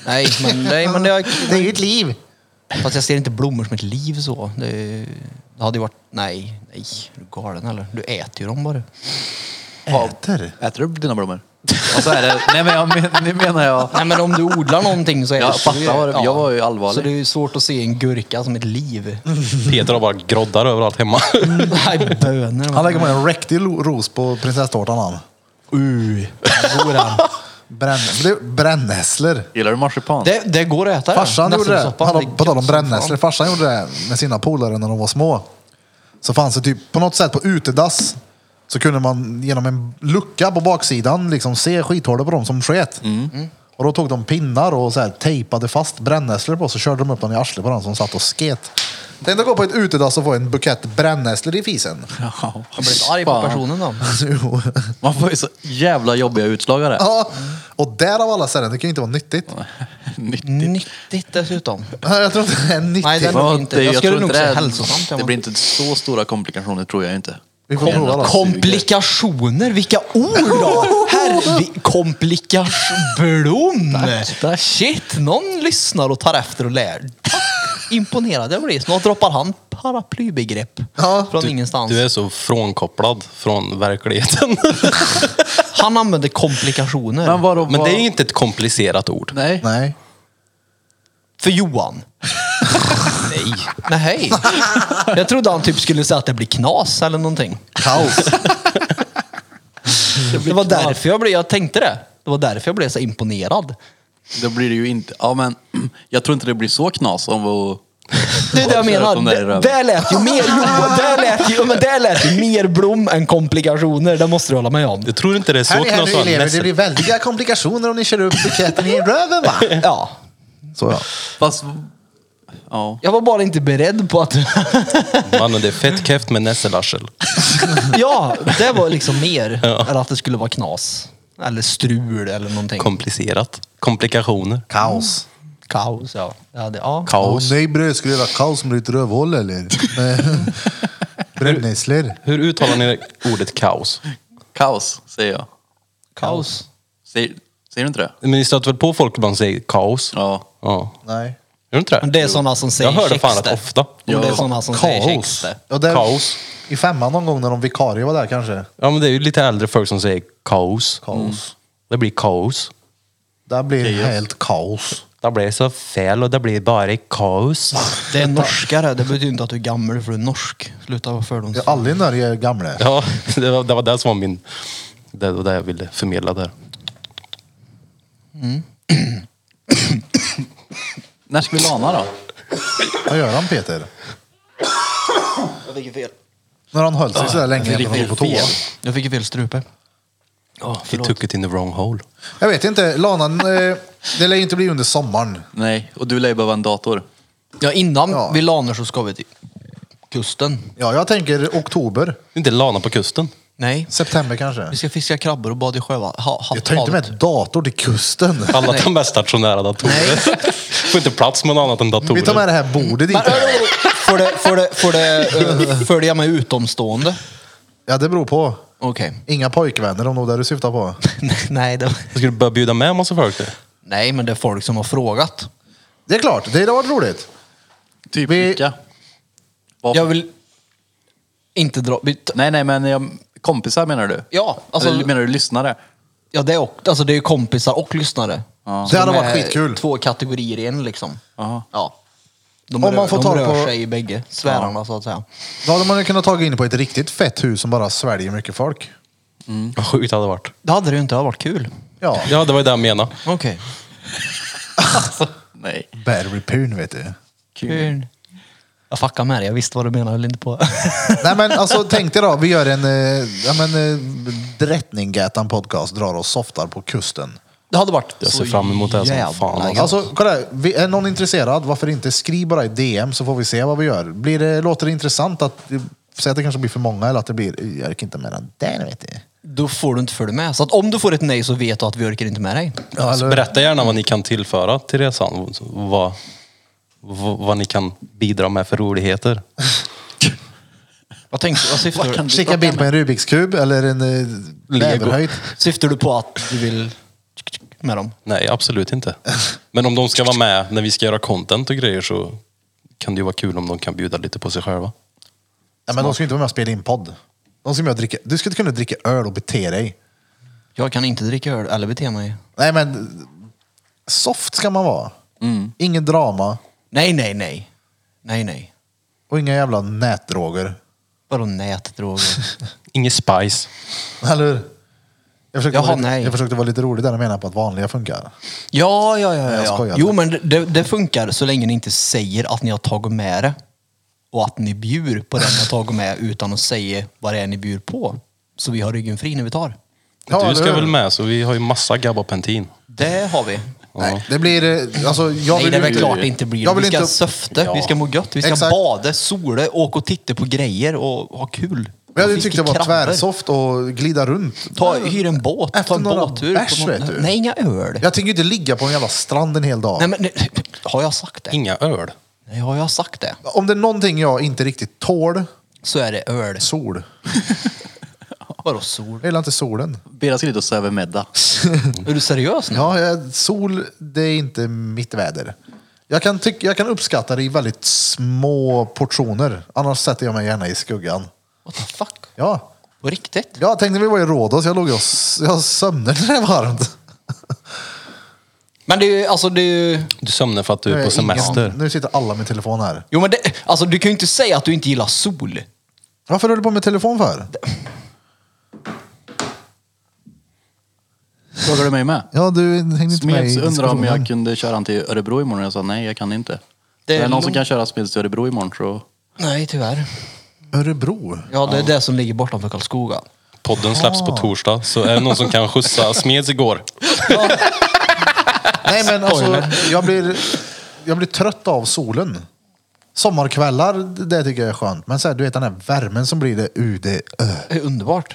Nej, men, nej, men jag... [LAUGHS] Det är ju ett liv. Fast jag ser inte blommor som ett liv så. Det, det hade ju varit... Nej, nej. Är du galen eller? Du äter ju dem bara. Äter. Äter du dina blommor? Och så är det, nej men jag men, nu menar [LAUGHS] jag, Nej men om du odlar någonting så är Jag det- fattar vad du- jag var ju allvarlig. Så det är ju svårt att se en gurka som ett [LAUGHS] liv. Peter har bara groddar överallt hemma. Nej, bönor. Han lägger med en riktig lo- ros på prinsesstårtan han. Uh, går han. Bränn, det- brännässlor. gillar du marsipan? Det, det går att äta Farsan gjorde det. Nässelsoppa, Hallå, är på tal om gött som fan. brännässlor. Farsan gjorde det med sina polare när de var små. Så fanns det typ på något sätt på utedass så kunde man genom en lucka på baksidan liksom se skithålet på dem som sket. Och då tog de pinnar och så här tejpade fast brännässlor på så körde de upp dem i arslet på den som satt och sket. Tänk dig gå på ett utedass och få en bukett brännässlor i fisen. Ja. Jag blir lite arg på Fan. personen då. Jo. Man får ju så jävla jobbiga utslagare. [LAUGHS] Ja, och där av alla ställen, det kan ju inte vara nyttigt. Mm. Nyttigt. Nyttigt dessutom. Jag tror inte det är nyttigt. Nej, den- Ja, inte. det- Jag skulle tror nog inte säga det- hälsosamt, ja, Det men- blir inte så stora komplikationer tror jag inte. Vi får prova då. Komplikationer, vilka ord då! Herre, komplikationsblom! Shit, någon lyssnar och tar efter och lär. Imponerad jag blir. Snart droppar han paraplybegrepp Ja, från ingenstans. Du är så frånkopplad från verkligheten. Han använder komplikationer. Men vadå? Men det är vad- ju inte ett komplicerat ord. Nej. Nej. För Johan? Nej. Nej. Jag trodde han typ skulle säga att det blir knas [LAUGHS] eller någonting. Kaos. Det var därför jag blev, jag tänkte det. Det var därför jag blev så imponerad. Då blir det ju inte... Ja, men [CLEARS THROAT] jag tror inte det blir så knas om vi... [LAUGHS] Det är det jag Kör upp menar. dem där i Det- röven. Där lät ju [LAUGHS] mer, jo, där lät ju, men där lät ju mer Blom än komplikationer. Det måste du hålla med om. Jag tror inte det är så Här är här knas du att elever, det nästa- blir väldiga komplikationer om ni kör upp buketten i [LAUGHS] röven va? Ja. Så ja. Fast... Ja. Jag var bara inte beredd på att... Mannen, det är fett keft med nässelarsel. [LAUGHS] ja, det var liksom mer än att det skulle vara knas. Eller strul eller någonting. Komplicerat. Komplikationer. Kaos. Kaos, ja. Ja, det, ja. Kaos. nej bröd, ska du göra kaos med ditt rövhål eller? [LAUGHS] Brännässlor. Hur uttalar ni ordet kaos? Kaos, säger jag. Kaos. Säger, säger du inte det? Men ni stöter väl på folk ibland som säger kaos? Ja. Ja. Nej. Gör du inte det? Men det är sådana som säger Jag hör det fan käxte. rätt ofta. Men Det är sådana som säger Kaos. käxte. Ja, där, Kaos. I femman någon gång när de vikarie var där kanske. Ja men det är ju lite äldre folk som säger kaos. Mm. Kaos. Det blir kaos. Där blir det helt kaos. Det blir så fel och det blir bara kaos. Det är norskare, det betyder inte att du är gammal för du är norsk. Sluta vara fördomsfull. Jag är aldrig när jag är gamle. Ja, [LAUGHS] det var det, var det som var min... Det var det jag ville förmedla där. När ska vi lana då? Vad gör han Peter? Jag fick ju fel. När han höll sig sådär länge när han var på toa. Jag fick ju fel strupe. Ja, He took it in the wrong hole. Jag vet inte, lanan, eh, det lär ju inte bli under sommaren. Nej, och du lär ju behöva en dator. Ja, innan Ja. vi lanar så ska vi till kusten. Ja, jag tänker oktober, Inte lana på kusten. Nej, september kanske. vi ska fiska krabbor och bada i sjövatten. Ha, ha, Jag tar inte havet. med dator till kusten. Alla tar med stationära datorer. [LAUGHS] Får inte plats med något annat än datorer. Vi tar med det här bordet dit. Får det, får det, får det, [LAUGHS] eh, följa med utomstående? Ja, det beror på. Okej. [LAUGHS] Inga pojkvänner om det var det du syftar på. Nej, det, Jag skulle börja bjuda med en massa folk till. nej, men det är folk som har frågat. Det är klart, det hade varit roligt. Typ Vi- vilka? Vad- Jag vill inte dra... vi t- Nej, nej, men jag, kompisar menar du? Ja, alltså, Eller menar du lyssnare? ja det, är, och- alltså, det är ju kompisar och lyssnare. Så Det hade de varit är skitkul. Två kategorier i en liksom. Aha. Ja. De Om rör, man får de tag rör på- sig i bägge sfärerna så att säga. Då hade man ju kunnat ta in på ett riktigt fett hus som bara sväljer mycket folk. Vad sjukt det hade varit. Det hade det ju inte, det hade varit kul. Ja, Ja, det var ju det jag menade. Okej. Nej. battery pun vet du. Kul. Jag fuckar med dig, jag visste vad du menade eller inte på. [LAUGHS] Nej men alltså tänk dig då, vi gör en eh, ja, men, eh, Drottninggatan podcast, drar och softar på kusten. Det hade varit Jag ser fram emot det som fan, alltså. Alltså kolla, här, vi- är någon intresserad, varför inte skriv bara i DM så får vi se vad vi gör. Blir det, låter det intressant att, eh, säg att det kanske blir för många eller att det blir, jag orkar inte med den där vet du. Då får du inte följa med. Så att om du får ett nej så vet du att vi orkar inte med dig. Så berätta gärna vad ni kan tillföra till resan. Vad, vad, vad ni kan bidra med för roligheter. Vad, tänkte, [LAUGHS] vad syftar, Vad kan du- Skicka bild på en Rubiks kub eller en eh, bäverhöjd. syftar du på att du vill med dem? Nej, absolut inte. Men om de ska vara med när vi ska göra content och grejer så kan det ju vara kul om de kan bjuda lite på sig själva. Nej men de ska ju inte vara med och spela in podd. De ska med och dricka, du ska kunna dricka öl och bete dig. Jag kan inte dricka öl eller bete mig. Nej men, soft ska man vara. Ingen drama Nej, nej, nej. Nej, nej. och inga jävla nätdroger. Vadå [LAUGHS] nätdroger? Inget spice. Eller hur? Jag försökte, Jaha, vara, lite, nej. jag försökte vara lite rolig där och mena på att vanliga funkar. Ja, ja, ja. Jag ja, ja. skojar. Jo, men det, det funkar så länge ni inte säger att ni har tagit med det. Och att ni bjur på det ni har tagit med utan att säga vad det är ni bjur på. Så vi har ryggen fri när vi tar. Ja, du ska eller hur? väl med så vi har ju massa gabapentin. Det har vi. Nej, det blir... eh, Alltså, jag Nej, vill det är ju väl inte- klart det inte blir. Jag vill Vi ska inte- söfte, vi ska må gött, vi ska Exakt. bada, sola, åka och titta på grejer och ha kul. Men jag hade Och tyckt det fick var krabbor. tvärsoft och glida runt. Ta, hyr en båt, Efter ta en några båttur. bärs, på någon- vet du. Nej, inga öl. Jag tänker ju inte ligga på en jävla strand en hel dag. Nej, men, nej, har jag sagt det? Inga öl. Nej, har jag sagt det? Om det är någonting jag inte riktigt tål, Så är det öl. sol. Vadå sol? Jag gillar inte solen. Bera ska dit och söva middag. Är du seriös nu? Ja, jag, sol, det är inte mitt väder. Jag kan, tyck, jag kan uppskatta det i väldigt små portioner. Annars sätter jag mig gärna i skuggan. What the fuck? Ja, På riktigt? jag tänkte vi var i Rhodos. Jag låg och s- jag sömnade när det var varmt. Men det är ju, alltså det är ju... Du sömnar för att du Nu är är på ingen- semester. Nu sitter alla med telefon här. Jo men det, alltså du kan ju inte säga att du inte gillar sol. Varför håller du på med telefon för? Frågar du mig med? Ja, du hängde [LAUGHS] inte med i Smeds undrar om diskussionen. jag kunde köra han till Örebro imorgon. Jag sa nej, jag kan inte. Det Det är är, det någon som lugnt. kan köra Smeds till Örebro imorgon så... Nej, tyvärr. Örebro? Ja, det är det som ligger bortanför Karlskoga. Podden släpps på torsdag, så är det någon som [LAUGHS] kan skjutsa Smeds igår? Nej, men alltså, jag blir, jag blir trött av solen. Sommarkvällar, det tycker jag är skönt. Men så här, du vet den här värmen som blir det UD. ö. Det är underbart.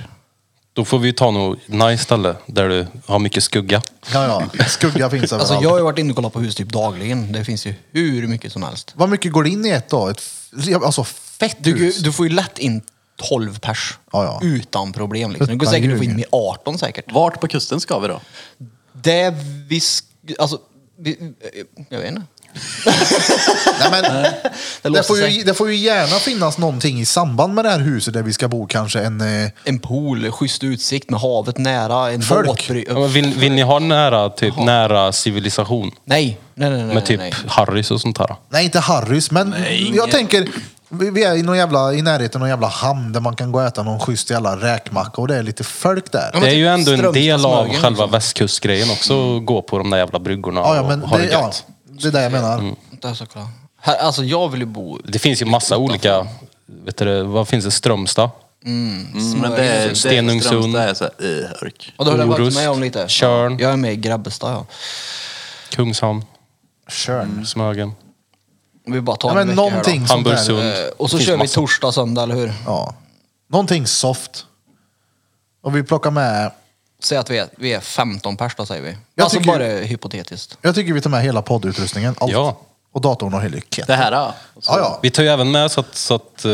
Då får vi ta något nice ställe där du har mycket skugga. Ja, ja. Skugga finns överallt. Alltså, jag har ju varit inne och kollat på hus typ dagligen. Det finns ju hur mycket som helst. Vad mycket går det in i ett då? Ett, f- alltså fett Du, hus. du får ju lätt in 12 pers Ja, ja. utan problem. Liksom. Det går Utan säkert att få in ljug. mer 18 säkert. Vart på kusten ska vi då? Det vi... sk- Alltså, vi, eh, jag vet inte. Nej, men, Det det, låser får ju, sig. det får ju gärna finnas någonting i samband med det här huset där vi ska bo kanske. En, eh, En pool, schysst utsikt med havet nära, en Folk. båtbry... Ja, men Vill, vill ni ha nära, typ, nära civilisation? Nej, nej, nej. nej, Med typ nej. Harrys och sånt här? nej, inte Harrys, men jag tänker... Vi vi är i, någon jävla, i närheten av någon jävla hamn där man kan gå och äta någon schysst jävla räkmacka och det är lite folk där. Ja, men Det är typ ju ändå en Strömstad, del av Smögen, själva liksom. Mm. västkustgrejen också, att gå på de där jävla bryggorna Ja, ja, men och ha det, det, ja, gött. det är det jag menar. Vänta, jag ska kolla. Här, alltså, jag vill ju bo... Det finns ju massa olika, vet du, det, vad finns det, Strömstad? Mm, men det är, Stenungsund. Det är, Strömstad är så här, eh, örk. Och då har jag varit Orust, med om lite. Tjörn. Jag är med i Grebbestad, ja. Kungshamn, Mm. Körn. Smögen, Vi bara tar Ja, en men vecka här då. någonting sånt där. Hamburgsund. Eh, Och så Finns kör vi massa. torsdag, söndag, eller hur? Ja. Någonting soft. Och vi plockar med... Säg att vi är, vi är 15 pers då, säger vi. Jag alltså tycker- bara hypotetiskt. Jag tycker vi tar med hela poddutrustningen. Allt. Ja. Och datorn och hela kit. Det här ja. Och så- Ja, ja. Vi tar ju även med så att, så att eh,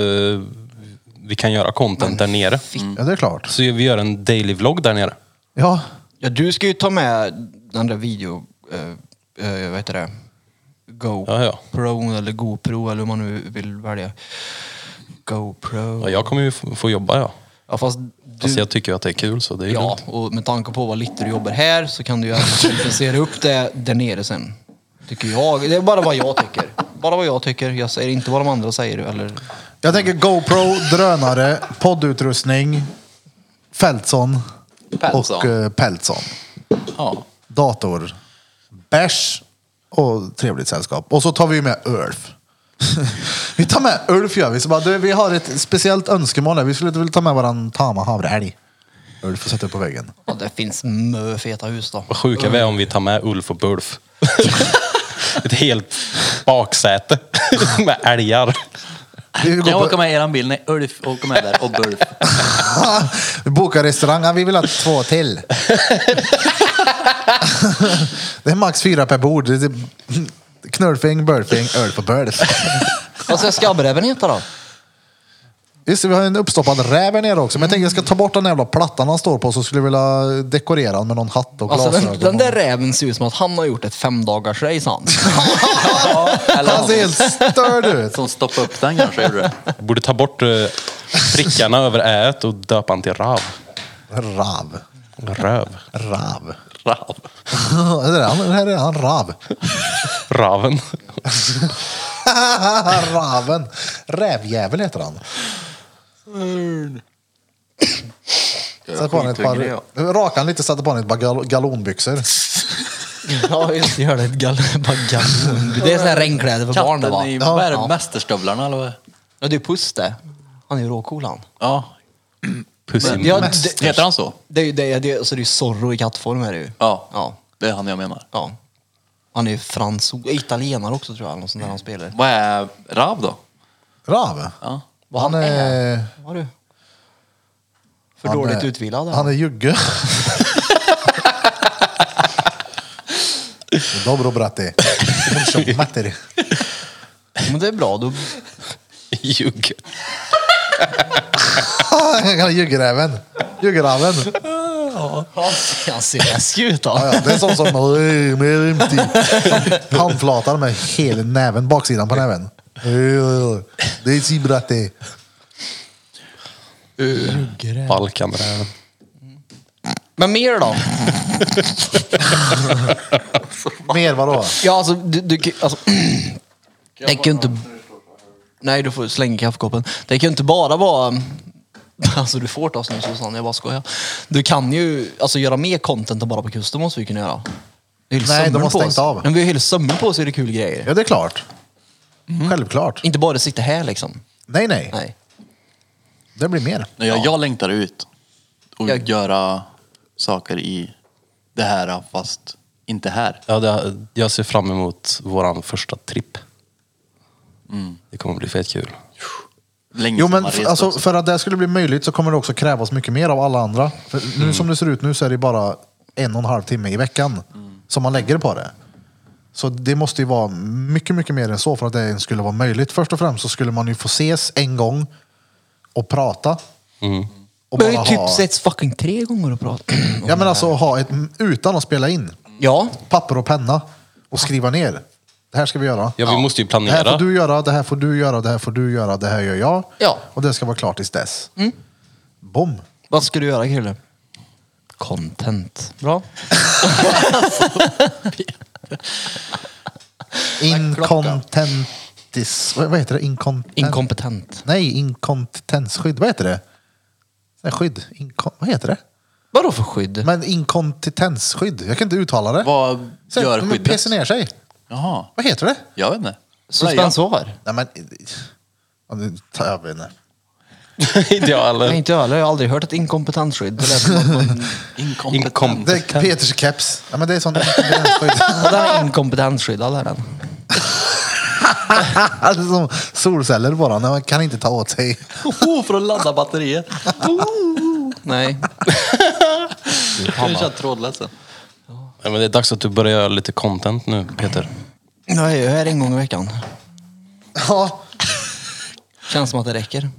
vi kan göra content där nere. ja, det är klart. Så vi gör en daily vlogg där nere. Ja. Ja, du ska ju ta med den där video... Eh, eh, vad heter det? GoPro Ja, ja. eller GoPro eller hur man nu vill välja. GoPro. Ja, jag kommer ju få få jobba ja. Ja, fast du... Fast jag tycker ju att det är kul så det är ju ja, lugnt. och med tanke på vad lite du jobbar här så kan du ju även kompensera upp det där nere sen. Tycker jag. Det är bara vad jag tycker. Bara vad jag tycker. Jag säger inte vad de andra säger. Eller... Jag tänker GoPro, drönare, poddutrustning, Feltson Peltson. och eh, Peltson. Ja. Dator, bärs och trevligt sällskap. Och så tar vi med Ulf. [LAUGHS] vi tar med Ulf gör vi. Så bara, du, vi har ett speciellt önskemål här. Vi skulle vilja ta med våran tama havreälg. Ulf och sätta upp på väggen. Ja, det finns mö feta hus då. Vad sjuka vi är om vi tar med Ulf och [LAUGHS] Bulf. Ett helt baksäte med älgar. Vi går Kan jag på- åka med i eran bil? Nej, Ulf åker med där och Burf. [LAUGHS] Vi bokar restaurang. Ja, Vi vill ha två till. [LAUGHS] det är max fyra per bord. Det är Knullfing, burfing, öl på bölf. Vad ska skabbräven heta då? Just det, vi har en uppstoppad räv här nere också. Men jag tänkte jag ska ta bort den jävla plattan han står på så skulle jag vilja dekorera den med någon hatt och Alltså, den, glasögon. den där räven ser ut som att han har gjort ett femdagarsrace han. och... Han ser helt störd ut. Som stoppar upp den kanske gjorde det. Borde ta bort eh, prickarna över ät och döpa han till Rav. Rav. Röv. Rav. Rav. det där, han- det här är han, Rav. [LAUGHS] Raven. Raven. Rävjävel heter han. Sätt på honom ett skithungrig, par... Raka han lite, satte på honom ett par gal- galonbyxor. [LAUGHS] ja, just det. Gör det. Ett gal- [LAUGHS] bara galon. det är sådana här regnkläder för barn det Katten va? i, Ja, vad är det, ja. mästerstövlarna eller vad? ja, det är Puss det. Han är ju råcool han. Ja. Pussin. Ja, det, Heter han så? det är ju det, det, alltså, det är ju Zorro i kattform är det ju. Ja. ja. Det är han jag menar. ja. Han är ju fransos, italienare också tror jag, eller något sånt där han spelar. Vad är Rav då? Rav? Ja. Vad Han är... Vad har du? För han dåligt är- utvilad. Han är jugge. [LAUGHS] Dobro brati. Hon matter. Men det är bra, då... Ljug. Han är juggeräven. Juggeräven. [LAUGHS] Han ser läskig ut Ja, han. ja, det är sånt som... Han flatar med hela näven, baksidan på näven. Det är si brati. Balkanräven. Men mer då? Mer vadå? Ja, alltså, du, du, kan- alltså det kan ju inte... Nej, du får slänga kaffekoppen. Det kan ju inte bara vara Alltså du får ta snus Susanne, jag bara skojar. Du kan ju alltså, göra mer content än bara på kusten måste vi kunna göra. Det är helt Nej, de sömmar har på stängt oss. av. Men vi har ju helt sömmar på oss är det kul grejer. Ja, det är klart. Självklart. Inte bara sitta här liksom. Nej, nej, Mm. Nej. Det blir mer. Nej, Jag, jag längtar ut och Jag- göra saker i det här fast inte här. Ja, det, jag ser fram emot våran första tripp. Mm. Det kommer bli fett kul. Länge Jo, sedan men man f- rest alltså, också. för att det skulle bli möjligt så kommer det också krävas mycket mer av alla andra. För nu Mm. som det ser ut nu så är det bara en och en halv timme i veckan Mm. som man lägger på det. Så det måste ju vara mycket, mycket mer än så för att det ens skulle vara möjligt. Först och främst så skulle man ju få ses en gång och prata. Mm. Och Vi har ju bara typ ha- setts fucking tre gånger och pratat. [CLEARS THROAT] Ja men alltså ha ett, utan att spela in. Ja, Papper och penna och skriva ner. Det här ska vi göra. Ja, vi måste ju Det här får planera. [LAUGHS] du göra, det här får du göra, det här får du göra, det här gör jag. Ja. Och det ska vara klart tills dess. Mm. Bom! vad ska du göra kille? Content. Bra. Inkontentis... Vad vad heter det? Inkontent... Inkompetent. Nej, inkontentensskydd. Vad heter det? Nej, skydd. Inko... Vad heter det? Vadå för skydd? Men inkontinensskydd. Jag kan inte uttala det. Vad Sen, gör de pissar skyddet? ner sig. Jaha, Vad heter det? jag vet inte. Suspensoar? Nej, men... Ja, nu tar Jag vet inte. Inte jag Nej, heller. inte jag heller. Jag har aldrig hört ett inkompetensskydd. Det lät som att man- Inkompetent. [LAUGHS] Inkom- Det är Peters keps. Ja, men det är sånt [LAUGHS] inkontinensskydd. Ja, Den är inkompetensskyddad är den. Alltså som solceller bara. Nej, man kan inte ta åt sig. Oh, för att ladda [LAUGHS] batteriet. Nej. Kan du köra trådlöst sen? Nej, men det är dags att du börjar göra lite content nu, Peter. Jag är ju här en gång i veckan. Ja, Känns som att det räcker.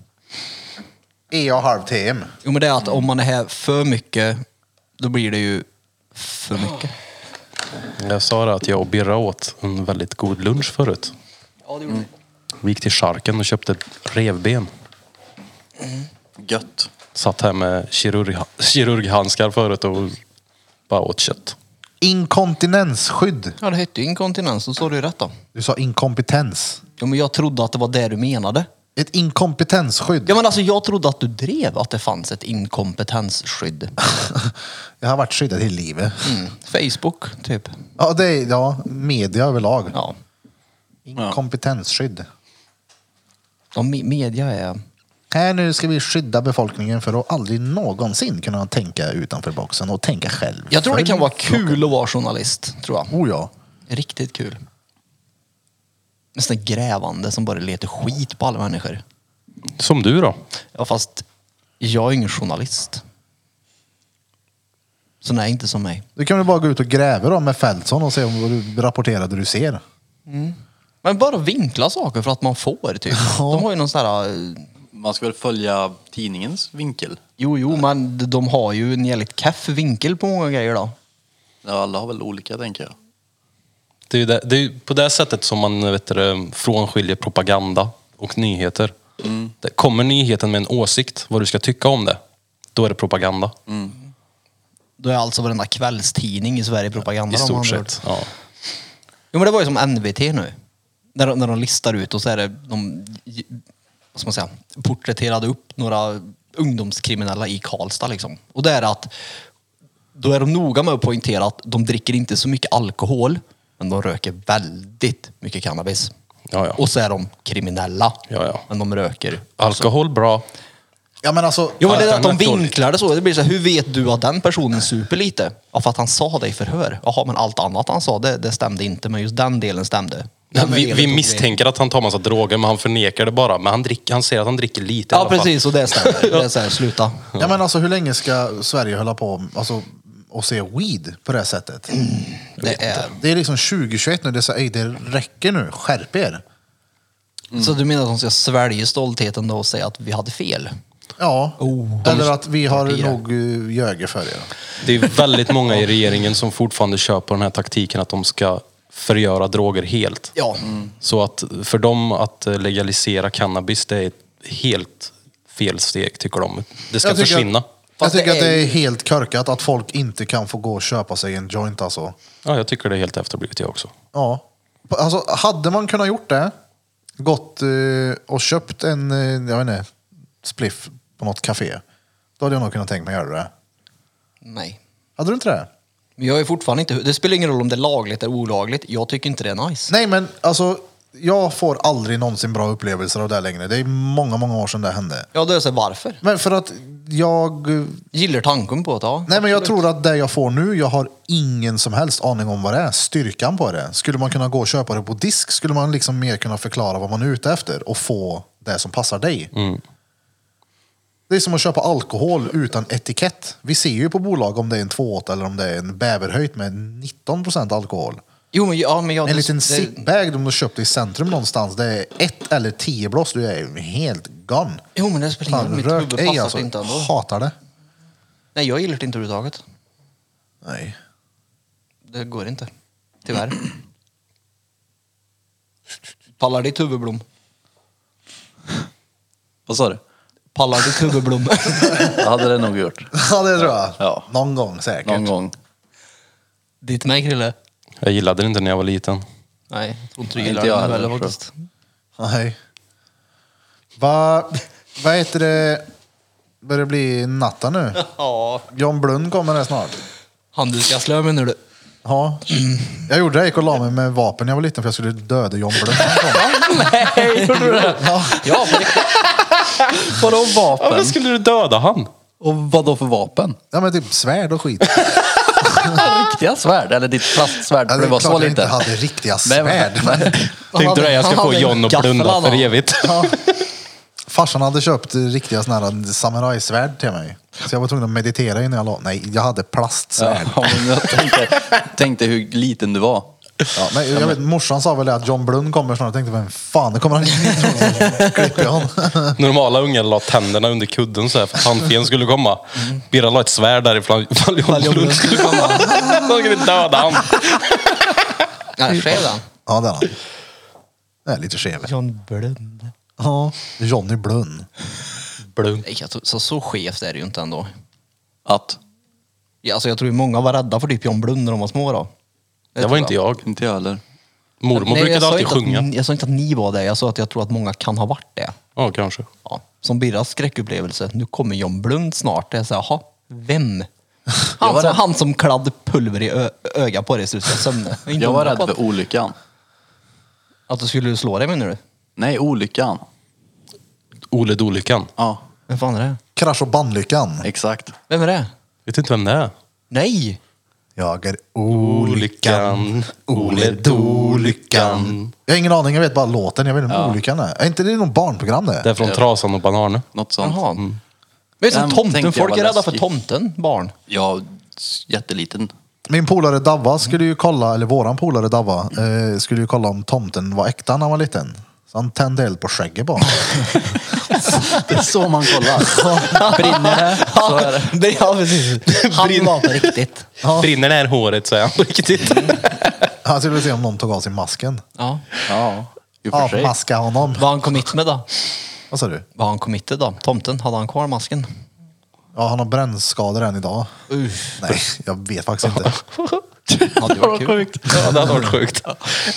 är jag E halv TM. Jo men det är att om man är här för mycket, då blir det ju för mycket. Jag sa det att jag och Birra åt en väldigt god lunch förut. Vi gick till charken och köpte revben. Gött. Satt här med kirurg, kirurghandskar förut och bara åt kött. Inkontinensskydd. Ja det hette ju inkontinens, då sa du ju rätt då. Du sa inkompetens. Jo men jag trodde att det var det du menade. Ett inkompetensskydd. Ja men alltså jag trodde att du drev att det fanns ett inkompetensskydd. Jag har varit skyddad i livet. [LAUGHS] Mm. Facebook, typ. Ja, det är, ja, media överlag. Ja. Inkompetensskydd. De me- media är... Här nu ska vi skydda befolkningen för att aldrig någonsin kunna tänka utanför boxen och tänka själv. Jag tror det kan Själv. vara kul att vara journalist, tror jag. Oh ja. Riktigt kul. Nästan grävande som bara letar skit på alla människor. Som du då? Ja, fast jag är ingen journalist. Så nej, inte som mig. Du kan väl bara gå ut och gräva då med Fältson och se om vad du rapporterar det du ser. Men bara vinkla saker för att man får, typ. De har ju någon sån här... eh, Man ska väl följa tidningens vinkel? Jo, jo, men d- de har ju en jävligt keff vinkel på många grejer då. Ja, alla har väl olika tänker jag. Det är ju det, det är ju på det sättet som man vet du, frånskiljer propaganda och nyheter. Mm. Det kommer nyheten med en åsikt, vad du ska tycka om det, då är det propaganda. Mm. Då är alltså varenda kvällstidning i Sverige propaganda. I om man stort har hört. sett. Ja. Jo men det var ju som NVT nu. När de, när de listar ut och så är det de, vad ska man säga, porträtterade upp några ungdomskriminella i Karlstad liksom. Och det är att, då är de noga med att poängtera att de dricker inte så mycket alkohol, men de röker väldigt mycket cannabis. Ja, ja. Och så är de kriminella, Ja, ja. men de röker. Alkohol bra. Ja men alltså, Jo men det är att Allt de annat dåligt. vinklar det så. Det blir så här, hur vet du att den personen super lite? Ja, för att han sa det i förhör. Jaha, men allt annat han sa, det, det stämde inte. Men just den delen stämde. Den Vi, delen vi tog misstänker att han tar massa droger, men han förnekar det bara. Men han, drick, han säger att han dricker lite i Ja, alla fall. precis. Och det stämmer. [LAUGHS] Det är så här, sluta. ja, men alltså hur länge ska Sverige hålla på alltså, och se weed på det här sättet? Mm. Det är... Det är liksom 2021 nu, det, är så, ej, det räcker nu, skärp er. Mm. Så du menar att de ska svälja stoltheten då och säga att vi hade fel? Ja, Oh. eller att vi har Partier. nog eh, ljögit för er. Det är väldigt många i regeringen som fortfarande kör på den här taktiken att de ska förgöra droger helt. Ja. Så att för dem att eh, legalisera cannabis, det är ett helt fel steg tycker de. Det ska Jag tycker försvinna. Att, jag det tycker att det är är helt korkat att folk inte kan få gå och köpa sig en joint alltså. Ja, jag tycker det är helt efterblivet jag också. Ja. Alltså, hade man kunnat gjort det, gått eh, och köpt en, eh, jag vet inte, spliff på något café, då hade jag nog kunnat tänka mig att göra det. Nej. Hade du inte det? Men jag är fortfarande inte... Det spelar ingen roll om det är lagligt eller olagligt. Jag tycker inte det är nice. Nej, men alltså, jag får aldrig någonsin bra upplevelser av det här längre. Det är många, många år sedan det hände. Ja, då är det så här, varför? Men för att jag... Gillar tanken på att ja. Nej, men jag tror att det jag får nu, jag har ingen som helst aning om vad det är. Styrkan på det. Skulle man kunna gå och köpa det på disk skulle man liksom mer kunna förklara vad man är ute efter och få det som passar dig. Mm. Det är som att köpa alkohol utan etikett. Vi ser ju på bolag om det är en 2,8 eller om det är en bäverhöjt med 19% alkohol. Jo, men, ja, men jag... En liten det- zipbag de köpte i centrum någonstans, det är ett eller tio blås, du är ju helt gone. Jo, men det spelar ingen roll. Fan, Mitt rök huvud ej passar alltså. inte ändå. Hatar det. Nej, jag gillar det inte överhuvudtaget. Nej. Det går inte. Tyvärr. Pallar ditt huvudblom? Vad sa du? Pallar ditt huvudblom? Jag hade det nog gjort. [LAUGHS] Ja, det tror jag. Ja. Någon gång säkert. Någon gång. [LAUGHS] ditt med Krille? Jag gillade det inte när jag var liten. Nej, jag tror inte du Nej, gillar inte jag det nu heller heller, tror jag. faktiskt. Nej. Vad vad heter det? Börjar bli natta [LAUGHS] nu. Ja, John Blund kommer här snart. handduksgasslö menar du? Ja. Jag gjorde det, jag gick och la mig med vapen när jag var liten för jag skulle döda John Blund. när han kom. [LAUGHS] Nej, gjorde du det? Ja, för det... Vadå Ja, vapen? men skulle du döda han? Och vadå för vapen? Ja men typ svärd och skit. Riktiga svärd? Eller ditt plastsvärd? Ja, för det var så jag inte lite. hade riktiga Men- [LAUGHS] svärd. Men Tänkte du att jag ska han få hade John att gaffel, blunda han för hade. evigt? farsan hade köpt riktiga såna här samurajsvärd till mig. Så jag var tvungen att meditera innan jag la Nej, jag hade Ja, plastsvärd. men jag tänkte, tänkte hur liten du var. Ja, men jag vet, morsan sa väl det att John Blund kommer snart. Jag tänkte, vem fan, nu kommer han in. [LAUGHS] Klipper jag honom. [LAUGHS] Normala ungar la tänderna under kudden så här för att tandfen skulle komma. Birra la ett svärd därifrån Mm. ifall John Lund skulle komma. [LAUGHS] De skulle döda han. Nej, skev den. Ja, det är han. Det är lite skev. John Blund. Ja, Johnny Blund. Blund. Nej, jag tror, så, så skevt är det ju inte ändå. Att? Ja, alltså, jag tror ju många var rädda för typ John Blund när de var små då. Det var inte jag. Inte jag heller. Mormor Nej, jag brukade sa alltid inte att sjunga. ni- Jag sa inte att ni var det, jag sa att jag tror att många kan ha varit det. Ja, kanske. Ja. Som Birras skräckupplevelse, nu kommer John Blund snart. Jag sa, jaha, [LAUGHS] vem? Han, Alltså- som, han som kladd pulver i ö- ögat på dig så du ska sömna. Inte [LAUGHS] Jag var undra rädd på att, för olyckan. att du skulle slå dig menar du? Nej, olyckan. Ole Dolyckan. Ja, Vem fan är det? Krasch och bannlyckan. exakt. Vem är det? Vet inte vem det är? Nej! Jag är olyckan. Ole Dolyckan. Jag har ingen aning, jag vet bara låten. Jag vet inte om olyckan är. Är inte det någon barnprogram det? Det är från Trasan och Banan. Något sånt. Jaha. Mm. Men som Den tomten, tänkte jag folk var är rädda för läskig. tomten, barn. Ja, jätteliten. Min polare Davva skulle ju kolla, eller våran polare Davva, eh, skulle ju kolla om tomten var äkta när han var liten. Så han tände eld på skägget bara. [LAUGHS] Det är så man [LAUGHS] kollar. Brinner det? Så är det. Ja, [LAUGHS] precis. Han var på riktigt. Brinner det här håret säger han [LAUGHS] på riktigt. Han skulle se om någon tog av sig masken. Ja. Ja, i och för sig. Avmaska honom. Vad han kommit med då? Vad sa du? Vad han committed då? Tomten, hade han kvar [LAUGHS] masken? Ja, han har brännskador än idag. Uff. Nej, jag vet faktiskt inte. Hade varit kul. Ja, det hade varit sjukt.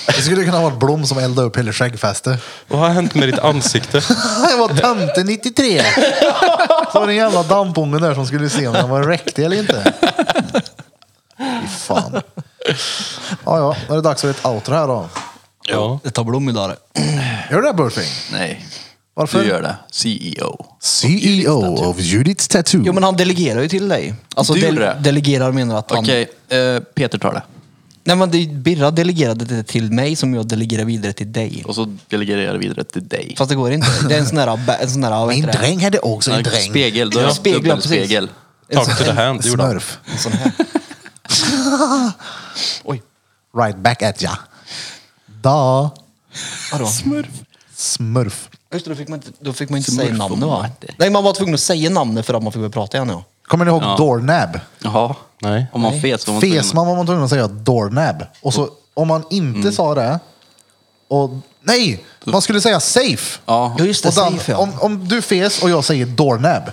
Det skulle kunna vara Blom som eldade upp hela skäggfästet. Vad har hänt med ditt ansikte? [LAUGHS] Jag var tante 93. Så var det en jävla dampunge där som skulle se om den var räktig eller inte. Fy fan. Ja, ja, då är det dags för ett outro här då. Ja. Det tar blom idag det. Gör du det Burfing? Nej, Varför? du gör det. E CEO. CEO of Judiths Tattoo. Jo men han delegerar ju till dig. Alltså Du del- gjorde det? delegerar menar att han... Okej, eh, Peter tar det. Nej men det, Birra delegerade det till mig som jag delegerar vidare till dig. Och så delegerar jag det vidare till dig. Fast det går inte. Det är en sån här... ba- En sån här vad Min heter det? dräng hade också en dräng. Spegel, då är Ja, jag spegel, spegel, spegel. En sån- Talk to the hand. gjorde han. Smurf. en sån här. Oj, Right back at ya. Da. vadå? Smurf. Just det, då fick man inte, då fick man inte Smurf säga och namnet va? Matti. Nej, man var tvungen att säga namnet för att man fick börja prata igen ja. Kommer ni ihåg doorknab? Jaha. Nej. Om man fes, man Fes man var man tvungen att Mm. säga doorknab. Och så om man inte sa det. Och, nej! Man skulle säga safe. Ja. Ja just det, och Dan, safe ja. om, om du fes och jag säger doorknab.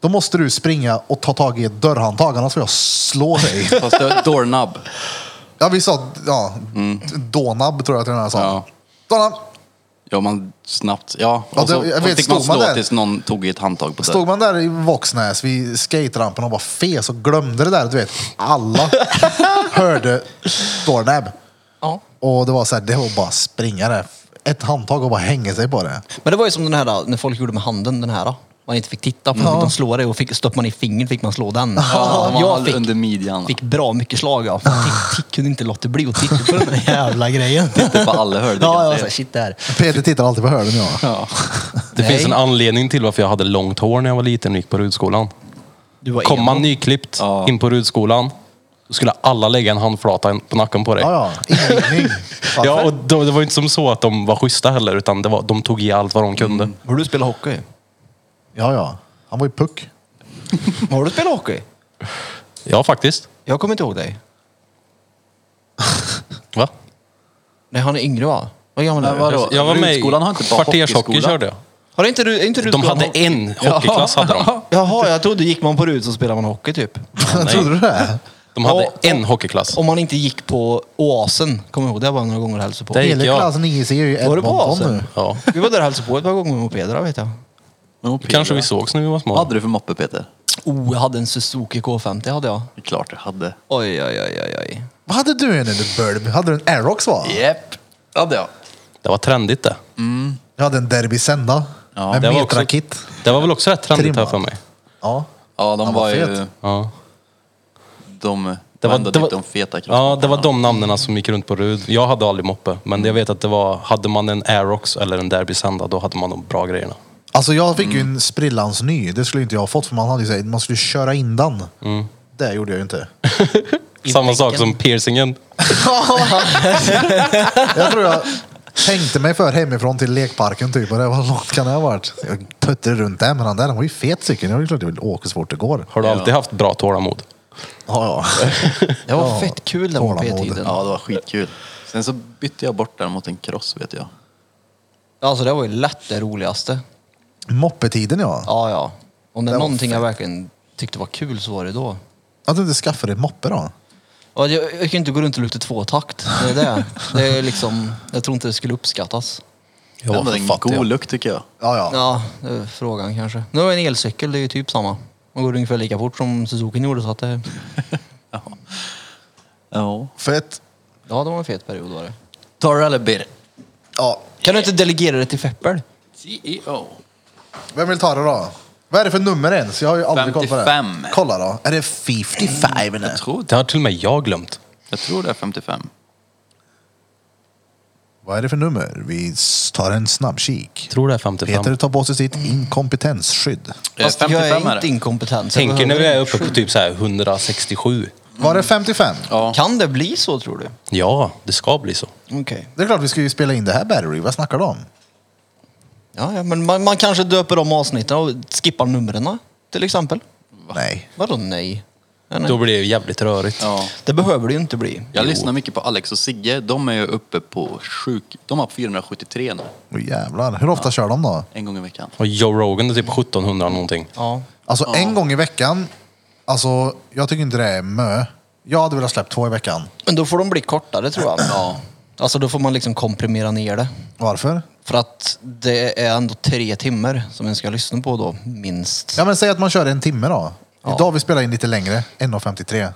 Då måste du springa och ta tag i ett dörrhandtag annars får jag slå dig. [LAUGHS] Fast det är doorknob. Mm. ja vi sa ja, donab tror jag till den här sa. Ja. Donab. Ja, man snabbt. Ja, Ja, och så det- jag vet, fick man stod man slå där? tills någon tog i ett handtag på Stod det. man där i Våxnäs vid skaterampen och bara fes och glömde det där, du vet. [LAUGHS] Alla hörde doorknob. Ja. Och det var så här, det var bara springa där. Ett handtag och bara hänga sig på det. Men det var ju som den här när folk gjorde med handen, den här. Man inte fick titta på den, fick man slå det och fick, stöp man i fingret fick man slå den. Ja, man jag jag fick, under midjan. fick bra mycket slag ja. Fan, Tick, tick kunde inte låta bli att titta på den där jävla grejen. Det var alla hörde. kan Ja, jag jag var säga. såhär, shit det här. [LAUGHS] Peter tittar alltid på hörden jag. Ja. Det Nej. finns en anledning till varför jag hade långt hår när jag var liten och gick på Rudskolan. Du var Kom emo. man nyklippt Ja. in på Rudskolan, då skulle alla lägga en handflata på nacken på dig. Ja, ja. Invigning. Ja, och då, det var inte som så att de var schyssta heller, utan det var, de tog i allt vad de kunde. Har du spelat hockey? ja, ja. Han var ju puck. Har du spelat hockey? Ja, faktiskt. Jag kommer inte ihåg dig. Va? Nej, han är yngre va? Vad gammal är Men vadå? du? Jag var med i Rudskolan har inte bara kvartershockey hockeyskola. körde jag. Har inte du, är inte du De spelat hade hockey? en hockeyklass. Hade de. [LAUGHS] Jaha, jag trodde gick man på RUT så spelade man hockey typ. [LAUGHS] Trodde du det? de hade Ja, en hockeyklass. Om man inte gick på Oasen, kommer jag ihåg, det var jag några gånger och hälsade på. Det gick Hela jag. klassen IC är ju Var du på Edmonton Oasen? nu. Ja. Vi var där och hälsade på ett par gånger med mopederna vet jag. Men moped, Kanske vi va? sågs när vi var små. Vad hade du för moppe Peter? Oh, jag hade en Suzuki K50 hade jag. Det är klart du hade. Oj, oj, oj, oj, oj. Vad hade du en under Burb? Hade du en Aerox va? Jep, hade jag. Det var trendigt det. Jag hade en Derby Senda. Ja, med det var Metra-kit. Det var väl också rätt trendigt här Trimmad. för mig. Ja. Ja, de Han var var, ju... fet. Ja. De Det det var- var, ändå det dit var- de feta ja, det var kroppsmopparna. de namnen som gick runt på Rud. Jag hade aldrig moppe, men jag vet att det var, hade man en Aerox eller en Derby Senda, då hade man de bra grejerna. Alltså jag fick ju en sprillans ny. Det skulle inte jag ha fått för man hade ju sagt man skulle köra in den. Det gjorde jag ju inte. Samma sak som piercingen. Jag tror jag tänkte mig för hemifrån till lekparken typ. Och det var långt kan det ha varit? Jag puttade runt där men han där han var ju fet cykeln. Jag är klart jag vill åka så fort det går. Har du alltid haft bra tålamod? Ja, Det var Ja, fett kul den tålamod. mopedtiden. Ja, det var skitkul. Sen så bytte jag bort den mot en cross vet jag. Alltså det var ju lätt det roligaste. ja. [LAUGHS] Moppetiden ja. Ja, ja. Om det Det är var någonting jag verkligen tyckte var kul så var det då. Att du inte skaffade dig moppe då? Ja, Jag, jag kan ju inte gå runt och luta tvåtakt. Det är det. det är liksom, jag tror inte det skulle uppskattas. Jag var en fattig, ja. god lukt tycker jag. Ja, ja. Ja, det är frågan kanske. Nu har jag en elcykel, det är ju typ samma. Man går ungefär lika fort som Suzuki gjorde så att det... Ja. Fett. Ja, det var en fet period var det. Tar du eller blir Ja. Kan du inte delegera det till Feppel? CEO. Vem vill ta det då? Vad är det för nummer ens? Jag har ju aldrig koll på det. 55. Kolla då. Är det 55 eller? Tror Det har till och med jag glömt. Jag tror det är 55. Vad är det för nummer? Vi tar en snabbkik. Tror det är 55. Peter tar på sig sitt inkompetensskydd. Fast Eh, 55 jag är är inte det. inkompetent. så jag Tänker när vi behöver är inte uppe på skydd. typ så här 167. Var det 55? Ja. Kan det bli så tror du? Ja, det ska bli så. Okej. Det är klart vi ska ju spela in det här Battery. Vad snackar du om? Ja, ja, men man, man kanske döper om avsnitten och skippar numren till exempel. Nej. Vadå nej? nej, Då nej. blir det jävligt rörigt. Ja. Det behöver det ju inte bli. Jag lyssnar mycket på Alex och Sigge. De är ju uppe på sjuk... De har 473 nu. Åh jävlar. Hur ofta kör de då? En gång i veckan. Och Joe Rogan är typ 1700 någonting. Ja. Alltså en gång i veckan. Alltså jag tycker inte det är mö. Jag hade velat släppt två i veckan. Men då får de bli kortare tror jag. Ja. Alltså då får man liksom komprimera ner det. Varför? För att det är ändå tre timmar som man ska lyssna på då, minst. Ja men säg att man kör en timme då. Idag har vi spelat in lite längre. 1.53.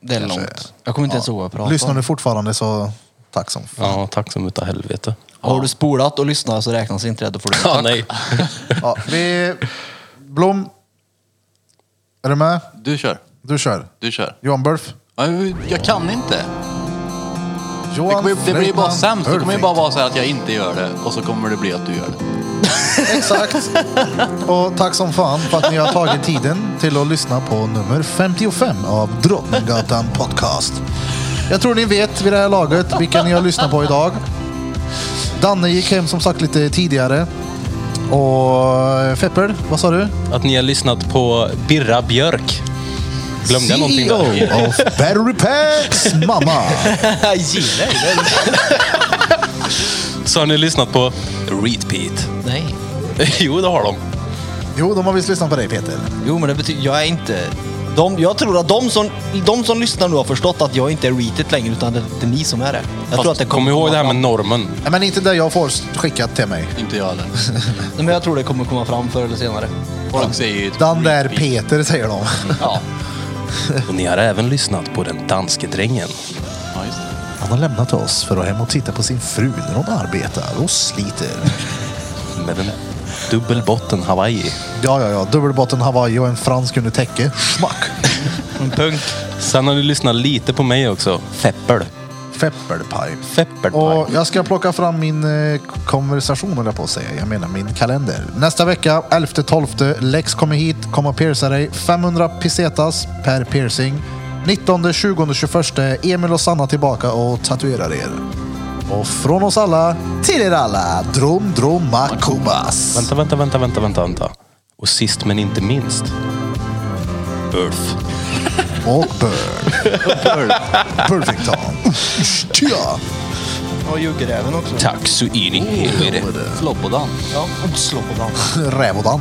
det är kanske- långt. Jag kommer inte ens ihåg vad jag pratade Lyssnar om. du fortfarande så tack som fan. Ja, tack som utav helvete. Har du spolat och lyssnat så räknas inte det. Då får du Ja, nej. Ja, vi... Blom. Är du med? Du kör. Du kör. Du kör. Johan Burf. Ja, Jag kan inte. Det, Johan kommer, ju- det blir ju bara Fredman sämst. Det kommer ju Burfing. bara vara så här att jag inte gör det och så kommer det bli att du gör det. Exakt. Och tack som fan för att ni har tagit tiden till att lyssna på nummer 55 av Drottninggatan Podcast. Jag tror ni vet vid det här laget vilka ni har lyssnat på idag. Danne gick hem som sagt lite tidigare. Och eh, Feppel, vad sa du? Att ni har lyssnat på Birra Björk. Glömde E jag någonting CEO där? E of Battery Packs mamma. [LAUGHS] Så har ni lyssnat på Repeat. Nej. [LAUGHS] Jo, det har de. Jo, de har visst lyssnat på dig Peter. Jo, men det betyder... Jag är inte De, jag tror att de som, de som lyssnar nu har förstått att jag inte är reatet längre, utan det, det är ni som är det. Jag tror att det kommer Kom ihåg komma det här fram. med normen. Nej, men inte det jag får skickat till mig. Inte jag heller. Nej, men jag tror det kommer komma fram förr eller senare. Folk säger ju... Den där Peter säger de. Ja. Och ni har även lyssnat på den danske drängen. Ja, just det. Han har lämnat oss för att hem och titta på sin fru när hon arbetar och sliter. Med en dubbelbotten Hawaii. Ja, ja, ja. Dubbelbotten Hawaii och en fransk under täcke. Schmack! En punk. Sen har ni lyssnat lite på mig också. Feppel. Fepperpaj. Feppelpaj. Och jag ska plocka fram min eh, konversation, höll jag på att säga. Jag menar min kalender. Nästa vecka, 11-12, Lex kommer hit, kommer att pierca dig. 500 pesetas per piercing. 19, 20, 21, Emil och Sanna tillbaka och tatuerar er. Och från oss alla, till er alla, Drom Droma Kubas. Vänta, vänta, vänta, vänta, vänta, vänta. Och sist men inte minst. Earth. Och Bird. Perfektan. Tja! Och djurgräven också. Tack så in i helvete. Floppodan. Ja, slå på den. Rävodan.